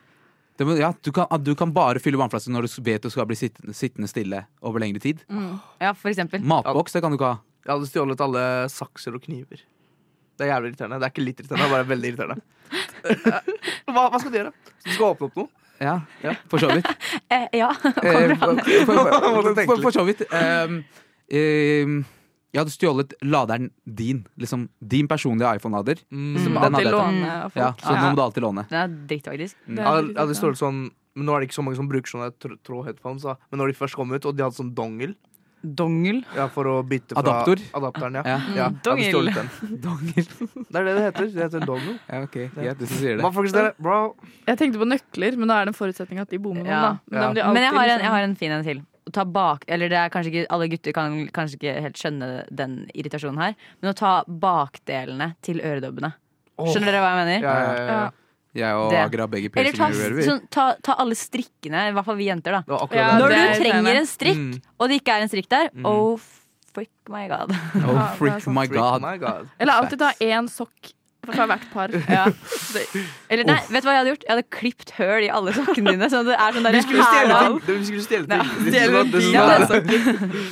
[SPEAKER 1] det må, ja, du, kan, du kan bare fylle vannflaske når du vet du skal bli sittende, sittende stille over lengre tid.
[SPEAKER 6] Mm. Ja, for eksempel.
[SPEAKER 1] Matboks, det kan du ikke ha.
[SPEAKER 7] Jeg hadde stjålet alle sakser og kniver. Det er jævlig irriterende. Det er ikke litt irriterende, det er bare veldig irriterende. hva, hva skal du gjøre? Du skal åpne opp noe?
[SPEAKER 1] Ja, for så vidt.
[SPEAKER 6] Eh, ja.
[SPEAKER 1] Eh, for, for,
[SPEAKER 7] Måtte
[SPEAKER 1] for,
[SPEAKER 7] tenke
[SPEAKER 1] for,
[SPEAKER 7] litt.
[SPEAKER 1] for så vidt. ehm, ehm, jeg hadde stjålet laderen din. Liksom din personlige iPhone-lader.
[SPEAKER 5] Du
[SPEAKER 1] Som
[SPEAKER 5] må
[SPEAKER 1] han
[SPEAKER 5] alltid
[SPEAKER 1] hadde tatt.
[SPEAKER 5] låne av folk.
[SPEAKER 1] Ja, så nå må du alltid låne.
[SPEAKER 6] Det er dritt, faktisk.
[SPEAKER 5] Det er
[SPEAKER 7] Jeg hadde,
[SPEAKER 5] veldig
[SPEAKER 7] jeg hadde
[SPEAKER 5] irriterende.
[SPEAKER 7] stjålet sånn men Nå er det ikke så mange som bruker sånne tr- tråd headphones, da. men når de først kom ut, og de hadde sånn dongel
[SPEAKER 6] Dongel.
[SPEAKER 7] ja, for å bytte fra
[SPEAKER 1] Adapter?
[SPEAKER 7] adapteren, ja.
[SPEAKER 1] Ja.
[SPEAKER 7] ja jeg hadde
[SPEAKER 6] Mm, dongel.
[SPEAKER 7] stjålet den.
[SPEAKER 1] Donger.
[SPEAKER 7] Det er det det heter. Det heter en dongel.
[SPEAKER 1] Ja, ok, greit, hvis du sier det.
[SPEAKER 7] Hva faktisk dere? Bro.
[SPEAKER 5] Jeg tenkte på nøkler, men da er det en forutsetning at de bommer noen.
[SPEAKER 6] Ja.
[SPEAKER 5] da. Men, da
[SPEAKER 7] Ja.
[SPEAKER 5] må de alltid
[SPEAKER 6] Men jeg har en,
[SPEAKER 5] liksom-
[SPEAKER 6] jeg har en fin en til. Å ta bak, eller det er kanskje ikke, Alle gutter kan kanskje ikke helt skjønne den irritasjonen her, men å ta bakdelene til øredobbene. Skjønner dere hva jeg mener?
[SPEAKER 7] Ja, ja, ja, ja.
[SPEAKER 5] Ja.
[SPEAKER 1] Jeg og
[SPEAKER 6] Det.
[SPEAKER 1] Agra har begge
[SPEAKER 6] Eller ta,
[SPEAKER 1] piercinger i øret. vi.
[SPEAKER 6] sånn, ta, ta alle strikkene, i hvert fall vi jenter, da.
[SPEAKER 7] Det var akkurat
[SPEAKER 5] Ja,
[SPEAKER 7] det.
[SPEAKER 6] Når
[SPEAKER 5] det er
[SPEAKER 6] du trenger
[SPEAKER 5] irriterende.
[SPEAKER 6] en strikk,
[SPEAKER 7] Mm.
[SPEAKER 6] og det ikke er en strikk der, oh fuck my god.
[SPEAKER 1] Oh,
[SPEAKER 5] Ja, det er
[SPEAKER 1] freak
[SPEAKER 5] sant.
[SPEAKER 1] my
[SPEAKER 7] Freak,
[SPEAKER 1] god.
[SPEAKER 7] my god.
[SPEAKER 5] Eller alltid ta én sokk fra hvert par.
[SPEAKER 6] Eller nei, vet du hva jeg hadde gjort? Jeg hadde klipt høl i alle sokkene dine. Sånn at det er sånn
[SPEAKER 7] Vi
[SPEAKER 6] derre
[SPEAKER 7] skulle stjele
[SPEAKER 6] hæla.
[SPEAKER 7] ting! Vi skulle stjele
[SPEAKER 6] Ja,
[SPEAKER 7] ting. This is
[SPEAKER 6] stjele
[SPEAKER 7] not- this is
[SPEAKER 6] ting.
[SPEAKER 7] not-
[SPEAKER 6] Ja, det sånn.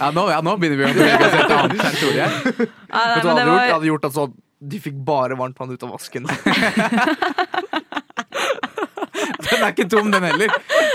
[SPEAKER 1] Ja, nå, ja, nå begynner vi å bevege oss et annet territorium. her.
[SPEAKER 6] Nei, nei,
[SPEAKER 7] Vet du hva jeg
[SPEAKER 6] men
[SPEAKER 7] hadde
[SPEAKER 6] det
[SPEAKER 7] gjort? Jeg
[SPEAKER 6] var
[SPEAKER 7] hadde gjort at sånn de fikk bare varmt vann ut av vasken.
[SPEAKER 1] Den er ikke tom, den heller.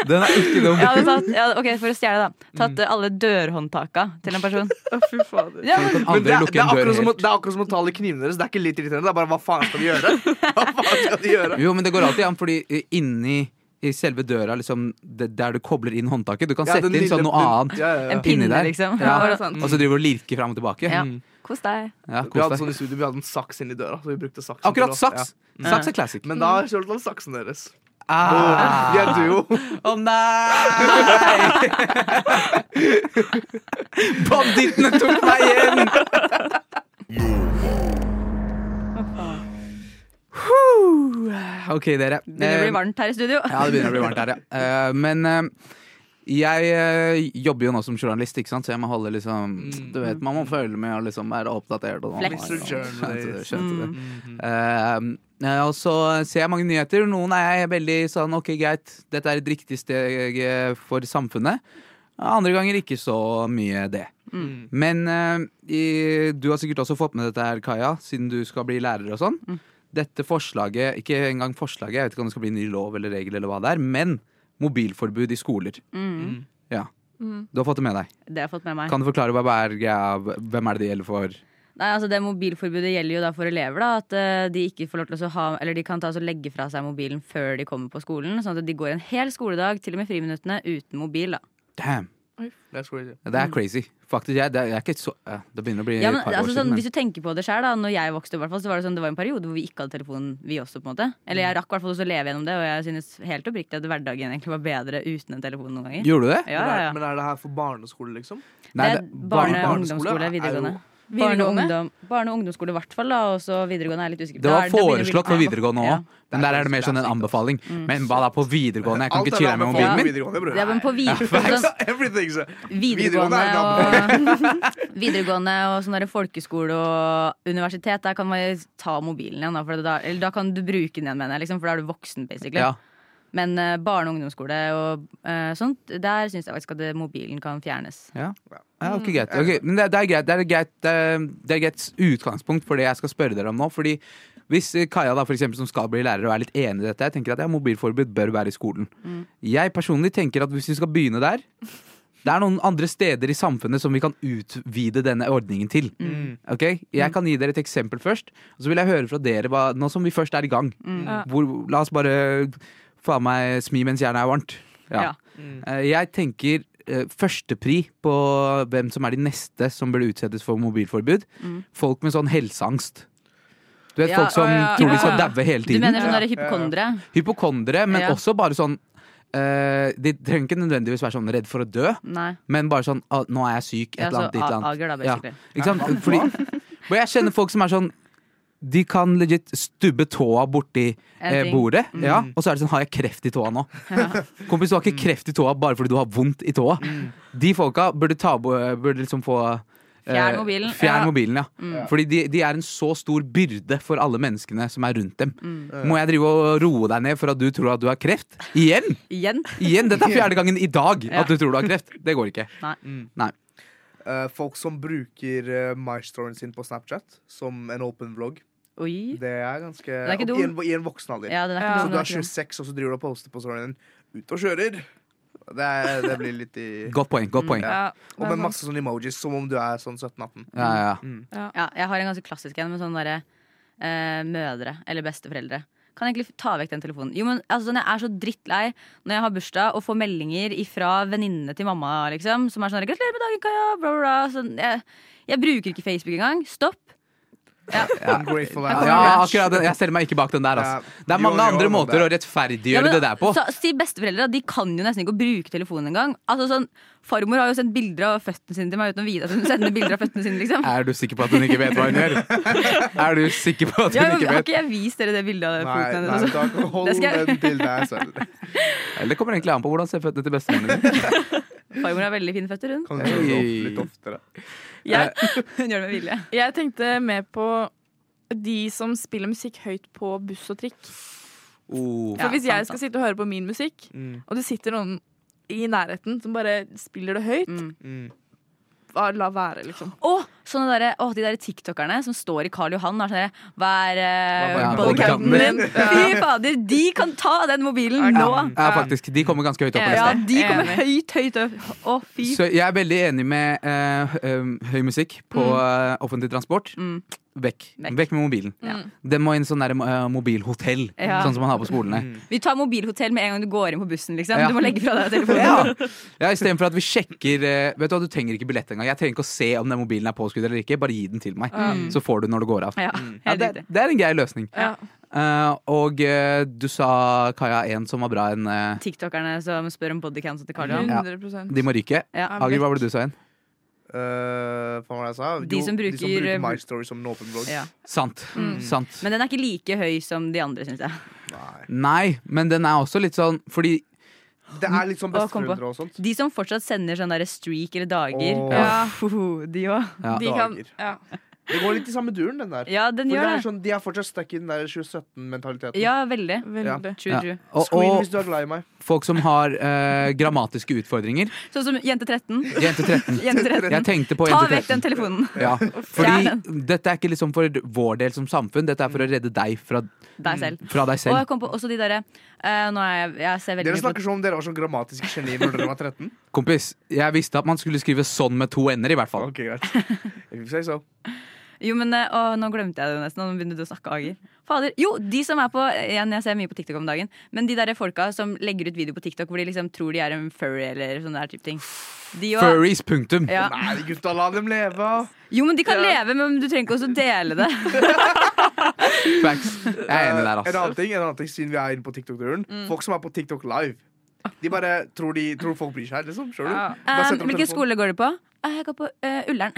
[SPEAKER 1] Den er ikke dum.
[SPEAKER 6] jeg hadde tatt, jeg hadde, ok, For å stjele, da. Tatt eh, alle dørhåndtaka til en person.
[SPEAKER 5] Å, fy fader.
[SPEAKER 6] Ja, men,
[SPEAKER 1] Kan
[SPEAKER 7] Men det,
[SPEAKER 1] andre
[SPEAKER 7] er, det,
[SPEAKER 1] lukke
[SPEAKER 7] er
[SPEAKER 1] en dør
[SPEAKER 7] akkurat som, å-
[SPEAKER 1] helt?
[SPEAKER 7] det er akkurat som å ta alle knivene deres. Det er ikke litt irriterende. Det er bare hva faen skal de gjøre? Hva faen skal de gjøre?
[SPEAKER 1] Jo, men det går alltid an, fordi eh, inni i selve døra, liksom, det, der du kobler inn håndtaket, du kan
[SPEAKER 7] Ja,
[SPEAKER 1] sette
[SPEAKER 7] den
[SPEAKER 1] inn sånn
[SPEAKER 7] lille-
[SPEAKER 1] noe
[SPEAKER 7] den-
[SPEAKER 1] annet.
[SPEAKER 7] Ja, ja, ja.
[SPEAKER 6] en pinne,
[SPEAKER 1] Inni der.
[SPEAKER 6] liksom.
[SPEAKER 1] Ja.
[SPEAKER 6] Ja.
[SPEAKER 5] det sant?
[SPEAKER 1] Og så driver du og lirker fram og tilbake. Mm.
[SPEAKER 6] Ja. Kos deg.
[SPEAKER 1] Ja,
[SPEAKER 7] Vi hadde
[SPEAKER 1] kos deg.
[SPEAKER 7] sånn i studio, vi hadde en saks inni døra. Så vi brukte saksen til
[SPEAKER 1] Akkurat
[SPEAKER 7] å-
[SPEAKER 1] saks. Saks er
[SPEAKER 7] Ja.
[SPEAKER 1] classic.
[SPEAKER 7] Men da har jeg kjørt alle saksen deres.
[SPEAKER 1] Ah.
[SPEAKER 7] Vi er duo.
[SPEAKER 1] Å nei! Bandittene tok meg igjen! Huh. OK, dere.
[SPEAKER 6] Begynner å
[SPEAKER 1] Eh,
[SPEAKER 6] bli varmt her i studio.
[SPEAKER 1] Ja, det begynner å bli varmt her, ja. Eh, men eh, jeg eh, jobber jo nå som journalist, ikke sant? så jeg må holde liksom Du vet, man må følge med og liksom være oppdatert. Og
[SPEAKER 6] Flex.
[SPEAKER 1] Skjønte det, skjønte det.
[SPEAKER 6] Mm.
[SPEAKER 1] Eh, eh, og så ser jeg mange nyheter. Noen er jeg veldig sånn ok, greit, dette er et riktig steg eh, for samfunnet. Andre ganger ikke så mye det. Men eh, i, du har sikkert også fått med dette her, Kaja, siden du skal bli lærer og sånn. Dette forslaget, ikke engang forslaget, jeg vet ikke om det skal bli ny lov eller regel eller hva det er, men mobilforbud i skoler.
[SPEAKER 6] Mm.
[SPEAKER 1] Ja. Du har fått det med deg.
[SPEAKER 6] Det har jeg fått med meg.
[SPEAKER 1] Kan du forklare hva er greia? Hvem er det det gjelder for?
[SPEAKER 6] Nei, altså Det mobilforbudet gjelder jo da for elever. da At eh, de ikke får lov til å så ha Eller de kan ta og så legge fra seg mobilen før de kommer på skolen. Sånn at de går en hel skoledag, til og med friminuttene, uten mobil. da
[SPEAKER 1] Damn!
[SPEAKER 7] That's crazy.
[SPEAKER 1] Det er crazy. Faktisk, jeg, det, er, jeg er ikke så eh, Det begynner å bli
[SPEAKER 6] Mm. ja, men,
[SPEAKER 1] et par
[SPEAKER 6] altså,
[SPEAKER 1] år
[SPEAKER 6] sånn,
[SPEAKER 1] siden.
[SPEAKER 6] Hvis du tenker på det sjøl, da Når jeg vokste opp, i hvert fall, så var det sånn Det var en periode hvor vi ikke hadde telefon, vi også. på en måte Eller jeg rakk i hvert fall også å leve gjennom det, og jeg synes helt oppriktig at hverdagen egentlig var bedre uten en telefon noen
[SPEAKER 1] men,
[SPEAKER 6] ganger.
[SPEAKER 1] Gjorde du det?
[SPEAKER 6] Ja,
[SPEAKER 7] men,
[SPEAKER 6] ja,
[SPEAKER 7] er,
[SPEAKER 6] ja.
[SPEAKER 7] men er det her for barneskole, liksom?
[SPEAKER 1] Nei,
[SPEAKER 6] det er barne- og
[SPEAKER 7] barneskole
[SPEAKER 6] ungdomsskole,
[SPEAKER 7] er jo-
[SPEAKER 6] videregående. Barne- og
[SPEAKER 3] Videregående?
[SPEAKER 6] ungdom- barne- og ungdomsskole i hvert fall, da, og så videregående er jeg litt usikker.
[SPEAKER 1] Det
[SPEAKER 6] Da
[SPEAKER 1] var
[SPEAKER 6] er da begynner vi-
[SPEAKER 1] foreslått for videregående
[SPEAKER 6] Ja.
[SPEAKER 1] òg, men der er det mer sånn en anbefaling. Men hva da på videregående? Jeg kan
[SPEAKER 7] Alt
[SPEAKER 1] ikke
[SPEAKER 7] er
[SPEAKER 1] chille med
[SPEAKER 7] anbefalt
[SPEAKER 1] mobilen
[SPEAKER 7] på
[SPEAKER 1] min.
[SPEAKER 7] videregående, bror.
[SPEAKER 6] Ja, men på vid- sånn-
[SPEAKER 7] Facts. Everything, sir.
[SPEAKER 6] videregående
[SPEAKER 7] Videregående er
[SPEAKER 6] og, videregående og sånn der folkeskole og universitet, der kan man ta mobilen igjen. Da, for da, eller da kan du bruke den igjen, mener jeg, liksom, for da er du voksen, basically.
[SPEAKER 1] Ja.
[SPEAKER 6] Men eh, barne- og ungdomsskole og eh, sånt, der syns jeg faktisk at det- mobilen kan fjernes.
[SPEAKER 1] Ja. Ja, ok, greit. Ok, men det, det er greit. Det er greit, det er, det er greit utgangspunkt for det jeg skal spørre dere om nå. Fordi hvis eh, Kaja da, for eksempel, som skal bli lærer og er litt enig i dette, jeg tenker at ja, mobilforbud bør være i skolen. Jeg personlig tenker at hvis vi skal begynne der det er noen andre steder i samfunnet som vi kan utvide denne ordningen til. Ok? Jeg kan gi dere et eksempel først, og så vil jeg høre fra dere hva, nå som vi først er i gang.
[SPEAKER 5] Ja.
[SPEAKER 1] Hvor, la oss bare faen meg smi mens jernet er varmt.
[SPEAKER 6] Ja.
[SPEAKER 1] Eh, Jeg tenker eh, førstepri på hvem som er de neste som burde utsettes for mobilforbud. Folk med sånn helseangst. Du vet
[SPEAKER 6] Mm. Ja,
[SPEAKER 1] folk som
[SPEAKER 5] å, ja,
[SPEAKER 1] tror
[SPEAKER 5] ja,
[SPEAKER 1] de skal
[SPEAKER 6] ja.
[SPEAKER 1] daue hele
[SPEAKER 6] Du
[SPEAKER 1] tiden.
[SPEAKER 6] mener sånn
[SPEAKER 7] Ja.
[SPEAKER 6] derre hypokondere?
[SPEAKER 1] Hypokondere, men
[SPEAKER 6] Ja.
[SPEAKER 1] også bare sånn eh, De trenger ikke nødvendigvis være sånn redd for å dø,
[SPEAKER 6] Nei.
[SPEAKER 1] men bare sånn ah, 'Nå er jeg syk. Et
[SPEAKER 6] Ja,
[SPEAKER 1] eller
[SPEAKER 6] så
[SPEAKER 1] annet, ditt
[SPEAKER 6] a-
[SPEAKER 1] eller annet.
[SPEAKER 6] ager, da,
[SPEAKER 1] Ja.
[SPEAKER 6] basically.
[SPEAKER 1] Ikke sant? Fordi, men jeg kjenner folk som er sånn De kan legit stubbe tåa borti
[SPEAKER 6] En
[SPEAKER 1] eh,
[SPEAKER 6] ting. Mm.
[SPEAKER 1] bordet, ja, og så er det sånn Har jeg kreft i tåa nå? Kompis, du har ikke kreft i tåa bare fordi du har vondt i tåa.
[SPEAKER 6] Mm.
[SPEAKER 1] De folka burde, ta, bo- burde liksom få eh,
[SPEAKER 6] Fjern mobilen.
[SPEAKER 1] Fjern
[SPEAKER 6] Ja. Mm.
[SPEAKER 1] mobilen, ja. Fordi de, de er en så stor byrde for alle menneskene som er rundt dem.
[SPEAKER 6] Mm.
[SPEAKER 1] Må jeg drive og roe deg ned for at du tror at du har kreft? Igjen!
[SPEAKER 6] Igjen?
[SPEAKER 1] Igjen! Dette er fjerde gangen i dag
[SPEAKER 6] Ja.
[SPEAKER 1] at du tror du har kreft. Det går ikke.
[SPEAKER 6] Nei.
[SPEAKER 7] Eh, folk som bruker uh, maestroen sin på Snapchat som en åpen vlogg.
[SPEAKER 6] Oi.
[SPEAKER 7] Det er ganske
[SPEAKER 6] er ikke
[SPEAKER 7] og
[SPEAKER 6] dum.
[SPEAKER 7] I, en, I en voksen alder.
[SPEAKER 6] Ja, den er ikke
[SPEAKER 5] Ja.
[SPEAKER 7] Så
[SPEAKER 6] dum,
[SPEAKER 7] du
[SPEAKER 6] den
[SPEAKER 7] er
[SPEAKER 6] ikke dum.
[SPEAKER 7] 26, og så driver du og poster på storyen din 'Ute og kjører'. Det, er, det blir litt i
[SPEAKER 1] Godt poeng.
[SPEAKER 6] Mm.
[SPEAKER 1] godt poeng
[SPEAKER 5] Ja,
[SPEAKER 7] Og
[SPEAKER 5] det er
[SPEAKER 7] med masse sånne emojis, som om du er sånn 17-18.
[SPEAKER 1] Ja, ja, ja.
[SPEAKER 6] Ja, jeg har en ganske klassisk en med sånne derre eh, mødre eller besteforeldre. Kan jeg egentlig ta vekk den telefonen. Jo, men altså, sånn, Jeg er så drittlei når jeg har bursdag og får meldinger fra venninnene til mamma. liksom Som er sånn her, 'Gratulerer med dagen, Kaja!' Bla, bla, bla. Sånn, jeg, jeg bruker ikke Facebook engang. Stopp.
[SPEAKER 7] Ungrateful ass.
[SPEAKER 1] Ja, akkurat den. Jeg stiller meg ikke bak den der. Altså.
[SPEAKER 7] Ja.
[SPEAKER 1] Det er
[SPEAKER 7] Jo,
[SPEAKER 1] mange
[SPEAKER 7] jo,
[SPEAKER 1] andre
[SPEAKER 7] men
[SPEAKER 1] måter å
[SPEAKER 7] det-
[SPEAKER 1] rettferdiggjøre
[SPEAKER 6] Ja, men
[SPEAKER 1] det der på.
[SPEAKER 6] Så, si besteforeldre, de kan jo nesten ikke å bruke telefonen engang. Altså, sånn, farmor har jo sendt bilder av føttene sine til meg uten å vite at hun sender bilder av føttene sine. liksom
[SPEAKER 1] Er du sikker på at hun ikke vet hva hun gjør? Er du sikker på at
[SPEAKER 6] ja,
[SPEAKER 1] hun
[SPEAKER 6] men,
[SPEAKER 1] ikke
[SPEAKER 6] Har
[SPEAKER 1] vet?
[SPEAKER 6] ikke jeg vist dere det bildet av
[SPEAKER 7] Nei,
[SPEAKER 6] foten
[SPEAKER 7] nei,
[SPEAKER 6] hennes?
[SPEAKER 7] da, hold
[SPEAKER 6] Det skal jeg-
[SPEAKER 7] den til deg selv.
[SPEAKER 1] Eller kommer egentlig an på hvordan ser føttene til bestemoren din
[SPEAKER 6] Farmor har veldig fine føtter, hun.
[SPEAKER 7] Kan du gjøre det opp litt oftere?
[SPEAKER 6] Jeg,
[SPEAKER 1] Eh.
[SPEAKER 6] hun gjør det med vilje.
[SPEAKER 5] Jeg tenkte mer på de som spiller musikk høyt på buss og trikk.
[SPEAKER 1] Oh.
[SPEAKER 5] For
[SPEAKER 6] Ja,
[SPEAKER 5] hvis
[SPEAKER 6] sant
[SPEAKER 5] jeg
[SPEAKER 6] da.
[SPEAKER 5] skal sitte og høre på min musikk,
[SPEAKER 7] Mm.
[SPEAKER 5] og det sitter noen i nærheten som bare spiller det høyt,
[SPEAKER 6] Mm.
[SPEAKER 5] hva- la være, liksom.
[SPEAKER 6] Og sånne derre- å, de der tiktokerne som står i Karl Johan og er sånn derre, Hva er eh,
[SPEAKER 1] Ja,
[SPEAKER 6] bodycounten
[SPEAKER 1] bodycounten
[SPEAKER 6] din? Fy fader, de kan ta den mobilen nå!
[SPEAKER 1] Ja, faktisk. De kommer ganske høyt opp. på
[SPEAKER 6] Ja,
[SPEAKER 1] lista.
[SPEAKER 6] de kommer
[SPEAKER 5] Enig.
[SPEAKER 6] høyt, høyt opp. Å, fy.
[SPEAKER 1] Så jeg er veldig enig med eh, um, høy musikk på eh, offentlig transport.
[SPEAKER 6] Mm.
[SPEAKER 1] Vekk.
[SPEAKER 6] Vekk.
[SPEAKER 1] Vekk med mobilen.
[SPEAKER 6] Ja.
[SPEAKER 1] Den må inn sånn der, eh, mobilhotell,
[SPEAKER 6] Ja.
[SPEAKER 1] sånn som man har på skolene.
[SPEAKER 6] Vi tar mobilhotell med en gang du går inn på bussen, liksom.
[SPEAKER 1] Ja.
[SPEAKER 6] Du må legge fra deg telefonen.
[SPEAKER 1] Ja, ja Istedenfor at vi sjekker eh, Vet Du hva, du trenger ikke billett engang. Jeg trenger ikke å se om den mobilen er påskrudd eller ikke. Bare gi den til meg, så får du den når det går av.
[SPEAKER 6] Ja,
[SPEAKER 1] Mm. Ja,
[SPEAKER 6] helt
[SPEAKER 1] det,
[SPEAKER 6] riktig.
[SPEAKER 1] det er en grei løsning.
[SPEAKER 5] Ja.
[SPEAKER 1] Eh, og eh, du sa, Kaja, en som var bra, en eh,
[SPEAKER 6] Tiktokerne som spør om bodycounten til Karl Johan.
[SPEAKER 1] Mm.
[SPEAKER 5] 100
[SPEAKER 1] De må ryke.
[SPEAKER 6] Ja.
[SPEAKER 1] Agil, hva var det du sa igjen?
[SPEAKER 7] Eh, faen hva jeg sa? Jo,
[SPEAKER 6] De som
[SPEAKER 7] de som
[SPEAKER 6] bruker- eh,
[SPEAKER 7] bruker My Story som en åpen blogg.
[SPEAKER 6] Ja.
[SPEAKER 1] Sant.
[SPEAKER 6] Mm.
[SPEAKER 1] Sant.
[SPEAKER 6] Men den er ikke like høy som de andre, syns jeg.
[SPEAKER 7] Nei.
[SPEAKER 1] Nei, men den er også litt sånn fordi
[SPEAKER 7] Det er litt sånn
[SPEAKER 6] Å, kom på.
[SPEAKER 7] besteforeldre og sånt.
[SPEAKER 6] De som fortsatt sender sånn derre streak eller dager.
[SPEAKER 7] Åh.
[SPEAKER 5] Ja.
[SPEAKER 6] Fuhu, de òg.
[SPEAKER 1] ja,
[SPEAKER 5] De kan
[SPEAKER 7] Dager.
[SPEAKER 5] ja.
[SPEAKER 7] Det går litt i samme duren, den der.
[SPEAKER 6] Ja,
[SPEAKER 7] For
[SPEAKER 6] den
[SPEAKER 7] det
[SPEAKER 6] gjør
[SPEAKER 7] er
[SPEAKER 6] det.
[SPEAKER 7] sånn, de er fortsatt stuck i den der 2017-mentaliteten.
[SPEAKER 6] Ja, veldig.
[SPEAKER 5] Veldig.
[SPEAKER 6] True,
[SPEAKER 1] Ja.
[SPEAKER 6] true.
[SPEAKER 1] og,
[SPEAKER 7] Screen hvis
[SPEAKER 1] og
[SPEAKER 7] du er glad i meg.
[SPEAKER 1] folk som har eh, grammatiske utfordringer.
[SPEAKER 6] Sånn som jente 13.
[SPEAKER 1] Jente 13.
[SPEAKER 6] Jente 13.
[SPEAKER 1] Jeg tenkte på
[SPEAKER 6] Ta
[SPEAKER 1] jente 13.
[SPEAKER 6] vekk den telefonen.
[SPEAKER 1] Ja, fordi dette er ikke liksom for vår del som samfunn, dette er for å redde deg fra,
[SPEAKER 6] Deg selv.
[SPEAKER 1] fra deg
[SPEAKER 6] Og
[SPEAKER 1] Mm. selv.
[SPEAKER 6] jeg kom på også de derre eh, Nå er jeg, jeg ser veldig
[SPEAKER 7] Dere
[SPEAKER 6] mye på
[SPEAKER 7] snakker som om dere var sånn grammatiske genier når dere var 13.
[SPEAKER 1] Kompis, jeg visste at man skulle skrive sånn med to n-er, i hvert fall.
[SPEAKER 7] Ok, greit. If you say so.
[SPEAKER 6] Jo, men eh, å, nå glemte jeg det nesten. og Nå begynner du å snakke, Ager. Fader. Jo, de som er på Igjen, jeg ser mye på TikTok om dagen. Men de derre folka som legger ut video på TikTok hvor de liksom tror de er en furry eller sånn der type ting. De òg.
[SPEAKER 1] Furries, punktum.
[SPEAKER 6] Ja.
[SPEAKER 7] Nei, gutta, la dem leve!
[SPEAKER 6] Jo, men de kan leve, men du trenger ikke også dele det.
[SPEAKER 1] Facts. Jeg er enig der,
[SPEAKER 7] Eh, En
[SPEAKER 1] altså.
[SPEAKER 7] annen ting, en annen ting siden vi er inne på TikTok-turen. Folk som er på TikTok live. De bare tror, de, tror folk bryr seg, liksom. Skjønner du?
[SPEAKER 5] Ja.
[SPEAKER 7] Bare
[SPEAKER 6] Eh,
[SPEAKER 7] setter opp
[SPEAKER 6] Hvilken
[SPEAKER 7] telefonen.
[SPEAKER 6] skole går du på? Eh, Jeg går på eh, Ullern.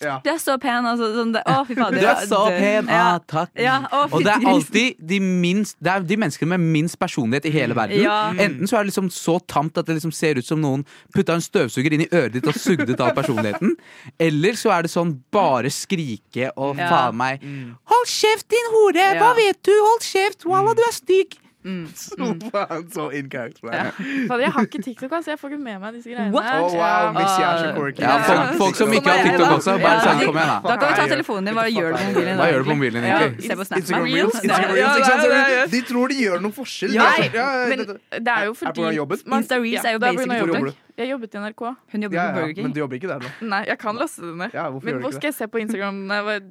[SPEAKER 7] Ja.
[SPEAKER 6] Du er så pen, altså. Sånn der. Å, fy fader.
[SPEAKER 1] Du er så
[SPEAKER 6] Ja,
[SPEAKER 1] pen!
[SPEAKER 6] Ja.
[SPEAKER 1] Ah, takk.
[SPEAKER 6] Ja, å,
[SPEAKER 1] Og det er
[SPEAKER 6] fytti grisen.
[SPEAKER 1] alltid de, minst, det er de menneskene med minst personlighet i hele verden.
[SPEAKER 6] Ja.
[SPEAKER 1] Enten så er det liksom så tamt at det liksom ser ut som noen putta en støvsuger inn i øret ditt og sugde ut all personligheten. Eller så er det sånn bare skrike og
[SPEAKER 6] Ja. Mm.
[SPEAKER 1] faen meg Hold kjeft, din hore! Hva
[SPEAKER 6] Ja. Mm.
[SPEAKER 1] vet du? Hold kjeft! Walla, du er stygg!
[SPEAKER 7] Faen, så in character. jeg er.
[SPEAKER 5] Fader, jeg har ikke TikTok, altså. Jeg får ikke med meg disse greiene.
[SPEAKER 6] What?
[SPEAKER 7] Å,
[SPEAKER 6] Oh,
[SPEAKER 7] Oh, wow,
[SPEAKER 5] Ja.
[SPEAKER 7] hvis jeg er så quirky.
[SPEAKER 1] Ja, folk, folk som ikke har
[SPEAKER 6] Sånn er jeg,
[SPEAKER 1] TikTok
[SPEAKER 6] da.
[SPEAKER 1] også. Bare
[SPEAKER 6] Ja.
[SPEAKER 1] sånn, kom igjen, da.
[SPEAKER 6] Da kan vi ta
[SPEAKER 7] Nei,
[SPEAKER 6] telefonen din. Hva
[SPEAKER 7] ikke
[SPEAKER 6] gjør du på
[SPEAKER 7] faen,
[SPEAKER 6] mobilen?
[SPEAKER 1] Hva gjør du på mobilen din,
[SPEAKER 6] Ja,
[SPEAKER 1] egentlig?
[SPEAKER 6] se på
[SPEAKER 7] Instagram
[SPEAKER 6] Snapchat.
[SPEAKER 7] Reels, Instagram Reels, ikke sant? Så De tror de gjør noe forskjell. altså.
[SPEAKER 5] Ja,
[SPEAKER 7] Ja,
[SPEAKER 5] Men
[SPEAKER 7] det-
[SPEAKER 5] det er jo
[SPEAKER 7] Er på grunn av
[SPEAKER 5] fordi
[SPEAKER 7] jobben?
[SPEAKER 5] man-
[SPEAKER 6] Insta Reels
[SPEAKER 5] Ja,
[SPEAKER 6] er jo
[SPEAKER 5] det på grunn av
[SPEAKER 6] basically
[SPEAKER 7] Hvor jobber
[SPEAKER 5] jobben.
[SPEAKER 7] du?
[SPEAKER 5] Jeg jobbet i NRK.
[SPEAKER 6] Hun jobber
[SPEAKER 7] Ja,
[SPEAKER 6] på Burger
[SPEAKER 7] ja, men
[SPEAKER 6] King.
[SPEAKER 7] du jobber ikke der nå.
[SPEAKER 5] Nei, jeg kan laste det ned.
[SPEAKER 7] Ja, hvorfor
[SPEAKER 5] Men
[SPEAKER 7] gjør du
[SPEAKER 5] hva
[SPEAKER 7] ikke det?
[SPEAKER 5] skal jeg se på Instagram? Nei, hva-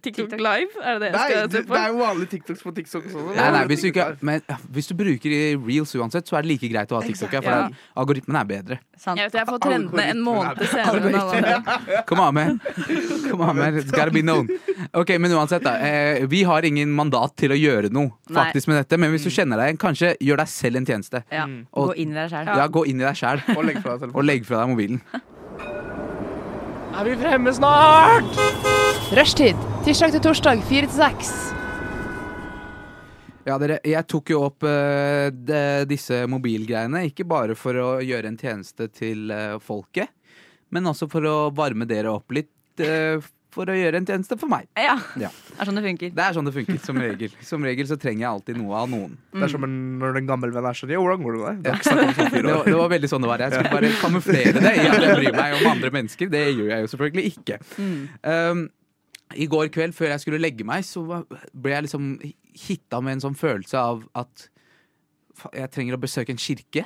[SPEAKER 5] TikTok Live? Er det det jeg
[SPEAKER 7] Nei,
[SPEAKER 5] skal
[SPEAKER 7] du,
[SPEAKER 5] se på?
[SPEAKER 7] det er jo vanlige TikToks på TikTok også.
[SPEAKER 1] Nei, nei, hvis, du ikke, men, ja, hvis du bruker i reels uansett, så er det like greit å ha TikTok. Ja, for
[SPEAKER 5] Ja.
[SPEAKER 1] den algoritmen er bedre.
[SPEAKER 6] Sant.
[SPEAKER 5] Jeg vet, jeg får trendene en måned senere enn alle andre.
[SPEAKER 1] Come on, man. Come on, man. It's gotta be known. Ok, Men uansett, da. Eh, vi har ingen mandat til å gjøre noe
[SPEAKER 6] Nei.
[SPEAKER 1] faktisk med dette. Men hvis du kjenner deg igjen, kanskje gjør deg selv en tjeneste.
[SPEAKER 6] Ja.
[SPEAKER 1] Og-
[SPEAKER 6] Gå inn i deg sjæl.
[SPEAKER 1] Ja, gå inn i deg sjæl
[SPEAKER 7] Og legg fra deg telefonen.
[SPEAKER 1] og legg fra deg mobilen.
[SPEAKER 2] Er vi fremme snart?
[SPEAKER 3] Rushtid. Tirsdag til torsdag, fire til seks.
[SPEAKER 1] Ja, dere, jeg tok jo opp eh, de, disse mobilgreiene, ikke bare for å gjøre en tjeneste til eh, folket, men også for å varme dere opp litt, eh, for å gjøre en tjeneste for meg.
[SPEAKER 6] Ja.
[SPEAKER 1] Ja.
[SPEAKER 6] Det er sånn det funker.
[SPEAKER 1] Det er sånn det funker, som regel. Som regel så trenger jeg alltid noe av noen.
[SPEAKER 7] Det er som en, når en gammel venn er sånn Jo, hvordan går det med deg?
[SPEAKER 1] Det var, det var veldig sånn det var. Jeg skulle bare kamuflere det i at jeg bryr meg om andre mennesker. Det gjør jeg jo selvfølgelig ikke. Um, I går kveld, før jeg skulle legge meg, så var- ble jeg liksom hitta med en sånn følelse av at fa- jeg trenger å besøke en kirke.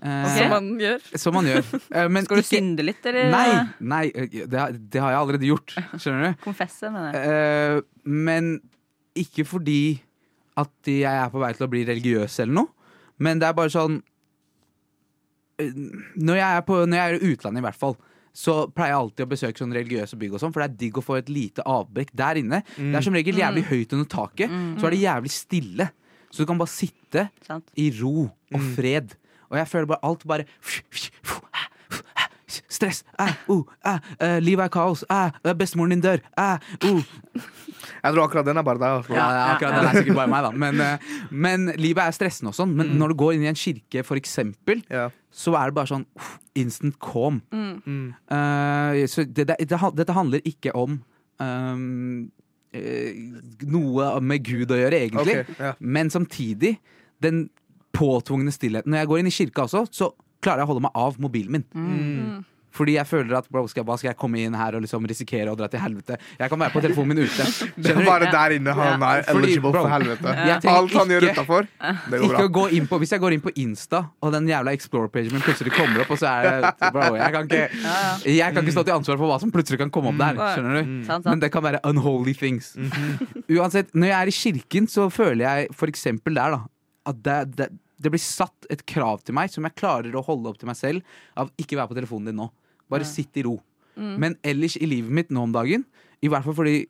[SPEAKER 1] Eh,
[SPEAKER 5] Som man gjør.
[SPEAKER 1] Som man gjør. Eh, men
[SPEAKER 6] Skal du
[SPEAKER 1] ikke-
[SPEAKER 6] synde litt, eller
[SPEAKER 1] Nei, nei eh, det, har- det har jeg allerede gjort. Skjønner du?
[SPEAKER 6] konfesse, mener jeg.
[SPEAKER 1] Eh, men ikke fordi at jeg er på vei til å bli religiøs eller noe. Men det er bare sånn eh, Når jeg er, på, når jeg er i utlandet, i hvert fall, så pleier jeg alltid å besøke sånne religiøse bygg, og sånn, for det er digg å få et lite avbrekk der inne. Det er som regel jævlig høyt under taket, så er det jævlig stille. Så du kan bare sitte
[SPEAKER 6] Sant.
[SPEAKER 1] i ro og fred. Og jeg føler bare alt bare Stress. Ah, oh, ah, eh, livet er kaos. Ah, eh, bestemoren din dør. Ah, oh,
[SPEAKER 7] Jeg tror akkurat den er bare deg. altså.
[SPEAKER 1] ja, ja, akkurat det er sikkert bare meg, da. Men, eh, men livet er stressende og sånn. Men når du går inn i en kirke, for eksempel,
[SPEAKER 7] Ja.
[SPEAKER 1] så er det bare sånn uff, instant calm.
[SPEAKER 7] Mm.
[SPEAKER 1] Eh, så det, det, det, han- dette handler ikke om ehm, eh, noe med Gud å gjøre, egentlig.
[SPEAKER 7] Ok, ja.
[SPEAKER 1] Men samtidig, den påtvungne stillheten. Når jeg går inn i kirka også, så klarer jeg å holde meg av mobilen min.
[SPEAKER 7] Mm.
[SPEAKER 1] Fordi jeg føler at bro, skal, hva skal jeg komme inn her og liksom risikere å dra til helvete? Jeg kan være på telefonen min ute.
[SPEAKER 7] Det er
[SPEAKER 1] Skjønner du?
[SPEAKER 7] bare der inne han er
[SPEAKER 1] Fordi,
[SPEAKER 7] eligible
[SPEAKER 1] bro,
[SPEAKER 7] for helvete.
[SPEAKER 1] jeg tenker
[SPEAKER 7] Alt han gjør
[SPEAKER 1] ikke-
[SPEAKER 7] utafor, det går
[SPEAKER 1] Ikke
[SPEAKER 7] bra.
[SPEAKER 1] å gå inn på, hvis jeg går inn på Insta, og den jævla Explore-pagen min plutselig kommer opp, og så er det Bro, jeg kan ikke, jeg kan ikke stå til ansvar for hva som plutselig kan komme opp der.
[SPEAKER 7] Mm.
[SPEAKER 1] Skjønner du?
[SPEAKER 6] Sant,
[SPEAKER 1] Men
[SPEAKER 6] sant.
[SPEAKER 1] det kan være unholy things.
[SPEAKER 7] Mm-hmm.
[SPEAKER 1] Uansett, når jeg er i kirken, så føler jeg for eksempel der, da, at det, det, det blir satt et krav til meg som jeg klarer å holde opp til meg selv, av ikke være på telefonen din nå. Bare sitt i ro.
[SPEAKER 7] Mm.
[SPEAKER 1] Men ellers i livet mitt nå om dagen, i hvert fall fordi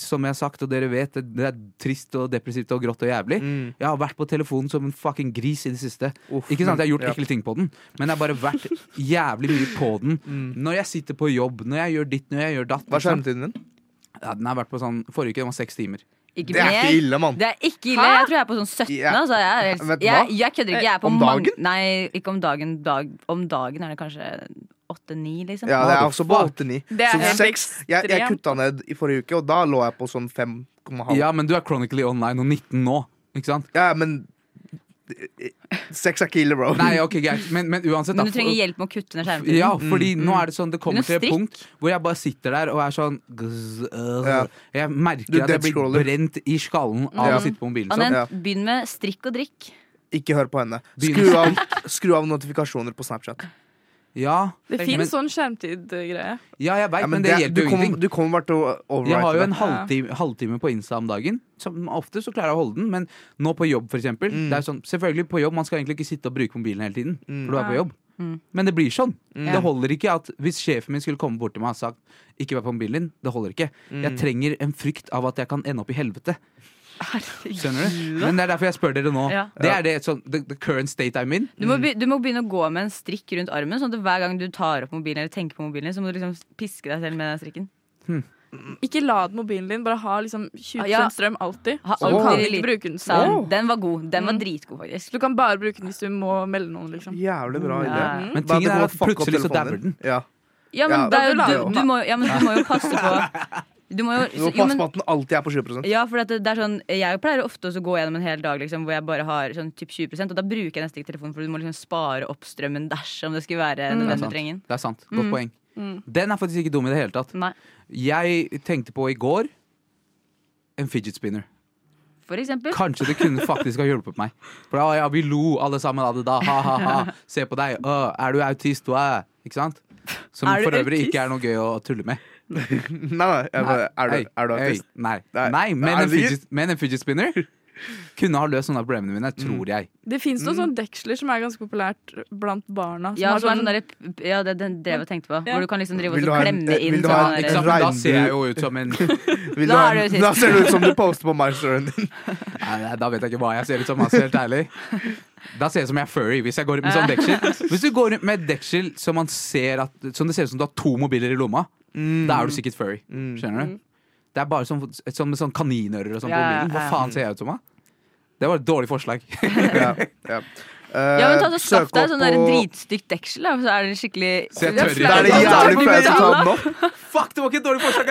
[SPEAKER 1] som jeg har sagt, og dere vet, det- det er trist og depressivt og grått og jævlig.
[SPEAKER 7] Mm.
[SPEAKER 1] Jeg har vært på telefonen som en fucking gris i det siste. ikke sant at jeg har gjort
[SPEAKER 7] ja.
[SPEAKER 1] ekle ting på den, men jeg har bare vært jævlig mye på den. Når jeg sitter på jobb, når jeg gjør ditt, når jeg gjør datt.
[SPEAKER 7] Mm. Hva er
[SPEAKER 1] ikke sant?
[SPEAKER 7] skjermtiden din?
[SPEAKER 1] Ja, den har vært på sånn, Forrige uke den var seks timer.
[SPEAKER 6] Ikke
[SPEAKER 7] Det er
[SPEAKER 6] mer.
[SPEAKER 7] ikke ille, mann.
[SPEAKER 6] Det er ikke ille. Jeg tror jeg er på sånn 17.
[SPEAKER 7] Ja.
[SPEAKER 6] Altså. Jeg, er helt,
[SPEAKER 7] Vet du
[SPEAKER 6] jeg,
[SPEAKER 7] hva?
[SPEAKER 6] jeg kødder ikke. Jeg er på
[SPEAKER 7] Om
[SPEAKER 6] mange-
[SPEAKER 7] dagen?
[SPEAKER 6] Nei, ikke om dagen. Dag, om dagen er det kanskje åtte-ni, liksom.
[SPEAKER 7] Ja, det er også på 8-9.
[SPEAKER 5] Det er
[SPEAKER 7] Så
[SPEAKER 5] helt
[SPEAKER 7] seks. Jeg, jeg
[SPEAKER 5] ekstremt.
[SPEAKER 7] kutta ned i forrige uke, og da lå jeg på sånn 5,5. Ja.
[SPEAKER 1] Ja, men du er chronically online og 19 nå. Ikke sant?
[SPEAKER 7] men Sex er ikke ille, bro.
[SPEAKER 1] Nei, ok, greit. Men, men uansett, da.
[SPEAKER 6] Men du trenger hjelp med å kutte ned skjermtiden.
[SPEAKER 1] Ja, fordi
[SPEAKER 7] Mm,
[SPEAKER 1] nå er det sånn Det kommer
[SPEAKER 6] Begynn å
[SPEAKER 1] til et
[SPEAKER 6] strikke.
[SPEAKER 1] punkt hvor jeg bare sitter der og er sånn gzz, øh.
[SPEAKER 7] Ja.
[SPEAKER 1] Jeg
[SPEAKER 7] Du
[SPEAKER 1] merker at jeg blir
[SPEAKER 7] dead-scroller.
[SPEAKER 1] brent i skallen av
[SPEAKER 7] Ja.
[SPEAKER 1] å sitte på mobilen. Sånn.
[SPEAKER 6] Annen,
[SPEAKER 7] Ja.
[SPEAKER 6] Begynn med strikk og drikk.
[SPEAKER 7] Ikke hør på henne.
[SPEAKER 1] Begynn.
[SPEAKER 7] Skru av, skru av notifikasjoner på Snapchat.
[SPEAKER 1] Ja,
[SPEAKER 5] Det
[SPEAKER 1] Men-
[SPEAKER 5] fins sånn skjermtid-greie.
[SPEAKER 1] ja, jeg veit,
[SPEAKER 7] Ja,
[SPEAKER 1] men det,
[SPEAKER 7] du
[SPEAKER 1] hjelper jo
[SPEAKER 7] kommer-
[SPEAKER 1] ingenting.
[SPEAKER 7] Du kommer bare til å override
[SPEAKER 1] Jeg har jo
[SPEAKER 7] det.
[SPEAKER 1] en halvtime, halvtime på Insta om dagen. Som ofte så klarer jeg å holde den, men nå på jobb, for eksempel. Det er sånn, selvfølgelig på jobb, man skal egentlig ikke sitte og bruke mobilen hele tiden, for du er på jobb. Men det blir sånn. Det holder ikke at hvis sjefen min skulle komme bort til meg og sagt 'ikke vær på mobilen din', det holder ikke. Jeg trenger en frykt av at jeg kan ende opp i helvete. Skjønner du? Men det er derfor jeg spør dere nå.
[SPEAKER 6] Ja.
[SPEAKER 1] Det er det sånn the, the current state I'm in.
[SPEAKER 6] Du må,
[SPEAKER 7] Mm.
[SPEAKER 6] be, du må begynne å gå med en strikk rundt armen, sånn at hver gang du tar opp mobilen eller tenker på mobilen, så må du liksom piske deg selv med den strikken.
[SPEAKER 5] Ikke lad mobilen din, bare ha liksom 20
[SPEAKER 6] Ja.
[SPEAKER 5] strøm alltid.
[SPEAKER 6] Ha
[SPEAKER 5] Så du
[SPEAKER 6] alltid
[SPEAKER 5] kan
[SPEAKER 6] litt-
[SPEAKER 5] ikke bruke den
[SPEAKER 6] Sa
[SPEAKER 5] selv.
[SPEAKER 6] han. Den var god. Den var
[SPEAKER 5] Mm.
[SPEAKER 6] dritgod, faktisk.
[SPEAKER 5] Du kan bare bruke den hvis du må melde noen,
[SPEAKER 7] Mm.
[SPEAKER 5] liksom.
[SPEAKER 7] Jævlig bra idé.
[SPEAKER 6] Mm, Ja.
[SPEAKER 1] Men
[SPEAKER 7] Bare
[SPEAKER 1] tingen
[SPEAKER 7] gå
[SPEAKER 1] er
[SPEAKER 7] og
[SPEAKER 1] at
[SPEAKER 7] fuck opp
[SPEAKER 1] plutselig så
[SPEAKER 7] telefonen
[SPEAKER 1] dabber
[SPEAKER 7] din.
[SPEAKER 1] den.
[SPEAKER 7] Ja.
[SPEAKER 6] Ja, men,
[SPEAKER 7] Ja.
[SPEAKER 6] det er jo,
[SPEAKER 5] Da vil jeg
[SPEAKER 6] du,
[SPEAKER 5] jo.
[SPEAKER 6] du, må, ja, men du må jo passe på Du må jo,
[SPEAKER 7] Du må
[SPEAKER 6] jo,
[SPEAKER 7] passe
[SPEAKER 6] men,
[SPEAKER 7] på at den alltid er på 20
[SPEAKER 6] ja, for at det, det er sånn, Jeg pleier ofte også å gå gjennom en hel dag liksom, hvor jeg bare har sånn typ 20 og da bruker jeg nesten ikke telefonen, for du må liksom spare opp strømmen dersom det skulle være
[SPEAKER 7] Mm,
[SPEAKER 1] Det er
[SPEAKER 6] nødvendig
[SPEAKER 1] sant.
[SPEAKER 6] å trenge den.
[SPEAKER 1] Det er sant. Godt poeng. Den er faktisk ikke dum i det
[SPEAKER 6] Mm.
[SPEAKER 1] hele tatt.
[SPEAKER 6] Nei.
[SPEAKER 1] Jeg tenkte på i går en fidget spinner.
[SPEAKER 6] for eksempel.
[SPEAKER 1] Kanskje det kunne faktisk ha hjulpet meg. For da, ja, vi lo alle sammen av det da. Ha, ha, ha. Se på deg. Å, er du autist? Du er. Ikke sant? Som
[SPEAKER 6] Er du
[SPEAKER 1] for øvrig
[SPEAKER 6] autist?
[SPEAKER 1] ikke er noe gøy å tulle med.
[SPEAKER 7] Nei, nei, jeg bare, er,
[SPEAKER 1] Hei,
[SPEAKER 7] du, er du
[SPEAKER 1] hei,
[SPEAKER 7] artist?
[SPEAKER 1] Nei.
[SPEAKER 7] Nei.
[SPEAKER 1] nei men,
[SPEAKER 7] Er
[SPEAKER 1] en
[SPEAKER 7] du ikke?
[SPEAKER 1] fidget, men en fidget spinner kunne ha løst noen av problemene mine,
[SPEAKER 6] Mm.
[SPEAKER 1] tror jeg.
[SPEAKER 5] Det fins
[SPEAKER 7] Mm.
[SPEAKER 5] noen sånne deksler som er ganske populært blant barna. Som
[SPEAKER 6] Ja,
[SPEAKER 5] har
[SPEAKER 6] som er
[SPEAKER 5] sånn
[SPEAKER 6] sånn derre Ja, det, det, det jeg tenkte på.
[SPEAKER 5] Ja.
[SPEAKER 6] Hvor du kan liksom
[SPEAKER 7] Vil
[SPEAKER 6] drive og
[SPEAKER 7] du
[SPEAKER 6] så
[SPEAKER 7] ha en-
[SPEAKER 6] klemme
[SPEAKER 7] vil
[SPEAKER 6] inn
[SPEAKER 7] du ha
[SPEAKER 6] sånn
[SPEAKER 7] en
[SPEAKER 1] Ikke sant?
[SPEAKER 6] derre
[SPEAKER 1] Men Da ser jeg jo ut som en Nei,
[SPEAKER 7] Vil
[SPEAKER 6] Da
[SPEAKER 7] du ha-
[SPEAKER 6] er du autist.
[SPEAKER 7] da ser det ut som du poster på My Story.
[SPEAKER 1] nei, Da vet jeg ikke hva jeg ser ut som, altså, helt ærlig. Da ser jeg ut som jeg er furry hvis jeg går rundt med sånn deksel. Hvis du går rundt med deksel som, man ser at, som det ser ut som du har to mobiler i lomma,
[SPEAKER 6] Mm.
[SPEAKER 1] da er du sikkert furry. Skjønner du? Det er bare sånn, sånn med sånn kaninører og sånn på
[SPEAKER 6] Ja, ja,
[SPEAKER 1] mobilen. Hva
[SPEAKER 6] ja.
[SPEAKER 1] faen ser jeg ut som, da? Det var et dårlig forslag.
[SPEAKER 7] Ja, ja. Eh,
[SPEAKER 6] Ja, men ta så
[SPEAKER 7] Søk
[SPEAKER 6] Skaff deg
[SPEAKER 7] opp
[SPEAKER 6] sånn derre
[SPEAKER 7] på-
[SPEAKER 6] dritstygt deksel, da, så er det skikkelig
[SPEAKER 1] Så jeg tør ikke.
[SPEAKER 7] Da er det
[SPEAKER 1] Ja,
[SPEAKER 7] jævlig
[SPEAKER 1] men-
[SPEAKER 7] flaut å ta den opp.
[SPEAKER 1] Fuck, det var ikke et dårlig forslag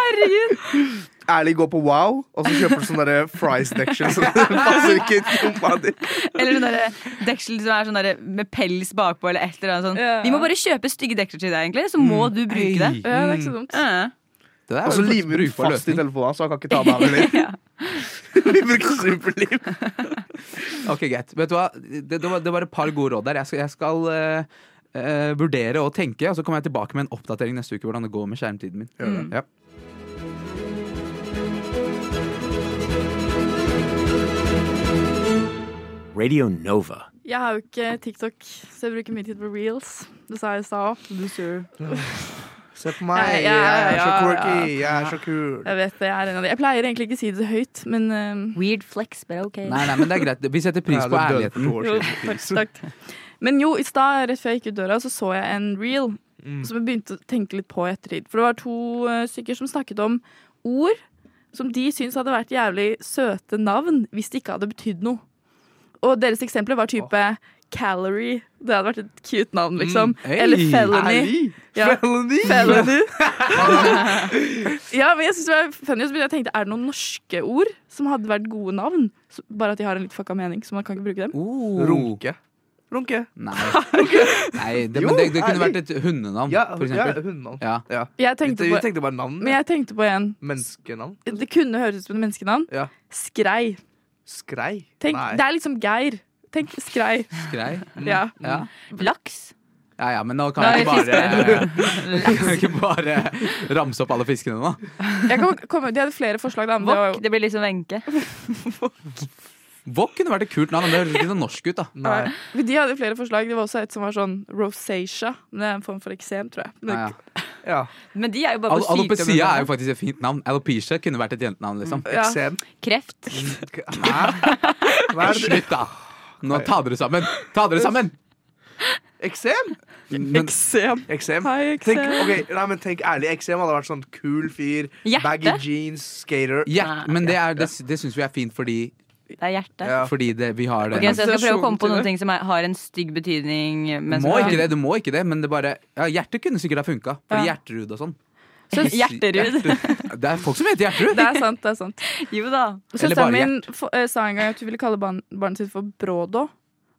[SPEAKER 1] allikevel!
[SPEAKER 7] Ærlig, gå på Wow, og så kjøper du sånn derre fries deksel. Så det passer ikke i lomma di.
[SPEAKER 6] Eller sånn derre deksel som er sånn derre med pels bakpå, eller et eller annet sånn.
[SPEAKER 5] Ja.
[SPEAKER 6] Vi må bare kjøpe stygge deksler til deg, egentlig, så må
[SPEAKER 7] Mm.
[SPEAKER 6] du bruke
[SPEAKER 1] Ei.
[SPEAKER 6] det.
[SPEAKER 5] Ja, det er ikke så dumt.
[SPEAKER 6] Ja.
[SPEAKER 1] Det der
[SPEAKER 7] Og
[SPEAKER 1] var jo
[SPEAKER 7] så
[SPEAKER 1] faktisk
[SPEAKER 7] limer du
[SPEAKER 1] brukbar
[SPEAKER 7] fast i
[SPEAKER 1] løsning.
[SPEAKER 7] telefonen, så han kan ikke ta den av heller. Vi bruker superlim.
[SPEAKER 1] Ok, greit. Vet du hva? Det, det, var, det var et par gode råd der. Jeg skal, jeg skal eh, eh, vurdere og tenke, og så kommer jeg tilbake med en oppdatering neste uke hvordan det går med skjermtiden min.
[SPEAKER 7] Gjør
[SPEAKER 1] Ja.
[SPEAKER 9] Radio Nova.
[SPEAKER 5] Jeg har jo ikke TikTok, så jeg bruker mye tid på reels. Det sa jeg i stad òg.
[SPEAKER 7] Se på
[SPEAKER 5] Ja,
[SPEAKER 7] meg, jeg
[SPEAKER 5] ja,
[SPEAKER 7] er så
[SPEAKER 5] ja,
[SPEAKER 7] quirky,
[SPEAKER 5] ja.
[SPEAKER 7] jeg er så kul.
[SPEAKER 5] Jeg vet det, jeg er en av de. Jeg pleier egentlig ikke å si det så høyt, men eh,
[SPEAKER 6] Weird flex, but ok.
[SPEAKER 1] Nei, nei, men det er greit. Vi setter pris
[SPEAKER 7] Ja,
[SPEAKER 1] på
[SPEAKER 7] det døde for
[SPEAKER 1] ærligheten.
[SPEAKER 7] to år
[SPEAKER 5] jo,
[SPEAKER 7] siden.
[SPEAKER 5] takk, takk. Men jo, i stad, rett før jeg gikk ut døra, så så jeg en reel
[SPEAKER 1] Mm.
[SPEAKER 5] som jeg begynte å tenke litt på i ettertid. For det var to eh, stykker som snakket om ord som de syntes hadde vært jævlig søte navn hvis det ikke hadde betydd noe. Og deres eksempler var type calorie. Det hadde vært et cute navn, liksom.
[SPEAKER 1] Mm. Hey.
[SPEAKER 5] Eller felony.
[SPEAKER 7] Ærlig.
[SPEAKER 5] Ja.
[SPEAKER 7] Felony.
[SPEAKER 5] Felony. ja, men jeg synes det var funny, og så begynte jeg å tenke, er det noen norske ord som hadde vært gode navn? Så- Bare at de har en litt fucka mening, så man kan ikke bruke dem.
[SPEAKER 1] Oh. Mm,
[SPEAKER 7] Runke. Runke.
[SPEAKER 1] Nei, nei det,
[SPEAKER 7] Jo,
[SPEAKER 1] men det, det kunne
[SPEAKER 7] ærlig.
[SPEAKER 1] vært et hundenavn,
[SPEAKER 7] Ja,
[SPEAKER 1] for
[SPEAKER 7] ja
[SPEAKER 1] eksempel.
[SPEAKER 7] hundenavn.
[SPEAKER 1] Ja.
[SPEAKER 7] Ja.
[SPEAKER 5] Jeg
[SPEAKER 7] Vi
[SPEAKER 5] tenkte
[SPEAKER 7] vi
[SPEAKER 5] på,
[SPEAKER 7] tenkte bare navn.
[SPEAKER 5] men jeg tenkte på en.
[SPEAKER 7] Menneskenavn.
[SPEAKER 5] Det kunne høres ut som et menneskenavn.
[SPEAKER 7] Ja.
[SPEAKER 5] Skrei.
[SPEAKER 7] Skrei.
[SPEAKER 5] Tenk,
[SPEAKER 7] Nei.
[SPEAKER 5] det er liksom Geir. Tenk skrei.
[SPEAKER 1] Grei.
[SPEAKER 5] Ja.
[SPEAKER 1] Ja.
[SPEAKER 6] Laks.
[SPEAKER 1] ja ja, men nå kan vi ikke bare, kan vi ikke bare ramse opp alle fiskene nå.
[SPEAKER 5] Jeg kan komme, de hadde flere forslag. Da, men det var
[SPEAKER 6] Wok.
[SPEAKER 5] jo,
[SPEAKER 6] Det blir liksom Wenche.
[SPEAKER 1] Wok kunne vært et kult navn, men det høres ikke så norsk ut. da
[SPEAKER 7] Nei.
[SPEAKER 5] Men de hadde flere forslag. Det var også et som var sånn rosacea. Men det er en form for eksem, tror jeg. Men,
[SPEAKER 1] Ja, ja.
[SPEAKER 7] Ja.
[SPEAKER 6] Men de er jo bare
[SPEAKER 1] Al
[SPEAKER 6] på sykdommen.
[SPEAKER 1] alopecia er jo faktisk et fint navn. Alopecia kunne vært et jentenavn. liksom
[SPEAKER 5] Ja.
[SPEAKER 7] Eksem.
[SPEAKER 6] Kreft.
[SPEAKER 7] Hæ? Hva er det?
[SPEAKER 1] Slutt, da! Nå ta dere sammen! Ta dere sammen!
[SPEAKER 7] Eksem?
[SPEAKER 1] Men,
[SPEAKER 5] Eksem.
[SPEAKER 7] Eksem.
[SPEAKER 5] Hei, eksem.
[SPEAKER 7] Tenk, ok, nei, men tenk ærlig, eksem hadde vært sånn kul fyr.
[SPEAKER 6] Hjerte.
[SPEAKER 7] Baggy jeans, skater.
[SPEAKER 1] ja, men det, er- det, det syns vi er fint fordi,
[SPEAKER 6] Det er hjerte.
[SPEAKER 7] Ja.
[SPEAKER 1] fordi det, vi har det.
[SPEAKER 6] Ok, så jeg skal prøve å komme
[SPEAKER 5] Assosiasjon
[SPEAKER 6] på
[SPEAKER 5] til
[SPEAKER 6] noen ting som er, har en stygg betydning.
[SPEAKER 1] Du
[SPEAKER 6] Men
[SPEAKER 1] må ikke det, du må ikke det, men det bare ja, Hjertet kunne sikkert ha funka. Fordi
[SPEAKER 5] Ja.
[SPEAKER 1] Hjerterud og sånn.
[SPEAKER 6] Hjerterud.
[SPEAKER 1] Det er folk som heter Hjerterud!
[SPEAKER 5] Det er sant, det er sant.
[SPEAKER 6] Jo da.
[SPEAKER 1] Eller bare
[SPEAKER 5] Søsteren min f- eh, sa en gang at hun ville kalle barn, barnet sitt for brodo.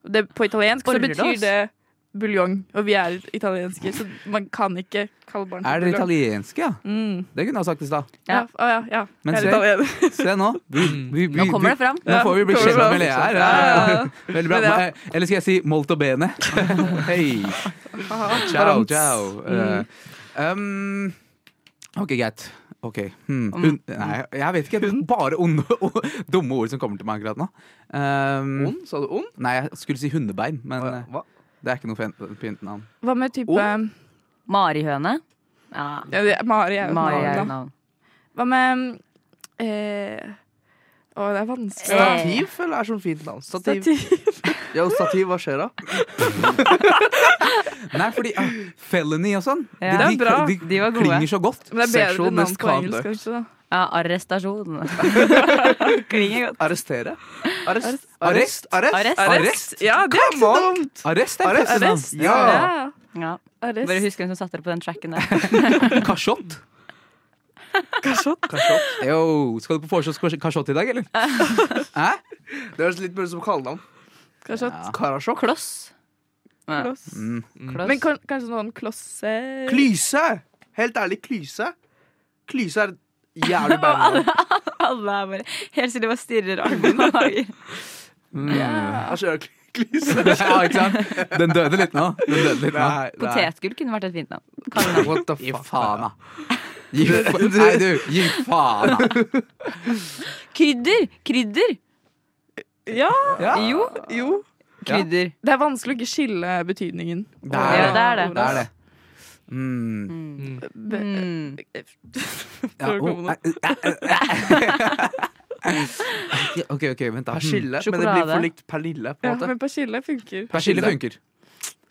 [SPEAKER 5] Det, på italiensk så
[SPEAKER 6] Bordos.
[SPEAKER 5] betyr det buljong, og vi er italienske, så man kan ikke kalle barn for
[SPEAKER 1] Er dere
[SPEAKER 5] buljong.
[SPEAKER 1] italienske, ja?
[SPEAKER 5] Mm.
[SPEAKER 1] Det kunne jeg ha sagt i stad.
[SPEAKER 5] Ja, å ja, ja.
[SPEAKER 1] Men
[SPEAKER 5] jeg
[SPEAKER 1] se-
[SPEAKER 5] er italiener.
[SPEAKER 1] Se nå. Vi, vi, vi,
[SPEAKER 6] Nå kommer det fram.
[SPEAKER 1] vi, nå får vi bli
[SPEAKER 5] Ja,
[SPEAKER 1] kjent
[SPEAKER 5] kommer
[SPEAKER 1] med Lea her. Ja, ja, ja. Veldig bra. Eh, Eller skal jeg si molto bene? Hei. Ciao, ciao. Eh, um, ok, greit. Ok. Hmm. Hun, nei, jeg vet ikke. Bare onde, o- dumme ord som kommer til meg akkurat nå. Um,
[SPEAKER 7] Ond? Sa du ond?
[SPEAKER 1] nei, jeg skulle si hundebein, men eh,
[SPEAKER 7] Hva?
[SPEAKER 1] det er ikke noe fen- fint navn.
[SPEAKER 5] Hva med type
[SPEAKER 1] Oh.
[SPEAKER 7] Om?
[SPEAKER 6] Marihøne. Ja.
[SPEAKER 5] ja, det er Mari er jo et
[SPEAKER 6] Mari er
[SPEAKER 5] navn,
[SPEAKER 6] et
[SPEAKER 5] da.
[SPEAKER 6] navn.
[SPEAKER 5] Hva med eh, Å, det er vanskelig. da.
[SPEAKER 6] Eh.
[SPEAKER 7] Stativ føler jeg er sånn fint navn. Stativ.
[SPEAKER 5] Stativ.
[SPEAKER 7] Ja, stativ, hva skjer da?
[SPEAKER 1] Nei, fordi ah, felony og sånn,
[SPEAKER 6] Ja.
[SPEAKER 1] de,
[SPEAKER 5] Det er bra.
[SPEAKER 1] de,
[SPEAKER 6] De var gode.
[SPEAKER 1] klinger så godt.
[SPEAKER 5] Men det er
[SPEAKER 7] Sexual
[SPEAKER 5] bedre navn på
[SPEAKER 7] misconduct.
[SPEAKER 5] engelsk, kanskje. da.
[SPEAKER 6] Ja, arrestasjon. Klinger godt.
[SPEAKER 7] Arrestere? Arrest?
[SPEAKER 1] Arrest?
[SPEAKER 7] Arrest?
[SPEAKER 6] Arrest.
[SPEAKER 1] Arrest?
[SPEAKER 5] Ja, det er ikke så dumt!
[SPEAKER 1] Arrest er
[SPEAKER 7] Arrest.
[SPEAKER 1] første navn.
[SPEAKER 5] Arrest.
[SPEAKER 7] Ja.
[SPEAKER 5] Ja.
[SPEAKER 6] Ja.
[SPEAKER 5] Arrest.
[SPEAKER 6] Bare husk hvem som satte dere på den tracken der.
[SPEAKER 1] Kasjott.
[SPEAKER 7] Kasjott?
[SPEAKER 1] Yo, skal du på foreslås kasjott i dag, eller? Hæ?
[SPEAKER 7] Det høres litt mer ut som kallenavn.
[SPEAKER 5] Kanskje at
[SPEAKER 7] Karasjok?
[SPEAKER 6] Kloss. Ja.
[SPEAKER 5] kloss.
[SPEAKER 6] Kloss.
[SPEAKER 5] Men kan, kanskje noen klosser
[SPEAKER 7] Klyse! Helt ærlig, klyse. Klyse er et jævlig bad navn.
[SPEAKER 6] Alle er bare helt stille og bare stirrer armene og hager.
[SPEAKER 1] ja, ikke sant? Den døde litt nå. Den døde litt nå.
[SPEAKER 6] Potetgull kunne vært et fint navn.
[SPEAKER 7] What the
[SPEAKER 1] Gi
[SPEAKER 7] fuck?
[SPEAKER 1] faen, da. Gi fa Nei, du, gi faen, da.
[SPEAKER 6] Krydder! Krydder!
[SPEAKER 5] Ja,
[SPEAKER 1] Ja.
[SPEAKER 6] Jo,
[SPEAKER 5] jo.
[SPEAKER 6] krydder.
[SPEAKER 5] Det er vanskelig å ikke skille betydningen.
[SPEAKER 1] Det
[SPEAKER 6] Ja,
[SPEAKER 1] er
[SPEAKER 6] det
[SPEAKER 1] det.
[SPEAKER 6] er det.
[SPEAKER 1] Det er det. Mm.
[SPEAKER 5] Be-
[SPEAKER 6] Mm.
[SPEAKER 1] Ja,
[SPEAKER 5] Prøv å
[SPEAKER 1] oh,
[SPEAKER 5] komme
[SPEAKER 1] eh, eh, eh. OK, ok, vent, da. Hmm.
[SPEAKER 7] Persille, men det blir
[SPEAKER 6] Sjokolade.
[SPEAKER 7] for likt Pernille. på
[SPEAKER 5] Ja,
[SPEAKER 7] en måte
[SPEAKER 5] men persille funker.
[SPEAKER 1] Persille funker.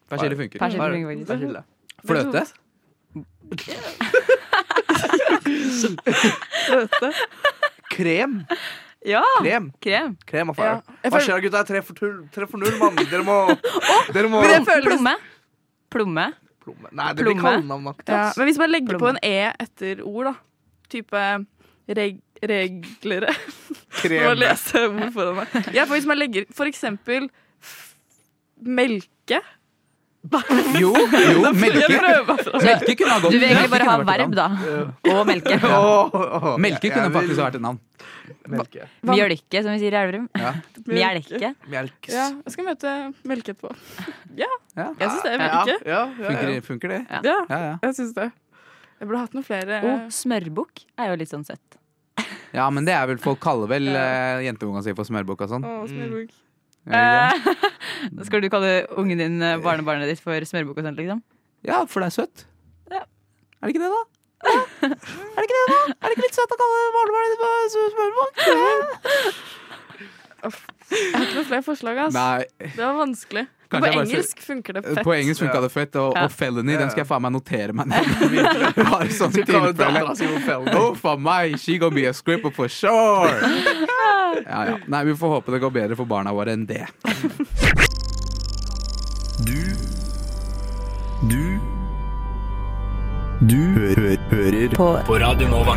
[SPEAKER 1] Persille funker.
[SPEAKER 6] Persille
[SPEAKER 1] Bare-
[SPEAKER 6] funker faktisk.
[SPEAKER 1] persille. Fløte?
[SPEAKER 7] Krem!
[SPEAKER 6] Ja,
[SPEAKER 7] Krem!
[SPEAKER 6] krem.
[SPEAKER 7] Krem er
[SPEAKER 5] Ja.
[SPEAKER 7] fire.
[SPEAKER 5] Jeg
[SPEAKER 7] Hva
[SPEAKER 5] føler,
[SPEAKER 7] skjer, gutta? Tre for, tull- tre for null, mann. Dere må, dere må
[SPEAKER 5] Men jeg føler-
[SPEAKER 6] Plomme. Plomme.
[SPEAKER 7] Plomme. Nei, det blir
[SPEAKER 6] Plomme.
[SPEAKER 7] kallenavnaktig.
[SPEAKER 5] ja,
[SPEAKER 7] ass.
[SPEAKER 5] men hvis man legger på en E etter ord, da. Type reg reglere. Nå må jeg
[SPEAKER 7] Krem.
[SPEAKER 5] lese ord foran meg. Ja, for hvis man legger for eksempel f- melke.
[SPEAKER 1] Jo, jo,
[SPEAKER 5] Jeg
[SPEAKER 1] melke.
[SPEAKER 5] prøver bare for-
[SPEAKER 1] Melke kunne ha gått.
[SPEAKER 6] Du vil egentlig bare ha
[SPEAKER 1] Melke kunne vært et
[SPEAKER 6] verb,
[SPEAKER 1] navn.
[SPEAKER 6] da. Og melke.
[SPEAKER 7] Åh, åh, åh.
[SPEAKER 1] Melke
[SPEAKER 7] Jeg-
[SPEAKER 1] kunne
[SPEAKER 7] jeg vil-
[SPEAKER 1] faktisk vært et navn.
[SPEAKER 7] Melke.
[SPEAKER 6] Mjølke, som vi sier i Elverum. Mjelke.
[SPEAKER 7] Melkes.
[SPEAKER 5] Ja, jeg skal møte melke etterpå. Ja,
[SPEAKER 1] Ja.
[SPEAKER 5] jeg syns det er melke.
[SPEAKER 7] Ja, ja, ja, ja.
[SPEAKER 1] Funker, funker det?
[SPEAKER 5] Ja,
[SPEAKER 1] Ja, ja.
[SPEAKER 5] jeg syns det. Jeg burde hatt noen flere.
[SPEAKER 6] Oh, smørbukk er jo litt sånn søtt.
[SPEAKER 1] ja, men det er vel Folk kaller vel eh, jenteunga si for smørbukk og sånn.
[SPEAKER 5] Å, smørbukk.
[SPEAKER 1] Er det ikke?
[SPEAKER 6] Eh, Skal du kalle ungen din, eh, barnebarnet ditt, for smørbukk og sånt, liksom?
[SPEAKER 1] Ja, for det er søtt.
[SPEAKER 6] Ja.
[SPEAKER 1] Er det ikke det, da? Ja. Er det ikke det, da? Er det ikke litt søtt å kalle barnebarnet ditt for smør- smørbukk?
[SPEAKER 5] Jeg har ikke noen flere forslag, ass.
[SPEAKER 1] Nei,
[SPEAKER 5] Det var vanskelig.
[SPEAKER 1] Kanskje
[SPEAKER 5] på
[SPEAKER 1] jeg bare
[SPEAKER 5] engelsk funker det fett.
[SPEAKER 1] På engelsk funka det fett, og,
[SPEAKER 6] Ja.
[SPEAKER 1] og felony, den skal jeg faen meg notere meg ned. Bare sånn
[SPEAKER 7] Du kaller
[SPEAKER 1] tilfelle.
[SPEAKER 7] dattera si for Felny.
[SPEAKER 1] Oh, for meg, she gonna be a scripper for sure! Ja, ja. Nei, vi får håpe det går bedre for barna våre enn det.
[SPEAKER 10] Du Du Du hø hø hører på. på Radio Nova.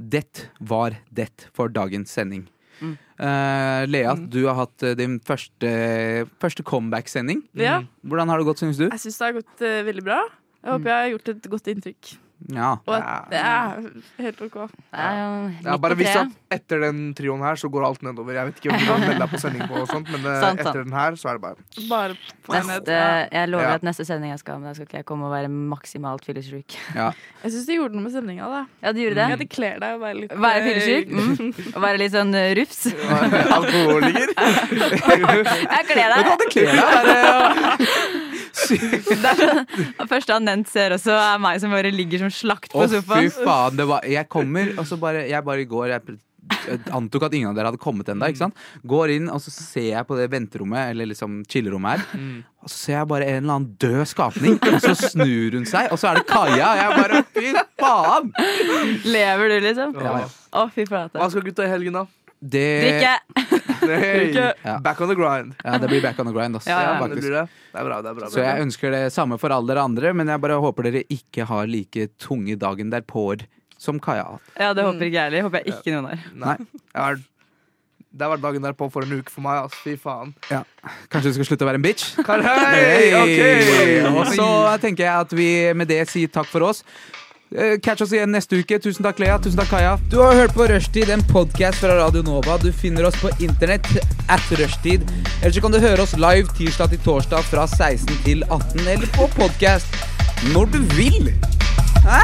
[SPEAKER 1] Det var det for dagens sending. Eh, Lea, du har hatt eh, din første, første comeback-sending.
[SPEAKER 5] Ja,
[SPEAKER 1] Hvordan har det gått, syns du?
[SPEAKER 5] jeg syns det har gått eh, veldig bra. Jeg håper jeg har gjort et godt inntrykk.
[SPEAKER 1] Mm. Ja.
[SPEAKER 5] Og at det er helt OK.
[SPEAKER 6] Det er jo midt
[SPEAKER 7] Ja,
[SPEAKER 6] på
[SPEAKER 7] bare vis
[SPEAKER 6] treet.
[SPEAKER 7] at etter den trioen her så går alt nedover. Jeg vet ikke om du kan melde deg på sending på og sånt, men eh,
[SPEAKER 6] Sant, sant.
[SPEAKER 7] etter den her så er det bare
[SPEAKER 5] Bare på enhet.
[SPEAKER 6] Neste,
[SPEAKER 5] Ja.
[SPEAKER 6] jeg lover
[SPEAKER 7] Ja.
[SPEAKER 6] at neste sending jeg skal ha, men da skal ikke jeg komme og være maksimalt fyllesyk.
[SPEAKER 5] Jeg syns du gjorde noe med sendinga, da.
[SPEAKER 6] Ja, du gjorde
[SPEAKER 5] Ja,
[SPEAKER 6] det?
[SPEAKER 5] det kler deg å være litt eh,
[SPEAKER 6] Være fyllesyk? Mm. Og være litt sånn eh, rufs?
[SPEAKER 7] alkoholiker.
[SPEAKER 6] Jeg kler deg!
[SPEAKER 1] eh,
[SPEAKER 6] Første Anent ser også, er meg som bare ligger som slakt
[SPEAKER 1] Å,
[SPEAKER 6] på
[SPEAKER 1] fy
[SPEAKER 6] sofaen.
[SPEAKER 1] faen. Det var, jeg kommer, og så bare Jeg bare går jeg pr- antok at ingen av dere hadde kommet ennå. ikke sant? Går inn, og så ser jeg på det venterommet, eller liksom chillerommet her.
[SPEAKER 6] Mm.
[SPEAKER 1] Og så ser jeg bare en eller annen død skapning, og så snur hun seg, og så er det Kaja. Og jeg bare Fy faen!
[SPEAKER 6] Lever du, liksom?
[SPEAKER 1] Ja, ja.
[SPEAKER 6] Å, fy flate.
[SPEAKER 7] Hva skal gutta i helgen, da?
[SPEAKER 1] Det,
[SPEAKER 6] Drikke!
[SPEAKER 7] Hey.
[SPEAKER 1] Ja.
[SPEAKER 7] Back on the grind.
[SPEAKER 1] ja, det blir back on the grind, ass.
[SPEAKER 6] Ja, ja,
[SPEAKER 7] Ja, det
[SPEAKER 1] faktisk.
[SPEAKER 7] blir det. Det er bra, det er bra.
[SPEAKER 1] Så jeg ønsker det samme for alle dere andre, men jeg bare håper dere ikke har like tunge dagen derpå-er som Kaja har hatt.
[SPEAKER 6] Ja, det håper ikke jeg heller. Håper jeg ikke noen har.
[SPEAKER 7] Nei. Jeg har, det har vært dagen derpå for en uke for meg, ass. Fy faen.
[SPEAKER 1] Kanskje du skal slutte å være en bitch?
[SPEAKER 7] Hei,
[SPEAKER 1] Hey!
[SPEAKER 7] ok.
[SPEAKER 1] Og så tenker jeg at vi med det sier takk for oss. Eh, Catch oss igjen neste uke. Tusen takk, Lea. Tusen takk, Kaja. Du har hørt på Rushtid, en podkast fra Radio Nova. Du finner oss på internett at rushtid. Eller så kan du høre oss live tirsdag til torsdag fra 16 til 18, eller på podkast når du vil. Hæ?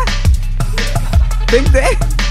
[SPEAKER 1] Tenk det!